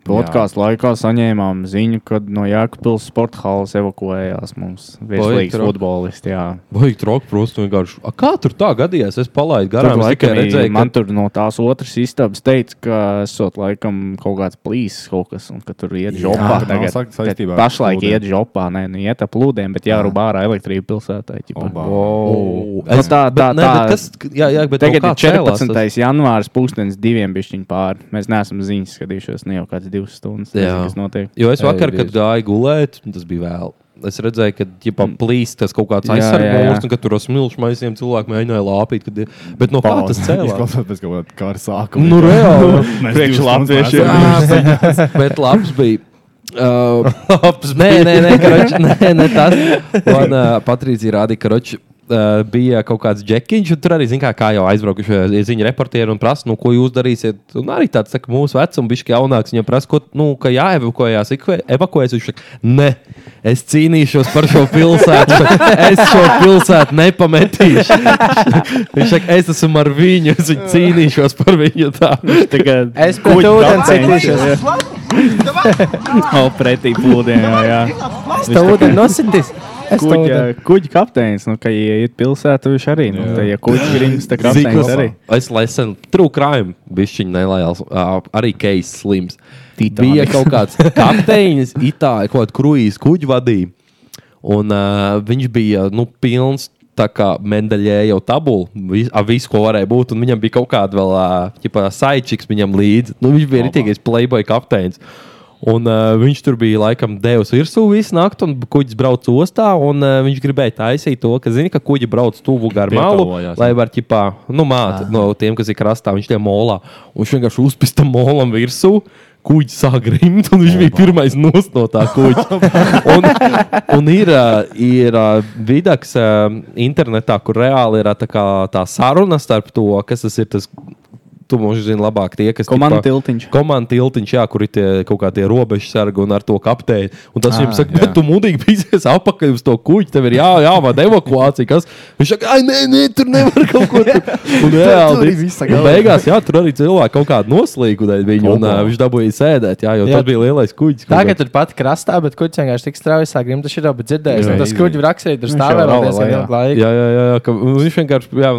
[SPEAKER 2] podkāstu laikā saņēmām ziņu, ka no Jēkabpils sporta halas evakuējās mums virslīgs
[SPEAKER 1] Poitrok.
[SPEAKER 2] futbolists. Jā,
[SPEAKER 1] Vajag trokšņi, protams, vienkārši. A, kā tur tā gadījās? Es palaidu garām.
[SPEAKER 2] Tur
[SPEAKER 1] Es tikai
[SPEAKER 2] laikam
[SPEAKER 1] redzēju,
[SPEAKER 2] redzēju,
[SPEAKER 1] ka
[SPEAKER 2] man tur no tās otras istabas teica, ka esot laikam kaut kāds plīsis kaut kas, un ka tur iet žopā.
[SPEAKER 8] tur nav
[SPEAKER 2] tagad.
[SPEAKER 8] sak- saistībā
[SPEAKER 2] Bet
[SPEAKER 8] ar
[SPEAKER 2] Pašlaik
[SPEAKER 8] plūdiem.
[SPEAKER 2] iet žopā, nē, nu iet ap plūdiem, bet jārūbā ārā elektrība pilsētā. ķipa.
[SPEAKER 8] Obā.
[SPEAKER 1] Oh,
[SPEAKER 2] Nu, tā-
[SPEAKER 1] bet,
[SPEAKER 2] tā-
[SPEAKER 1] nē,
[SPEAKER 2] tā-
[SPEAKER 1] bet kas, jā, jā, bet
[SPEAKER 2] Tagad
[SPEAKER 1] no kā
[SPEAKER 2] ir
[SPEAKER 1] cēlās
[SPEAKER 2] 14.
[SPEAKER 1] tas?
[SPEAKER 2] Tas... janvāris, pūkstens diviem pišķiņu pāri. Mēs neesam ziņas skatījušies ne jau kādas divas stundas.
[SPEAKER 1] Jā.
[SPEAKER 2] Nezinu, kas notiek.
[SPEAKER 1] Jo es vakar,
[SPEAKER 4] Ei,
[SPEAKER 1] kad gāju gulēt, tas bija vēl. Es redzēju, ka jau plīsīs tas kaut kāds
[SPEAKER 2] Mm. Jā, jā, jā.
[SPEAKER 1] aizsargs, un ka tur uz smilšu maisiem cilvēki mēģināja lāpīt. Kad... ir- Bet no kā tas cēlās?
[SPEAKER 8] Izklausās pēc kaut kāda kara sākuma.
[SPEAKER 1] Nu, reāli.
[SPEAKER 8] [LAUGHS] Mēs
[SPEAKER 2] Priekš
[SPEAKER 8] divas stundas
[SPEAKER 2] latviešiem.
[SPEAKER 8] esam bijuši.
[SPEAKER 1] Bet labs bija. Uh, labs nē, nē, nē, karoč, nē, nē, tas man uh, Patrīcija rādīja, ka roči. uh, bija kaut kāds džekiņš, un tur arī, zin kā, kā jau aizbraukuši ziņu reportieri un prasa, nu, ko jūs darīsiet. Un arī tāds, tā, kā mūsu vecums, bišķi jaunāks, viņam prasa, ko, nu, ka jāevakuējās, ikve- evakuējas. Viņš saka, nē, es cīnīšos par šo pilsētu. Viņš saka, es šo pilsētu nepametīšu. [LAUGHS] Viņš saka, es esmu ar viņu, es viņu cīnīšos par viņu. Tā.
[SPEAKER 4] Es pret ūdeni citīšos.
[SPEAKER 2] Nav pretī plūdiem. Jā, jā.
[SPEAKER 4] Es tev ūdeni nositīs. Es tev
[SPEAKER 2] Kuģa,
[SPEAKER 4] ūdeni.
[SPEAKER 2] kuģa kapteinis, nu, ka ieiet pilsētā, viņš arī. Nu, tā, ja kuģa grīms, tad kapteinis arī.
[SPEAKER 1] Es nesen trūku krājumu, bišķiņa nelaiels, ā, arī keisas slims. Bija kaut kāds kapteinis, itāļu, kaut kāda kruīzes kuģi vadīja. Un uh, viņš bija nu, pilns. Tā kā Mendeļē jau tabula, vis, ar visu, ko varēja būt, un viņam bija kaut kāda vēl uh, saičiks viņam līdzi. Nu, viņš bija rītīgais playboy kapteinis. Un uh, viņš tur bija laikam devis virsū visu nakti, un kuģis brauca ostā. Un, uh, viņš gribēja taisīt to, ka, zini, ka kuģi brauc tuvu garu malu,
[SPEAKER 8] Pietuvojās,
[SPEAKER 1] lai var ķipā, nu, māte, no tiem, kas ir krastā, viņš tiek molā. Un viņš vienkārši uzpista molam virsū. Kuģis sāk grimt, un viņš bija pirmais nost no tā kuģa. Un, un ir, ā, ir ā, vidaks ā, internetā, kur reāli ir ā, tā, kā tā saruna starp to, kas tas ir. Tas, tu mums zini labāk tie, kas
[SPEAKER 2] Komandu
[SPEAKER 1] tipā-
[SPEAKER 2] tiltiņš.
[SPEAKER 1] komandu tiltiņš, jā, kur ir tie, kaut kādi robežsargi un ar to kapteini. Un tas viņam saka,
[SPEAKER 8] jā.
[SPEAKER 1] bet tu mudīgi pīsies apakaļ uz to kuģi, tev ir jā, jāvada evakuācija. Kas? Viņš saka, ai, nē, nē, tur nevar kaut ko tur. Un
[SPEAKER 8] Tur
[SPEAKER 1] reāli,
[SPEAKER 8] ir visa
[SPEAKER 1] un beigās, jā, tur arī cilvēki kaut kādu noslīgu dēļ viņu, un uh, viņš dabūja sēdēt, jā, jo
[SPEAKER 4] Jā.
[SPEAKER 1] tas bija lielais kuģis. kaut
[SPEAKER 4] Tagad
[SPEAKER 1] kāds.
[SPEAKER 4] tur pat krastā, bet kuģis vienkārši tik strauji sāk grimt, tas ir jau dzirdējis.
[SPEAKER 8] Jā,
[SPEAKER 4] un Tas
[SPEAKER 8] easy.
[SPEAKER 4] kuģis rakstīja, tur stāvēja
[SPEAKER 2] jau
[SPEAKER 4] vēl
[SPEAKER 2] rola
[SPEAKER 4] diezgan
[SPEAKER 2] lejā.
[SPEAKER 4] ilgu laiku.
[SPEAKER 1] Jā, jā, jā, jā, ka viņš vienkārši, jā,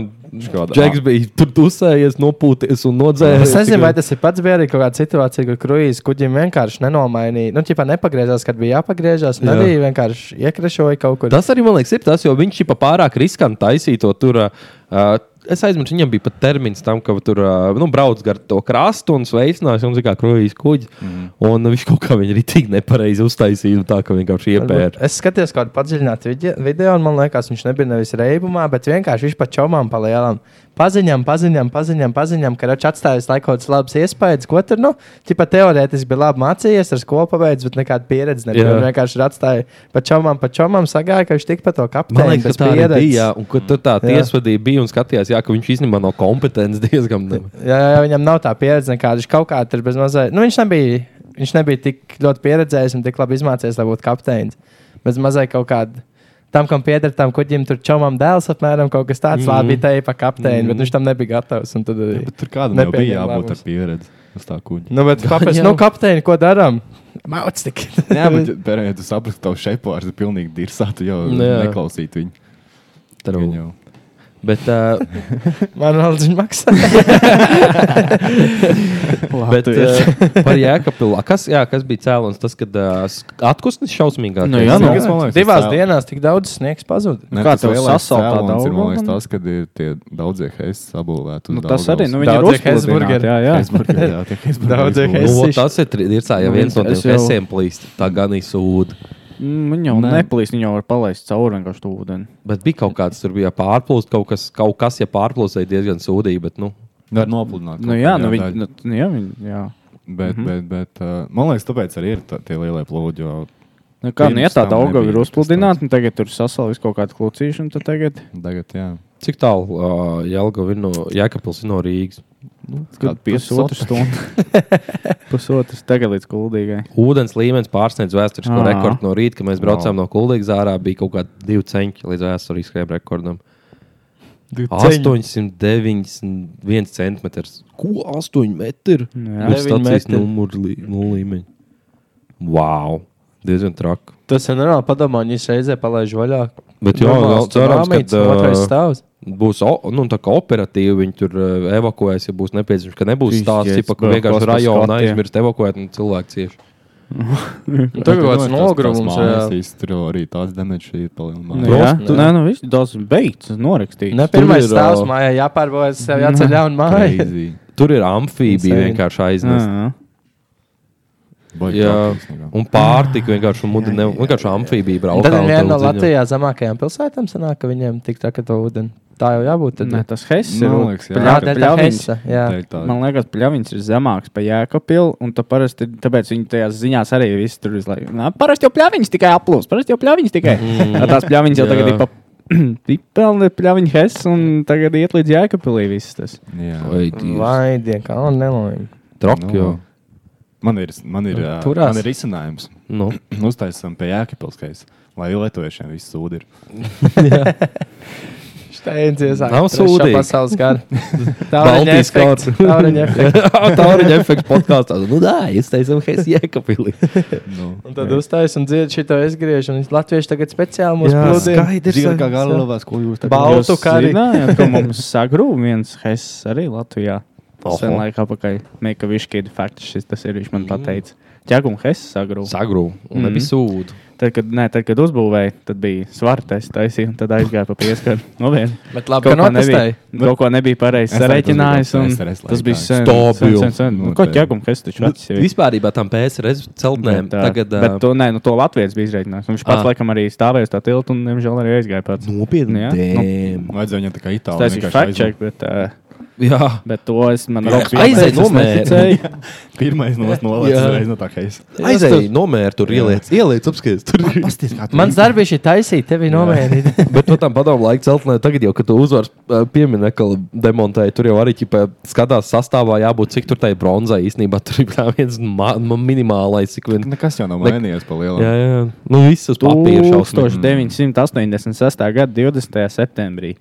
[SPEAKER 8] kāda-
[SPEAKER 1] Džeks bija tur dusējies, nopūties un nodzēries.
[SPEAKER 4] Es nezinu, vai tas ir pats bija arī kaut kāda situācija, kur kruīzes kuģim vienkārši nenomainīja. Nu, tipā nepagriezās, kad bija jāpagriezās, un
[SPEAKER 1] Jā.
[SPEAKER 4] arī vienkārši iekrešoja kaut kur.
[SPEAKER 1] Tas arī man liekas, ir tas, jo viņš jau pārāk riskanti taisīja to tur. Uh, es aizmirsu, viņam bija pat termins tam, ka tur uh, nu, brauc gar to krastu un sveicinās, un zina, kā kruīzes kuģis.
[SPEAKER 4] Mhm.
[SPEAKER 1] Mm. Un viņš kaut kā viņa rītīgi nepareizi uztaisīja, nu, tā ka vienkārši
[SPEAKER 4] Varbūt.
[SPEAKER 1] iepērta.
[SPEAKER 4] Es skatījos kādu padziļinātu vide- video, un man liekas, viņš nebija nevis reibumā, bet vienkārši viņš pa čomām palielām. Paziņām, paziņām, paziņām, paziņām, ka račs atstājas laikos labas iespējas, ko tur, nu, tipā teorētiski bija labi mācījies, ar skolu pabeidz, bet nekāda pieredze nebija.
[SPEAKER 1] Jā.
[SPEAKER 4] Viņš vienkārši ir atstāja pa čomām, pa čomām, sagāja, ka viņš tik pa to
[SPEAKER 1] Man
[SPEAKER 4] kapteini
[SPEAKER 1] liekas,
[SPEAKER 4] bez
[SPEAKER 1] ka tā arī
[SPEAKER 4] pieredzes.
[SPEAKER 1] bija. jā, Un, kad tur tā
[SPEAKER 4] Jā.
[SPEAKER 1] tiesvedība bija un skatījās, jā, ka viņš īstenībā nav kompetents diezgan.
[SPEAKER 4] Jā, jā, viņam nav tā pieredze, nekāda. Viņš kaut kā tur bez mazā. Nu, viņš, nebija, viņš nebija tik ļoti pieredzējis un tik labi izmācījies, lai būtu kapteinis. Bez mazā kaut kāda. Tam, kam pieder tam kuģim, tur čomam dēls apmēram kaut kas tāds, mm -hmm. labi, te ir pa kapteini, mm -hmm. bet viņš tam nebija gatavs. un Tad, arī...
[SPEAKER 8] Tur kādam jau
[SPEAKER 4] Nepieņem
[SPEAKER 8] bija jābūt ar
[SPEAKER 4] lēmums.
[SPEAKER 8] pieredzi uz tā kuģa.
[SPEAKER 4] Nu, bet kāpēc?
[SPEAKER 1] jau.
[SPEAKER 4] Nu, kapteini, ko darām? Mauc tik.
[SPEAKER 8] [LAUGHS] Jā, bet pērēji, ja tu saprati, ka tavu šepārs ir pilnīgi dirsā, tu jau
[SPEAKER 1] Nu, jā.
[SPEAKER 8] neklausītu viņu.
[SPEAKER 2] Nu,
[SPEAKER 8] Viņa
[SPEAKER 1] True.
[SPEAKER 8] jau.
[SPEAKER 1] Bet, uh,
[SPEAKER 4] [LAUGHS] Man alga maksā.
[SPEAKER 1] bet uh, par Jēkabilu. Kas, jā, kas bija cēlonis? Tas, kad uh, atpūsnis šausmīgāk.
[SPEAKER 2] Nu, jā, nu.
[SPEAKER 8] kas man liekas,
[SPEAKER 4] Divās
[SPEAKER 8] tas cēl-
[SPEAKER 4] dienās tik daudz sniegs pazuda.
[SPEAKER 8] Ne,
[SPEAKER 2] Kā
[SPEAKER 8] tas
[SPEAKER 2] tev
[SPEAKER 8] lielais
[SPEAKER 2] sasaukt tā
[SPEAKER 8] cēlonis ir, Man liekas,
[SPEAKER 2] Daugavas?
[SPEAKER 8] tas, kad ir tie daudzie heisi sabūvēti. uz
[SPEAKER 2] Nu, tas arī,
[SPEAKER 8] Daugavas.
[SPEAKER 2] nu, viņi ir
[SPEAKER 4] Daudzie
[SPEAKER 2] uzplūdināti.
[SPEAKER 4] Hesburgeri.
[SPEAKER 2] Jā, jā.
[SPEAKER 8] Heisburgeri, jā, tie Heisburgeri
[SPEAKER 4] Daudzie
[SPEAKER 8] izbūvēti.
[SPEAKER 1] Nu,
[SPEAKER 4] Es
[SPEAKER 1] vot
[SPEAKER 4] iš-
[SPEAKER 1] tas ir tri- ir tā, ja
[SPEAKER 2] Nu,
[SPEAKER 1] viens no tiem
[SPEAKER 2] es jau-
[SPEAKER 1] esiem plīst. Tā gan izsūda.
[SPEAKER 2] Mm, Viņi jau neplīs, viņi jau var palaist cauri vienkārši to ūdeni.
[SPEAKER 1] Bet bija kaut kāds, tur bija pārplūst, kaut kas, kaut kas ja pārplūsēja diezgan sūdīgi. Bet, nu,
[SPEAKER 8] Var nopludināt.
[SPEAKER 2] Nu,
[SPEAKER 8] kaut
[SPEAKER 2] jā,
[SPEAKER 8] kādā
[SPEAKER 2] nu, viņi,
[SPEAKER 8] daļā.
[SPEAKER 2] nu, mhm. t- nu, jā, viņi, jā.
[SPEAKER 8] Bet, bet, bet uh, man liekas, tāpēc arī ir tā, tie lielie plūdi. Jo
[SPEAKER 2] Nu, kā nu, ja
[SPEAKER 8] Pirms
[SPEAKER 2] tā
[SPEAKER 8] tam
[SPEAKER 2] auga
[SPEAKER 8] nebija
[SPEAKER 2] ir
[SPEAKER 8] nekas
[SPEAKER 2] uzpludināta, un tagad tur sasalvis kaut kāda klucīšana, tad tagad
[SPEAKER 8] tagad, jā,
[SPEAKER 1] cik tālu uh, Jēlgava ir no Jēkabils ir no Rīgas?
[SPEAKER 8] kāda
[SPEAKER 2] pusotru
[SPEAKER 8] [LAUGHS]
[SPEAKER 2] stundu. pusotru, tagad līdz kuldīgai.
[SPEAKER 1] Ūdens līmenis pārsniedz vēsturisko
[SPEAKER 2] Ā.
[SPEAKER 1] rekordu no rīta, kad mēs braucām no Kultūras ārā. Bija kaut kādi divi centi līdz vēsturiskajam rekordam. 891 centimetrs. Ko 8 metri?
[SPEAKER 2] Jā.
[SPEAKER 1] Tas
[SPEAKER 4] Deviņi
[SPEAKER 1] stācijas
[SPEAKER 4] metri.
[SPEAKER 1] numurs lī- nu, līmeņi. Wow! Diezgan traki.
[SPEAKER 4] Tas ir normāli padomā, un viņš reizē palaiž vaļā.
[SPEAKER 1] Bet jā,
[SPEAKER 4] Normāls
[SPEAKER 1] vēl cerams,
[SPEAKER 4] tsunami,
[SPEAKER 1] ka, ā,
[SPEAKER 4] otrais stāvs.
[SPEAKER 1] būs o- nu, tā kā operatīvi, viņi tur eh, evakuēs, ja būs nepieciešams. Ka nebūs
[SPEAKER 2] Tišķies,
[SPEAKER 1] tāds tipa, ka
[SPEAKER 2] bro,
[SPEAKER 1] vienkārši
[SPEAKER 2] kosmos
[SPEAKER 1] rajonā
[SPEAKER 2] skatie.
[SPEAKER 1] aizmirst evakuēt un cilvēki cieši.
[SPEAKER 4] Tur kaut kāds nogrūms. jā.
[SPEAKER 8] Tas tur jau arī tāds demečs ir
[SPEAKER 2] Nu,
[SPEAKER 8] palielināts.
[SPEAKER 2] jā,
[SPEAKER 1] tu-
[SPEAKER 2] nē, nu viss daudz beigts, norakstīts.
[SPEAKER 4] Ne pirmā
[SPEAKER 1] ir,
[SPEAKER 4] stāvā
[SPEAKER 1] ā, Mm.
[SPEAKER 4] mājā jāpārbojas, jau jāceļ jaunu māju.
[SPEAKER 8] Crazy.
[SPEAKER 1] Tur ir amfībija
[SPEAKER 4] Insane.
[SPEAKER 1] vienkārši
[SPEAKER 2] Jā,
[SPEAKER 1] aiznesa.
[SPEAKER 2] jā.
[SPEAKER 8] Baigi
[SPEAKER 1] Jā,
[SPEAKER 8] trauksmes nekā.
[SPEAKER 1] un pārtika vienkārši muda ne, vienkārši amfībija brauc.
[SPEAKER 4] Tad ir viena no Latvijas zemākajām pilsētām, sanāk, ka viņiem tik tā, ka to ūdeni. Tā jau jābūt. Tad,
[SPEAKER 2] Nē, tas Hess ir.
[SPEAKER 8] Man liekas, jā.
[SPEAKER 4] jā,
[SPEAKER 2] pļa-
[SPEAKER 4] tā ir tā
[SPEAKER 2] pļaviņas.
[SPEAKER 4] hesa. Jā,
[SPEAKER 8] Tā ir tā.
[SPEAKER 2] Man liekas, pļaviņš ir zemāks par Jēkabilu, un tā parasti, ir- tāpēc viņi tajās ziņās arī visu tur izlaiž. Parasti jau pļaviņš tikai aplūst, parasti jau pļaviņš tikai. Mm. Tās pļaviņas jau
[SPEAKER 1] Mhm. jā.
[SPEAKER 2] tagad ir pa [CLEARS THROAT] Pipelni, pļaviņš, Hess, un tagad iet līdz Jēkabpilī viss tas.
[SPEAKER 8] Jā. [LAUGHS]
[SPEAKER 1] Vai divi?
[SPEAKER 4] Vai dieka, un nelojumi.
[SPEAKER 1] Trok,
[SPEAKER 8] Nu,
[SPEAKER 1] jo.
[SPEAKER 8] Man ir, man ir, ā,
[SPEAKER 1] Nu, Turās.
[SPEAKER 8] man ir izcinājums.
[SPEAKER 1] Nu,
[SPEAKER 8] Uztaisām pie Jēkabpilskais, lai lietuviešiem viss sūdi ir.
[SPEAKER 4] Steidzies,
[SPEAKER 1] Nav sūdīgi.
[SPEAKER 4] pasaules
[SPEAKER 1] [LAUGHS]
[SPEAKER 4] gadu.
[SPEAKER 1] Baltijas kāds.
[SPEAKER 4] efekts. Tauriņa
[SPEAKER 1] [LAUGHS]
[SPEAKER 4] efekts.
[SPEAKER 1] tā ir efekts podkāstā. Nu, tā, es teicu, Hēs Jēkabili.
[SPEAKER 8] Nu,
[SPEAKER 4] Un tad uztais un dzied šito es griežu, un latvieši tagad speciāli mūs plūdīja.
[SPEAKER 8] Zinu, kā galvās, ko jūs tagad
[SPEAKER 4] Bal-
[SPEAKER 8] Bal...
[SPEAKER 4] Auto kā arī.
[SPEAKER 2] zinājāt, ka mums sagrūv viens Hess arī Latvijā.
[SPEAKER 1] Oho.
[SPEAKER 2] Sen laikā pakaļ. Meika Viškīda fakts šis tas ir, viņš man pateica. Ķēgum Hess sagrūv.
[SPEAKER 1] Sagrūvu un nebija sūdu.
[SPEAKER 2] Tad, kad, nē, tad, kad uzbūvēja, tad bija svartais taisīja, un tad aizgāja pa pieskaru. Nu, vien.
[SPEAKER 4] Bet labi, ka
[SPEAKER 2] ko
[SPEAKER 4] notestēji.
[SPEAKER 2] nebija, kaut ko nebija pareizi
[SPEAKER 8] Es arī
[SPEAKER 2] sareiķinājis,
[SPEAKER 8] tas biju
[SPEAKER 2] un
[SPEAKER 8] PSRS
[SPEAKER 2] tas bija
[SPEAKER 8] laikā.
[SPEAKER 2] sen.
[SPEAKER 1] Stop
[SPEAKER 2] sen,
[SPEAKER 1] jau.
[SPEAKER 2] sen, sen. Nu,
[SPEAKER 8] Nu,
[SPEAKER 2] ko
[SPEAKER 8] tā.
[SPEAKER 2] ķēgum Hess taču vecs jau ir.
[SPEAKER 1] Vispār tam PSRS celtnēm
[SPEAKER 2] Bet, ā,
[SPEAKER 1] tagad.
[SPEAKER 2] bet
[SPEAKER 1] ā,
[SPEAKER 2] to, nē, nu, to Latvijas bija izreikinājis. Viņš
[SPEAKER 1] Ā.
[SPEAKER 2] pats,
[SPEAKER 1] Nu,
[SPEAKER 2] laikam, arī stāvēja uz tā tilta un, nemžēl, arī aizgāja pats.
[SPEAKER 1] Nopietni.
[SPEAKER 2] Jā.
[SPEAKER 1] Dēm.
[SPEAKER 8] Nu, Vajadzēja viņam tā kā itāļu.
[SPEAKER 2] Tas ir faktček, bet, ā,
[SPEAKER 1] Jā.
[SPEAKER 2] bet to es man
[SPEAKER 8] Jā,
[SPEAKER 2] Robs
[SPEAKER 1] aizej
[SPEAKER 2] pateica, es
[SPEAKER 1] nomēri.
[SPEAKER 2] neticēju.
[SPEAKER 8] Pirmais
[SPEAKER 1] [LAUGHS]
[SPEAKER 8] no mums
[SPEAKER 1] Jā.
[SPEAKER 8] nolaists reiz no tā heisa.
[SPEAKER 1] Aizēj, nomēr tur ieliec, ieliec apskaties. Tur ir.
[SPEAKER 4] Mans darbs ir taisīt, tevi nomērīt.
[SPEAKER 1] [LAUGHS] Bet no tām padomu laika celtnē, tagad jau, kad tu uzvaras pieminiektu demontēji, tur jau arī ķipa, skatās sastāvā jābūt, cik tur tai bronzai īstenībā tur ir tā viens ma- ma- minimālais, cik vien.
[SPEAKER 8] Nekas jau nav mainījies pa lielu.
[SPEAKER 1] Jā, jā. Nu, viss uz papīra šausmīgi.
[SPEAKER 2] 1986. gada 20. septembrī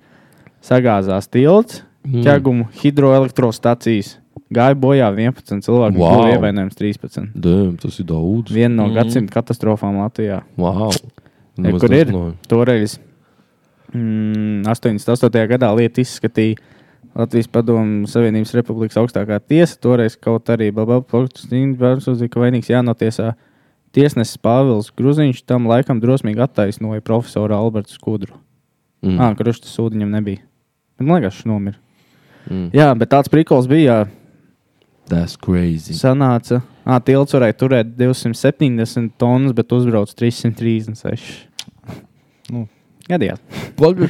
[SPEAKER 2] sagāzās tilts
[SPEAKER 1] Mm.
[SPEAKER 2] ķēgumu hidroelektrostacijas. Gāja bojā 11 cilvēku,
[SPEAKER 1] Wow.
[SPEAKER 2] wow. ievainojums 13.
[SPEAKER 1] Dēm, tas ir daudz.
[SPEAKER 2] Viena no gadsimta katastrofām Latvijā.
[SPEAKER 1] Wow.
[SPEAKER 2] Ja,
[SPEAKER 1] Nemaz
[SPEAKER 2] E, kur ir?
[SPEAKER 1] nezināju.
[SPEAKER 2] Toreiz mm, 88. gadā lieta izskatīja Latvijas Padomu Savienības Republikas augstākā tiesa. Toreiz kaut arī Babauts uzzīmēja, ka vainīgs jānotiesā tiesnesis Pāvils Gruziņš. Tam laikam drosmīgi attaisnoja profesoru Albertu Skudru. Mm. Ah, Krusta sūdu viņam nebija. Bet, Man liekas, viņš nomira. Mm. Jā, bet tāds priklis bija. jā.
[SPEAKER 1] That's crazy.
[SPEAKER 2] Sanāca, ka tilts varēja turēt 270 tonnas, bet uzbrauc 336.
[SPEAKER 8] Nu.
[SPEAKER 2] Gadījās.
[SPEAKER 1] Pagad,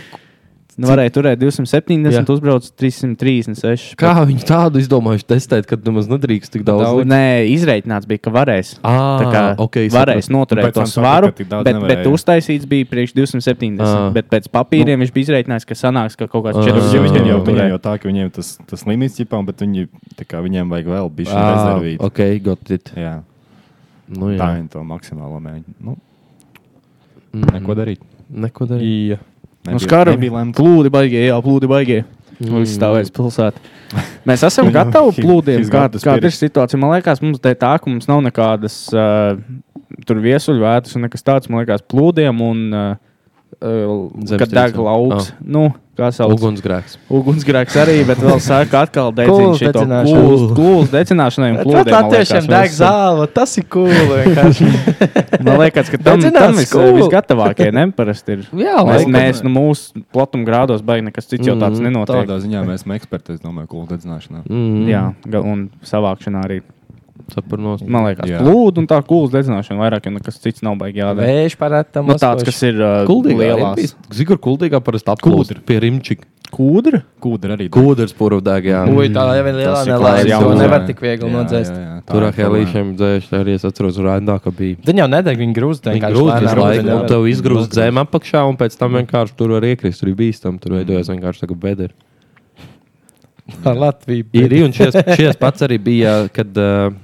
[SPEAKER 2] Nu, varēja turēt 270,
[SPEAKER 1] Jā.
[SPEAKER 2] jā. uzbrauc 336.
[SPEAKER 1] kā viņi tādu izdomājuši testēt, kad nemaz nedrīkst tik daudz?
[SPEAKER 2] Daudz,
[SPEAKER 1] likt?
[SPEAKER 2] nē, izreikināts bija, ka varēs.
[SPEAKER 1] Ā,
[SPEAKER 2] tā kā
[SPEAKER 1] ok,
[SPEAKER 2] varēs
[SPEAKER 1] sapratu.
[SPEAKER 8] Un pēc
[SPEAKER 2] noturēt to
[SPEAKER 8] tam
[SPEAKER 2] svaru,
[SPEAKER 8] sapratu, ka tik daudz
[SPEAKER 2] bet, bet
[SPEAKER 8] nevarēja.
[SPEAKER 2] uztaisīts bija priekš 270.
[SPEAKER 1] Ā.
[SPEAKER 2] Bet pēc papīriem nu. viņš bija izreikinājis, ka sanāks ka kaut kāds
[SPEAKER 1] Ā.
[SPEAKER 8] Viņam,
[SPEAKER 2] 40.
[SPEAKER 1] Jā,
[SPEAKER 8] viņam, jau, viņam
[SPEAKER 2] turēt.
[SPEAKER 8] jau tā, ka viņiem tas, tas limits ķipām, bet viņi, tā kā, viņiem vajag vēl bišķi
[SPEAKER 1] Ah,
[SPEAKER 8] rezervīt.
[SPEAKER 1] ok, got it.
[SPEAKER 8] Jā,
[SPEAKER 1] Nu,
[SPEAKER 8] tā
[SPEAKER 1] jā.
[SPEAKER 8] ir to maksimālo mēģi. Nu,
[SPEAKER 1] Mm. Mhm.
[SPEAKER 8] neko darīt.
[SPEAKER 1] Neko darīt.
[SPEAKER 2] Nu, skara
[SPEAKER 8] nebija
[SPEAKER 2] bija
[SPEAKER 8] lemts.
[SPEAKER 2] plūdi baigie, jā, plūdi baigie. Mm. Stāvēs pilsētā. Mēs esam gatavi plūdiem.
[SPEAKER 8] he's
[SPEAKER 2] Kā,
[SPEAKER 8] got the
[SPEAKER 2] kāda ir
[SPEAKER 8] spirit.
[SPEAKER 2] situācija? Man liekas, mums te tā, ka mums nav nekādas uh, tur viesuļvētas un nekas tāds. Man liekas, plūdiem un uh, uh,
[SPEAKER 1] Zemes
[SPEAKER 2] kad deg
[SPEAKER 1] tirdzniecība.
[SPEAKER 2] lauks.
[SPEAKER 1] Ah.
[SPEAKER 2] Oh. Nu, kā sauc?
[SPEAKER 1] Ugunsgrēks.
[SPEAKER 2] Ugunsgrēks arī, bet vēl saka, atkal dedzina
[SPEAKER 4] Kūls
[SPEAKER 2] šito
[SPEAKER 4] dedzināšana.
[SPEAKER 2] kūls- kūls decināšanai un
[SPEAKER 4] Tad
[SPEAKER 2] plūdiem. man
[SPEAKER 4] latviešiem
[SPEAKER 2] liekas,
[SPEAKER 4] deg
[SPEAKER 2] mēs-
[SPEAKER 4] zāle, tas ir cool.
[SPEAKER 1] [LAUGHS]
[SPEAKER 2] Man liekas, ka tam,
[SPEAKER 4] Dedzinās
[SPEAKER 2] tam vis,
[SPEAKER 4] kūlu.
[SPEAKER 2] visgatavākie neparasti ir.
[SPEAKER 1] Jā,
[SPEAKER 2] Mēs,
[SPEAKER 1] laikam.
[SPEAKER 2] mēs nu, mūsu platumgrādos baigi nekas cits jau tāds
[SPEAKER 1] Mhm.
[SPEAKER 2] nenotiek.
[SPEAKER 8] Nu, Tādā ziņā mēs esam eksperti, es domāju, kūlu dedzināšanā.
[SPEAKER 1] Mm,
[SPEAKER 2] Jā, ga- un savākšanā arī.
[SPEAKER 1] sapratu.
[SPEAKER 2] Man liekas,
[SPEAKER 8] Jā.
[SPEAKER 2] plūdu un tā kūlas dedzināšana vairāk, ja nekas cits nav baigi jādara.
[SPEAKER 4] Vēž parātam.
[SPEAKER 2] Nu, tāds, kas ir uh, lielās
[SPEAKER 1] Zigur, kuldīgā parasti apgūta pie rimčika.
[SPEAKER 2] kūdra.
[SPEAKER 8] Kūdra arī.
[SPEAKER 1] Kūders purvdāk, jā.
[SPEAKER 4] Ui, tā jau ir lielā
[SPEAKER 8] Tas ir
[SPEAKER 4] nelaime.
[SPEAKER 1] klāts
[SPEAKER 4] To
[SPEAKER 1] jaunums.
[SPEAKER 4] nevar tik viegli
[SPEAKER 8] Jā,
[SPEAKER 4] nodzēst.
[SPEAKER 8] jā, jā, tā
[SPEAKER 1] Tur
[SPEAKER 8] ir
[SPEAKER 1] ar
[SPEAKER 8] problēma.
[SPEAKER 1] helīšiem dzēšļi arī es atceros rāndā, ka bija.
[SPEAKER 4] Viņa jau nedeg, viņa grūz.
[SPEAKER 1] Viņa grūti visu
[SPEAKER 8] grūti
[SPEAKER 1] laiku, un
[SPEAKER 8] nevar.
[SPEAKER 1] tev izgrūst
[SPEAKER 8] Nogrūst.
[SPEAKER 1] zem apakšā, un pēc tam vienkārši tur var iekrist, tur ir bīstam, tur veidojas vienkārši tā kā bederi.
[SPEAKER 4] Ar Latviju.
[SPEAKER 1] Ir, ir, un
[SPEAKER 8] [LAUGHS]
[SPEAKER 1] šies, šies pats arī bija, kad uh,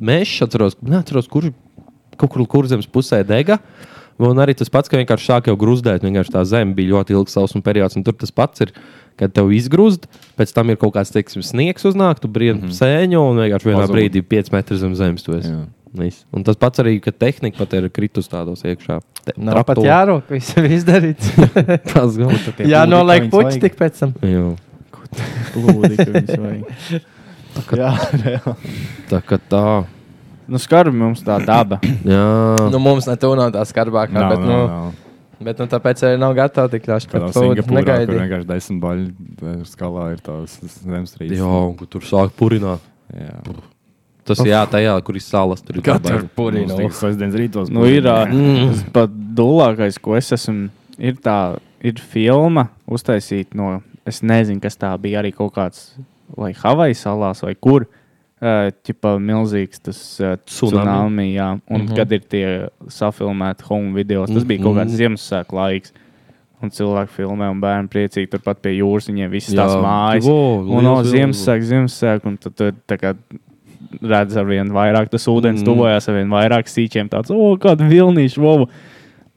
[SPEAKER 1] mēs atceros, neatceros, kurš kaut kur, kur zemes pusē dega. Un arī tas pats, ka vienkārši sāk jau grūzdēt, vienkārši tā zeme bija ļoti ilgs sausuma periods, un tur tas pats ir, kad tev izgrūst, pēc tam ir kaut kāds, teiksim, sniegs uznāk, tu brīdi mm -hmm. sēņo, un vienkārši vienā
[SPEAKER 8] Mhm. Pazūd.
[SPEAKER 1] brīdī 5 metrus zem zemes tu esi.
[SPEAKER 8] Jā.
[SPEAKER 1] Viss. Un tas pats arī, ka tehnika pat ir kritus tādos iekšā. Te-
[SPEAKER 4] Nav pat
[SPEAKER 1] traktori.
[SPEAKER 4] jārūk, viss ir izdarīts.
[SPEAKER 1] [LAUGHS] Tas gan tā.
[SPEAKER 8] Tie
[SPEAKER 4] [LAUGHS] Jā,
[SPEAKER 8] plūdi,
[SPEAKER 4] noliek
[SPEAKER 8] kā viņus
[SPEAKER 4] puķi tik pēc tam.
[SPEAKER 1] Jā,
[SPEAKER 2] Plūdi, ka viņas vajag.
[SPEAKER 4] [LAUGHS]
[SPEAKER 8] vajag. Jā, reāli.
[SPEAKER 1] tā kā tā.
[SPEAKER 2] Nu, skarbi mums tā daba.
[SPEAKER 1] Jā.
[SPEAKER 4] Nu, mums ne tu nav tā skarbākā,
[SPEAKER 8] Nav,
[SPEAKER 4] bet,
[SPEAKER 8] nav,
[SPEAKER 4] nu,
[SPEAKER 8] nav.
[SPEAKER 4] bet nu, tāpēc arī nav gatava tik ļoti
[SPEAKER 8] Kādā
[SPEAKER 4] plūdu.
[SPEAKER 8] Singapūrā, kur
[SPEAKER 4] Negaidīju.
[SPEAKER 8] vienkārši desmit baļu e, skalā ir tās zemstrīdes.
[SPEAKER 1] Jā, un kur tur sāk purināt.
[SPEAKER 4] [LAUGHS]
[SPEAKER 8] Jā.
[SPEAKER 1] Tas jā, tajā, kur ir salas, tur ir
[SPEAKER 4] Katru
[SPEAKER 8] Mums
[SPEAKER 4] purinu.
[SPEAKER 8] tikai sestdienas rītos.
[SPEAKER 2] Nu, ir tas
[SPEAKER 1] Mm.
[SPEAKER 2] pat dulākais, ko es esmu. Ir tā, ir filma uztaisīta no, es nezinu, kas tā bija. Arī kaut kāds, vai Havajas salās, vai kur. Ķipa milzīgs tas uh,
[SPEAKER 1] Tsunami. Mhm.
[SPEAKER 2] tsunami, jā.
[SPEAKER 1] Mhm.
[SPEAKER 2] Un mm -hmm. kad ir tie safilmēti home video, tas bija kaut kāds Ziemassvētku laiks. Un cilvēki filmē, un bērni priecīgi turpat pie jūras. Viņiem viss
[SPEAKER 1] Jā.
[SPEAKER 2] tās mājas.
[SPEAKER 1] Wow,
[SPEAKER 2] un no
[SPEAKER 1] liels
[SPEAKER 2] Ziemassvētku, Ziemassvētku, un tad tur tā kā redz ar vien vairāk, tas ūdens
[SPEAKER 1] Mm.
[SPEAKER 2] mm. tuvojās ar vien vairāk sīķiem. Tāds, o, kāda vilnīša, wow!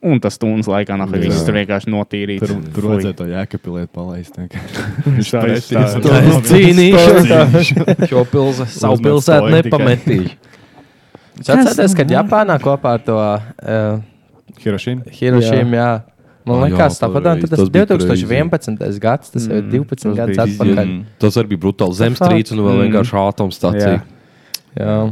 [SPEAKER 2] Un tas stundas laikā nav
[SPEAKER 8] Jā.
[SPEAKER 2] viss tur vienkārši notīrīts.
[SPEAKER 8] Tur, tur
[SPEAKER 2] Fui.
[SPEAKER 8] vajadzēja to jēkapilēt, palaist. [LAUGHS] Viņš
[SPEAKER 2] tā
[SPEAKER 8] pretīs
[SPEAKER 2] tā-
[SPEAKER 8] un
[SPEAKER 2] tā
[SPEAKER 4] Nu,
[SPEAKER 8] tā-
[SPEAKER 1] Es cīnīšos. Šo pilsētu, savu
[SPEAKER 8] Uzmet
[SPEAKER 1] pilsētu
[SPEAKER 8] stoju tikai.
[SPEAKER 1] nepametīšu.
[SPEAKER 4] Es atceros, kad Japānā kopā ar to uh,
[SPEAKER 8] Hirošīna.
[SPEAKER 4] Hirošiem, jā. Man
[SPEAKER 1] Ah, jā,
[SPEAKER 4] liekas, tāpat
[SPEAKER 1] pareizi.
[SPEAKER 4] tas
[SPEAKER 1] Tas
[SPEAKER 4] ir
[SPEAKER 1] bija
[SPEAKER 4] 2011. gads, tas jau ir 12
[SPEAKER 2] tas
[SPEAKER 4] gadus
[SPEAKER 2] bija
[SPEAKER 4] atpakaļ.
[SPEAKER 1] Tas arī bija brutāli. Zemstrīds un vēl
[SPEAKER 2] Mm.
[SPEAKER 1] vienkārši atomstācija.
[SPEAKER 2] Jā.
[SPEAKER 4] Jā. Nu,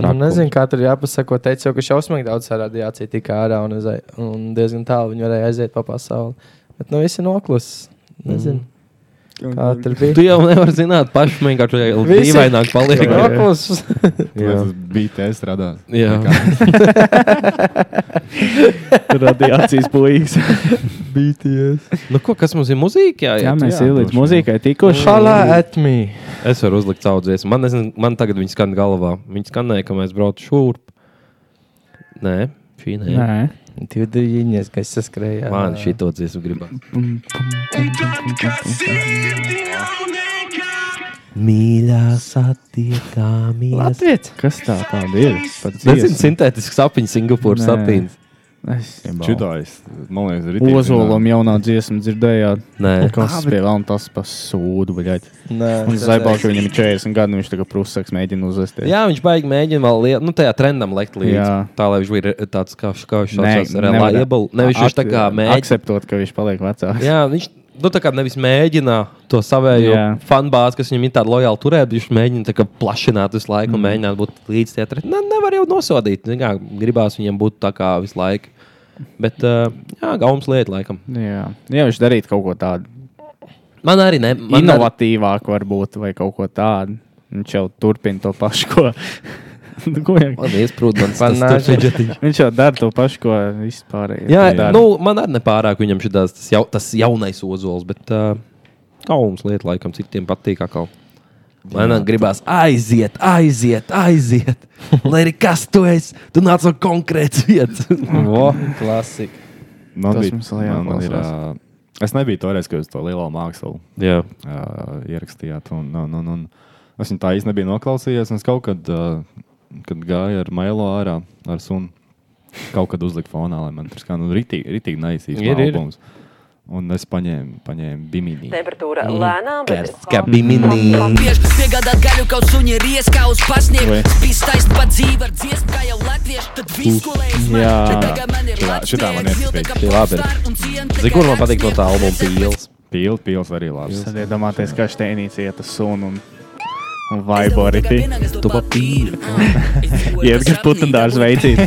[SPEAKER 1] Trakums.
[SPEAKER 4] nezinu, kā tur jāpasako. Teicu, jau, ka šausmīgi daudz tā radiācija tika ārā un, aizai, un diezgan tālu viņi varēja aiziet pa pasauli. Bet nu viss ir noklusis. Nezinu, mm. kā tur bija.
[SPEAKER 1] Tu jau nevari zināt, pašam vienkārši ir
[SPEAKER 4] Visi-
[SPEAKER 1] dīvaināk paliek.
[SPEAKER 4] Jā, noklusis.
[SPEAKER 1] Jā.
[SPEAKER 8] Tas bija tas radās.
[SPEAKER 1] Jā.
[SPEAKER 8] [LAUGHS]
[SPEAKER 2] Tur [LAUGHS] radiācijas puikas.
[SPEAKER 4] BTS.
[SPEAKER 1] Nu, ko, kas mums ir mūzika?
[SPEAKER 2] [LAUGHS] Jā, mēs
[SPEAKER 8] jā,
[SPEAKER 2] jau līdz
[SPEAKER 8] droši
[SPEAKER 2] muzikai tikuši.
[SPEAKER 4] Šalā at me.
[SPEAKER 1] Es varu uzlikt savu dziesmu. Man, nezinu, man tagad viņa skan galvā. Viņa skanēja, ka mēs braucam šurp. Nē, šī nē. nē.
[SPEAKER 2] Nē,
[SPEAKER 4] Divi diņas, kas saskrēja.
[SPEAKER 1] Man šī to dziesmu gribas. Mīļās attiekāmies.
[SPEAKER 4] Latvijas.
[SPEAKER 2] kas tā tāda ir? Pat
[SPEAKER 1] Nezinu,
[SPEAKER 2] dziesma.
[SPEAKER 1] sintētisks sapņu Singapūras
[SPEAKER 2] Nē.
[SPEAKER 1] sapņu.
[SPEAKER 2] Es-
[SPEAKER 8] Čudājis. Man liekas, arī
[SPEAKER 2] Ozolam jaunā dziesma dzirdējāt.
[SPEAKER 1] Nē,
[SPEAKER 2] Kas bija vēl un tas pasūdu, vaļai.
[SPEAKER 4] Nē,
[SPEAKER 2] Un zaibāk, ka viņam ir 40 gadi, un viņš tagad prusaks mēģina uzvesties.
[SPEAKER 1] Jā, viņš baigi mēģina vēl lietot, nu, tajā trendam likt līdzi. Jā.
[SPEAKER 2] Jā.
[SPEAKER 1] Tā lai viņš būtu tāds kā viņš kaut
[SPEAKER 2] Nē,
[SPEAKER 1] kāds
[SPEAKER 2] nevar-
[SPEAKER 1] reliable. Nevis viņš tā kā
[SPEAKER 2] ak-
[SPEAKER 1] mēģina.
[SPEAKER 2] Akceptot, ka viņš paliek vecāks.
[SPEAKER 1] Jā, viņš nu, tā kā nevis mēģina to savējo
[SPEAKER 2] Jā.
[SPEAKER 1] fanbāzi, kas viņam ir tāda lojāla turēt, bet viņš mēģina tā kā plašināt visu laiku un mēģināt būt līdz tie trendam. Ne, nevar jau nosodīt. Zin Kā, gribās viņam būt tā kā visu laiku. Bet, uh, jā, gaumas lieta, laikam.
[SPEAKER 2] [LAUGHS] Jā. Nu jā, viņš darītu kaut ko tādu
[SPEAKER 1] Man arī ne. Man arī,
[SPEAKER 2] inovatīvāku, varbūt, vai kaut ko tādu. Viņš jau turpina to pašu, ko. [LAUGHS] Nu, ko jau-
[SPEAKER 1] man iesprūd, man
[SPEAKER 4] Man
[SPEAKER 1] tas tur
[SPEAKER 4] nāk-
[SPEAKER 1] fidžetiņš.
[SPEAKER 2] viņš jau dara to pašu, ko vispār.
[SPEAKER 1] Jā, nu, man arī nepārāk viņam šitās, tas, jau, tas jaunais ozols, bet uh, kauns lieta laikam citiem patīk. Akal. Man jā, gribās aiziet, aiziet, [LAUGHS] aiziet. Lai arī kas tu esi, tu nāc no konkrētas [LAUGHS] vietas.
[SPEAKER 4] Klasika.
[SPEAKER 8] Man
[SPEAKER 2] Tas
[SPEAKER 8] bija,
[SPEAKER 2] mums vēl
[SPEAKER 8] man, man ir,
[SPEAKER 2] jāklausās.
[SPEAKER 8] uh, es nebiju toreiz, kad jūs to lielo mākslu
[SPEAKER 1] jā,
[SPEAKER 8] uh, ierakstījāt. Un, un, un, un es viņu tā īsti nebiju noklausījies. un Es kaut kad, uh, kad gāju ar mailo ārā ar sunu, kaut kad uzliku fonā, lai man tur skan nu, rītīgi naisīgs
[SPEAKER 1] Ir, ir.
[SPEAKER 8] albums. Un es paņēmu, paņēmu bimini.
[SPEAKER 9] Temperatūra
[SPEAKER 1] Mm.
[SPEAKER 9] lēnām, bet
[SPEAKER 1] skati minī.
[SPEAKER 10] Latviešu piegādāt gaļu kaut suņi rieskā uz pasniegu. Spīs taisn pa dzīvi ar dziesmu, kā jau latviešu, tad visu, ko lai es
[SPEAKER 2] Jā.
[SPEAKER 10] man. Tagad man ir
[SPEAKER 8] Šitā- šitā man
[SPEAKER 10] Latvijas,
[SPEAKER 8] nepatīk.
[SPEAKER 10] zilta kā
[SPEAKER 1] Šī labi ir.
[SPEAKER 10] popstar un cienta
[SPEAKER 1] Zini,
[SPEAKER 10] kā
[SPEAKER 1] kur man patīk no tā
[SPEAKER 10] rāksnieks.
[SPEAKER 1] albuma pīls?
[SPEAKER 8] Pils, pils arī labs.
[SPEAKER 2] Tad iedomājieties, kā šteinīts iet uz sunu un, un vaibo arī tī.
[SPEAKER 1] Tu pa pīli. [LAUGHS]
[SPEAKER 2] Iet, kas putendārs veicīt.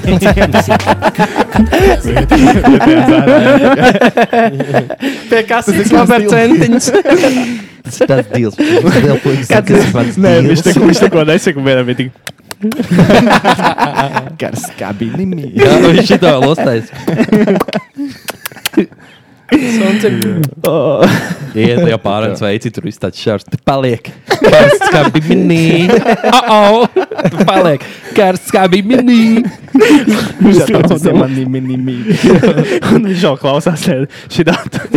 [SPEAKER 4] Pie kas ir labs centiņš?
[SPEAKER 1] Tas [LAUGHS] dīls. Kāds
[SPEAKER 2] Nē, viņš tik- viņš neko nesaka, vienam ir tik. [LAUGHS] Gars kabinimi.
[SPEAKER 1] Jā, nu, viņš šitā vēl ostais. Oh. Iet, ja pārējais veici, tur viss tāds šārs. Tu paliek. Karsts kā bija minī. Oh, oh. Tu paliek. Karsts kā bija minī.
[SPEAKER 2] Viņš jau tādā mazā [LAUGHS] nelielā formā. Viņš jau klausās šī [LAUGHS] data.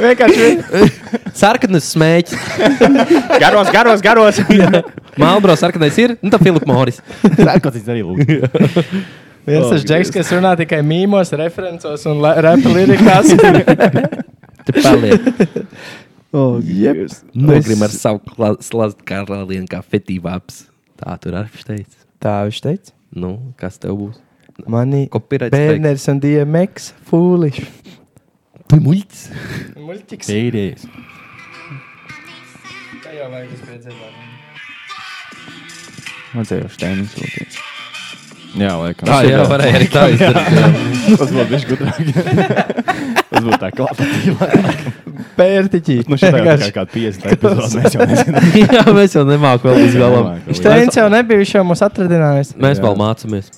[SPEAKER 2] Vienkārši
[SPEAKER 1] Sarkanas smēķis.
[SPEAKER 2] garos, garos, [LAUGHS] garos.
[SPEAKER 1] Malbro sarkanais ir. Nu, tā Filipa Moris.
[SPEAKER 8] Tā kā tas arī lūk.
[SPEAKER 4] Viens tas džeks, kas runā tikai mīmos, referencos un la- rap lirikās.
[SPEAKER 1] Tu paliek.
[SPEAKER 2] Jep.
[SPEAKER 1] Nogrim ar savu kla- slazdu karalienu kā fetīvāps. Tā tur arī viņš teica.
[SPEAKER 4] [LAUGHS] Tā viņš teica.
[SPEAKER 1] Nu, kas tev būs?
[SPEAKER 4] Mani
[SPEAKER 1] Copyright
[SPEAKER 4] bērners un DMX fūliš.
[SPEAKER 1] Tu muļķis.
[SPEAKER 4] Multiks.
[SPEAKER 8] Pēdējais.
[SPEAKER 2] Man te jau steinis lūdzu.
[SPEAKER 8] Jā, laikam.
[SPEAKER 1] Tā jau varēja arī [LAUGHS] tā izdarīt.
[SPEAKER 8] Tas būtu bijis [LAUGHS] gudrāk. Tas būtu tā kā plakāta.
[SPEAKER 4] Pērtiķī.
[SPEAKER 8] Nu, šī ir kaut kāda 50 epizode. Mēs jau nezinām.
[SPEAKER 1] [LAUGHS] Jā, mēs jau nemāku vēl līdz galam.
[SPEAKER 4] Steins jau nebija, viņš jau mums atradinājis.
[SPEAKER 1] Mēs
[SPEAKER 8] Jā.
[SPEAKER 1] vēl mācāmies.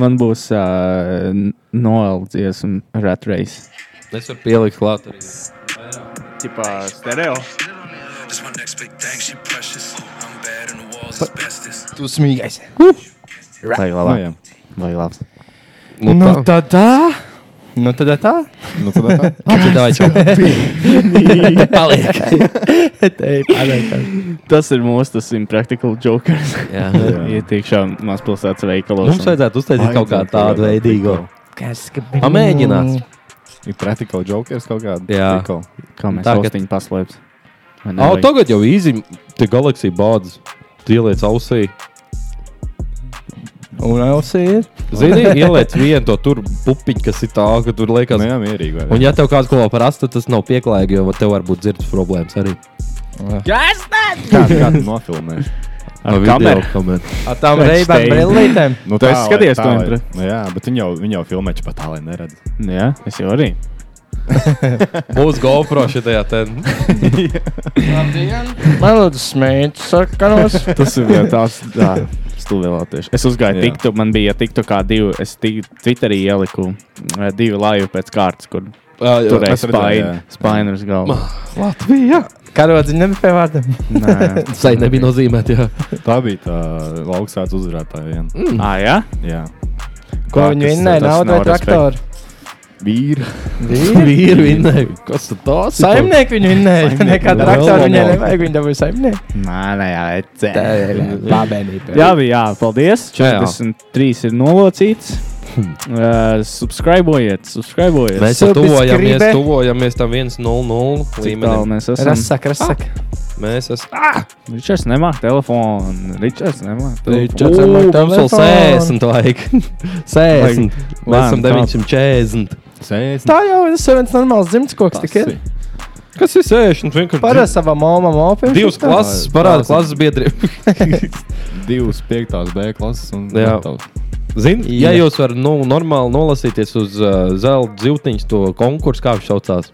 [SPEAKER 2] Man būs uh, noeldzies un rat race.
[SPEAKER 1] Es varu pielikt klāt arī.
[SPEAKER 2] Tipā stereo.
[SPEAKER 4] Tu smīgais.
[SPEAKER 2] Vai
[SPEAKER 8] Nu, jā.
[SPEAKER 2] Vai labs.
[SPEAKER 4] Nu, tā tā. Nu, tad tā.
[SPEAKER 8] Nu, tad tā.
[SPEAKER 1] Tad davai čau. [LAUGHS] Paliek.
[SPEAKER 4] Te ir pateikta.
[SPEAKER 2] Tas ir mūsu tas impraktikal
[SPEAKER 4] [LAUGHS]
[SPEAKER 2] jokers. [LAUGHS]
[SPEAKER 1] Jā.
[SPEAKER 2] Ietīkšā mazpilsētas veikalos.
[SPEAKER 1] Mums vajadzētu uztaisīt kaut kā tādu veidīgu. Pamēģināt.
[SPEAKER 8] Ir praktiski jokers kaut kāda.
[SPEAKER 1] Jā.
[SPEAKER 8] Tikko.
[SPEAKER 2] kā mēs
[SPEAKER 1] Tagad-
[SPEAKER 2] tagad... viņu paslēpsim. Vai
[SPEAKER 1] Au,
[SPEAKER 2] nevajag?
[SPEAKER 1] tagad jau īzi tie galaxija bādas. Ieliec ausī.
[SPEAKER 4] Un ausī ir.
[SPEAKER 1] Zini, ieliec vienu to tur pupiņu, kas ir tā, ka tur
[SPEAKER 8] Nu,
[SPEAKER 1] liekas.
[SPEAKER 8] jā, mierīgi. vai ne?
[SPEAKER 1] Un ja tev kāds kaut ko parasta, tad tas nav pieklājīgi, jo tev var būt dzirdes problēmas arī.
[SPEAKER 8] kā kā tu nofilmē?
[SPEAKER 2] ar
[SPEAKER 1] video
[SPEAKER 2] kameru.
[SPEAKER 1] kameru.
[SPEAKER 4] Ar tām
[SPEAKER 2] Pēc
[SPEAKER 4] reibām
[SPEAKER 2] tevis.
[SPEAKER 4] brillītēm.
[SPEAKER 8] Nu,
[SPEAKER 2] Tu esi
[SPEAKER 8] lai-
[SPEAKER 2] skatījies
[SPEAKER 8] tā,
[SPEAKER 2] to
[SPEAKER 8] lai-
[SPEAKER 2] intro?
[SPEAKER 8] Nu, jā, bet viņi jau, viņi jau filmē čipā tā, lai neredz.
[SPEAKER 2] Jā, es jau arī.
[SPEAKER 1] Būs GoPro šajā ten.
[SPEAKER 4] Man lūdzu, smēķi sakaros.
[SPEAKER 2] Tas ir jau tāds stulbēlāties. Es uzgāju
[SPEAKER 8] Jā.
[SPEAKER 2] tiktu, man bija tiktu kā divi. Es ti- Twitterī ieliku eh, divi laivu pēc kārtas, kur tur bija
[SPEAKER 8] es redzēju, jā.
[SPEAKER 2] spaiņa uz galvas.
[SPEAKER 4] [LAUGHS]
[SPEAKER 1] Latvija.
[SPEAKER 4] Karodziņa nebija pie vārdiem.
[SPEAKER 2] Nē,
[SPEAKER 1] Sai nebija nozīmēta, jā.
[SPEAKER 8] Tā bija tā lauksāts uzvarētāja viena.
[SPEAKER 2] ah, jā.
[SPEAKER 8] Jā.
[SPEAKER 4] Ko
[SPEAKER 2] Tā,
[SPEAKER 4] viņi
[SPEAKER 2] tas-
[SPEAKER 4] vinnēja?
[SPEAKER 2] tas
[SPEAKER 4] Naudu vai
[SPEAKER 2] nav
[SPEAKER 4] traktoru?
[SPEAKER 8] Vīri.
[SPEAKER 1] Vīri vinnēja. Kas tas ir?
[SPEAKER 4] Saimnieku viņi vinnēja. Nekā
[SPEAKER 1] Saimnieki.
[SPEAKER 4] traktoru viņai
[SPEAKER 1] Vēl labāk.
[SPEAKER 4] nevajag. Viņi dabūja saimnieku.
[SPEAKER 2] Nā, nē, jā, ecē.
[SPEAKER 4] Labi.
[SPEAKER 2] jā, bija, jā, paldies.
[SPEAKER 1] Jā, jā.
[SPEAKER 2] 43 ir nolocīts. Uh, subscribojiet, subscribojiet.
[SPEAKER 1] Mēs jau tuvojamies,
[SPEAKER 4] Subscribe.
[SPEAKER 1] tuvojamies tam 1-0-0
[SPEAKER 2] Cik tālu
[SPEAKER 1] līmenim.
[SPEAKER 2] mēs esam.
[SPEAKER 4] Rasak, rasak.
[SPEAKER 1] Mēs esam.
[SPEAKER 2] Ričards nemāk telefonu. Ričards nemāk telefonu.
[SPEAKER 4] Čau, cem, ar
[SPEAKER 1] Mums vēl
[SPEAKER 4] telefonu.
[SPEAKER 1] 60 vajag. 60. Mēs
[SPEAKER 2] lēni,
[SPEAKER 1] esam 940.
[SPEAKER 8] Sēs.
[SPEAKER 4] Tā jau ir viens normāls dzimts koks. tik ir.
[SPEAKER 1] Kas ir 60? Vienkārši
[SPEAKER 4] Parasti savam mamam opiem.
[SPEAKER 1] Divas klases, parāda klases biedriem.
[SPEAKER 8] Divas piektās B klases un
[SPEAKER 1] Jā.
[SPEAKER 8] gatavs.
[SPEAKER 1] Zini, [LAUGHS] ja jūs varat nu, normāli nolasīties uz uh, zelta zīltiņa to konkursu, kā viņš saucās.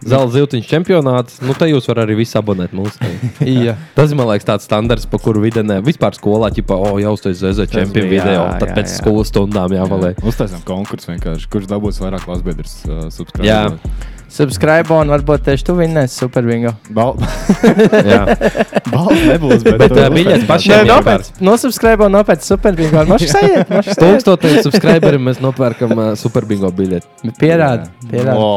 [SPEAKER 1] Zelta zīltiņa čempionāts, nu te jūs varat arī visu abonēt mums. [LAUGHS]
[SPEAKER 4] Jā.
[SPEAKER 1] Tas ir man liekas tāds standarts, pa kuru vidienē vispār skolā ķipa, o, oh, jau uztais ZZ čempionu
[SPEAKER 2] bija,
[SPEAKER 1] video,
[SPEAKER 2] jā,
[SPEAKER 1] tad
[SPEAKER 2] jā,
[SPEAKER 1] pēc
[SPEAKER 2] jā.
[SPEAKER 1] skolas stundām jāvalē.
[SPEAKER 8] Uztaisām konkursu vienkārši. Kurš dabūs vairāk klasbiedrs uh, subscribe?
[SPEAKER 1] Jā.
[SPEAKER 4] Subscribe un varbūt tieši tu vinnēsi Super Bingo.
[SPEAKER 8] Bal [LAUGHS]
[SPEAKER 1] [LAUGHS] Jā,
[SPEAKER 8] balss nebūs, bet,
[SPEAKER 1] bet
[SPEAKER 8] uh,
[SPEAKER 1] uh, biļets pašiem
[SPEAKER 4] Nē,
[SPEAKER 1] jāpērk.
[SPEAKER 4] nopietni. Nosubscribe un nopietni Super Bingo. Maš sajiet, maš sajiet.
[SPEAKER 1] Tūkstotajiem subscriberiem mēs nopērkam uh, superbingo biļeti.
[SPEAKER 4] Pierādi, pierādi.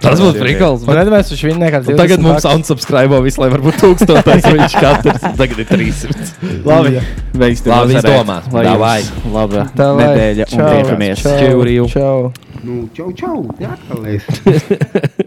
[SPEAKER 1] Tas būs prikals.
[SPEAKER 4] Un nedomāju, viņš vinnē kā
[SPEAKER 1] Un
[SPEAKER 4] 20
[SPEAKER 1] Nu, tagad mums
[SPEAKER 4] bucks.
[SPEAKER 1] unsubscribe visu, lai varbūt tūkstotais viņš katrs. Tagad ir 300.
[SPEAKER 2] Labi. Veiksim.
[SPEAKER 1] Labi izdomāts. Davai.
[SPEAKER 2] Labi.
[SPEAKER 4] Tā lai.
[SPEAKER 2] Nedēļa. Un
[SPEAKER 4] Čau.
[SPEAKER 2] tiekamies.
[SPEAKER 4] Čau,
[SPEAKER 1] Čau, Rīv.
[SPEAKER 4] Čau.
[SPEAKER 9] Nu, čau, čau, te atkal esi.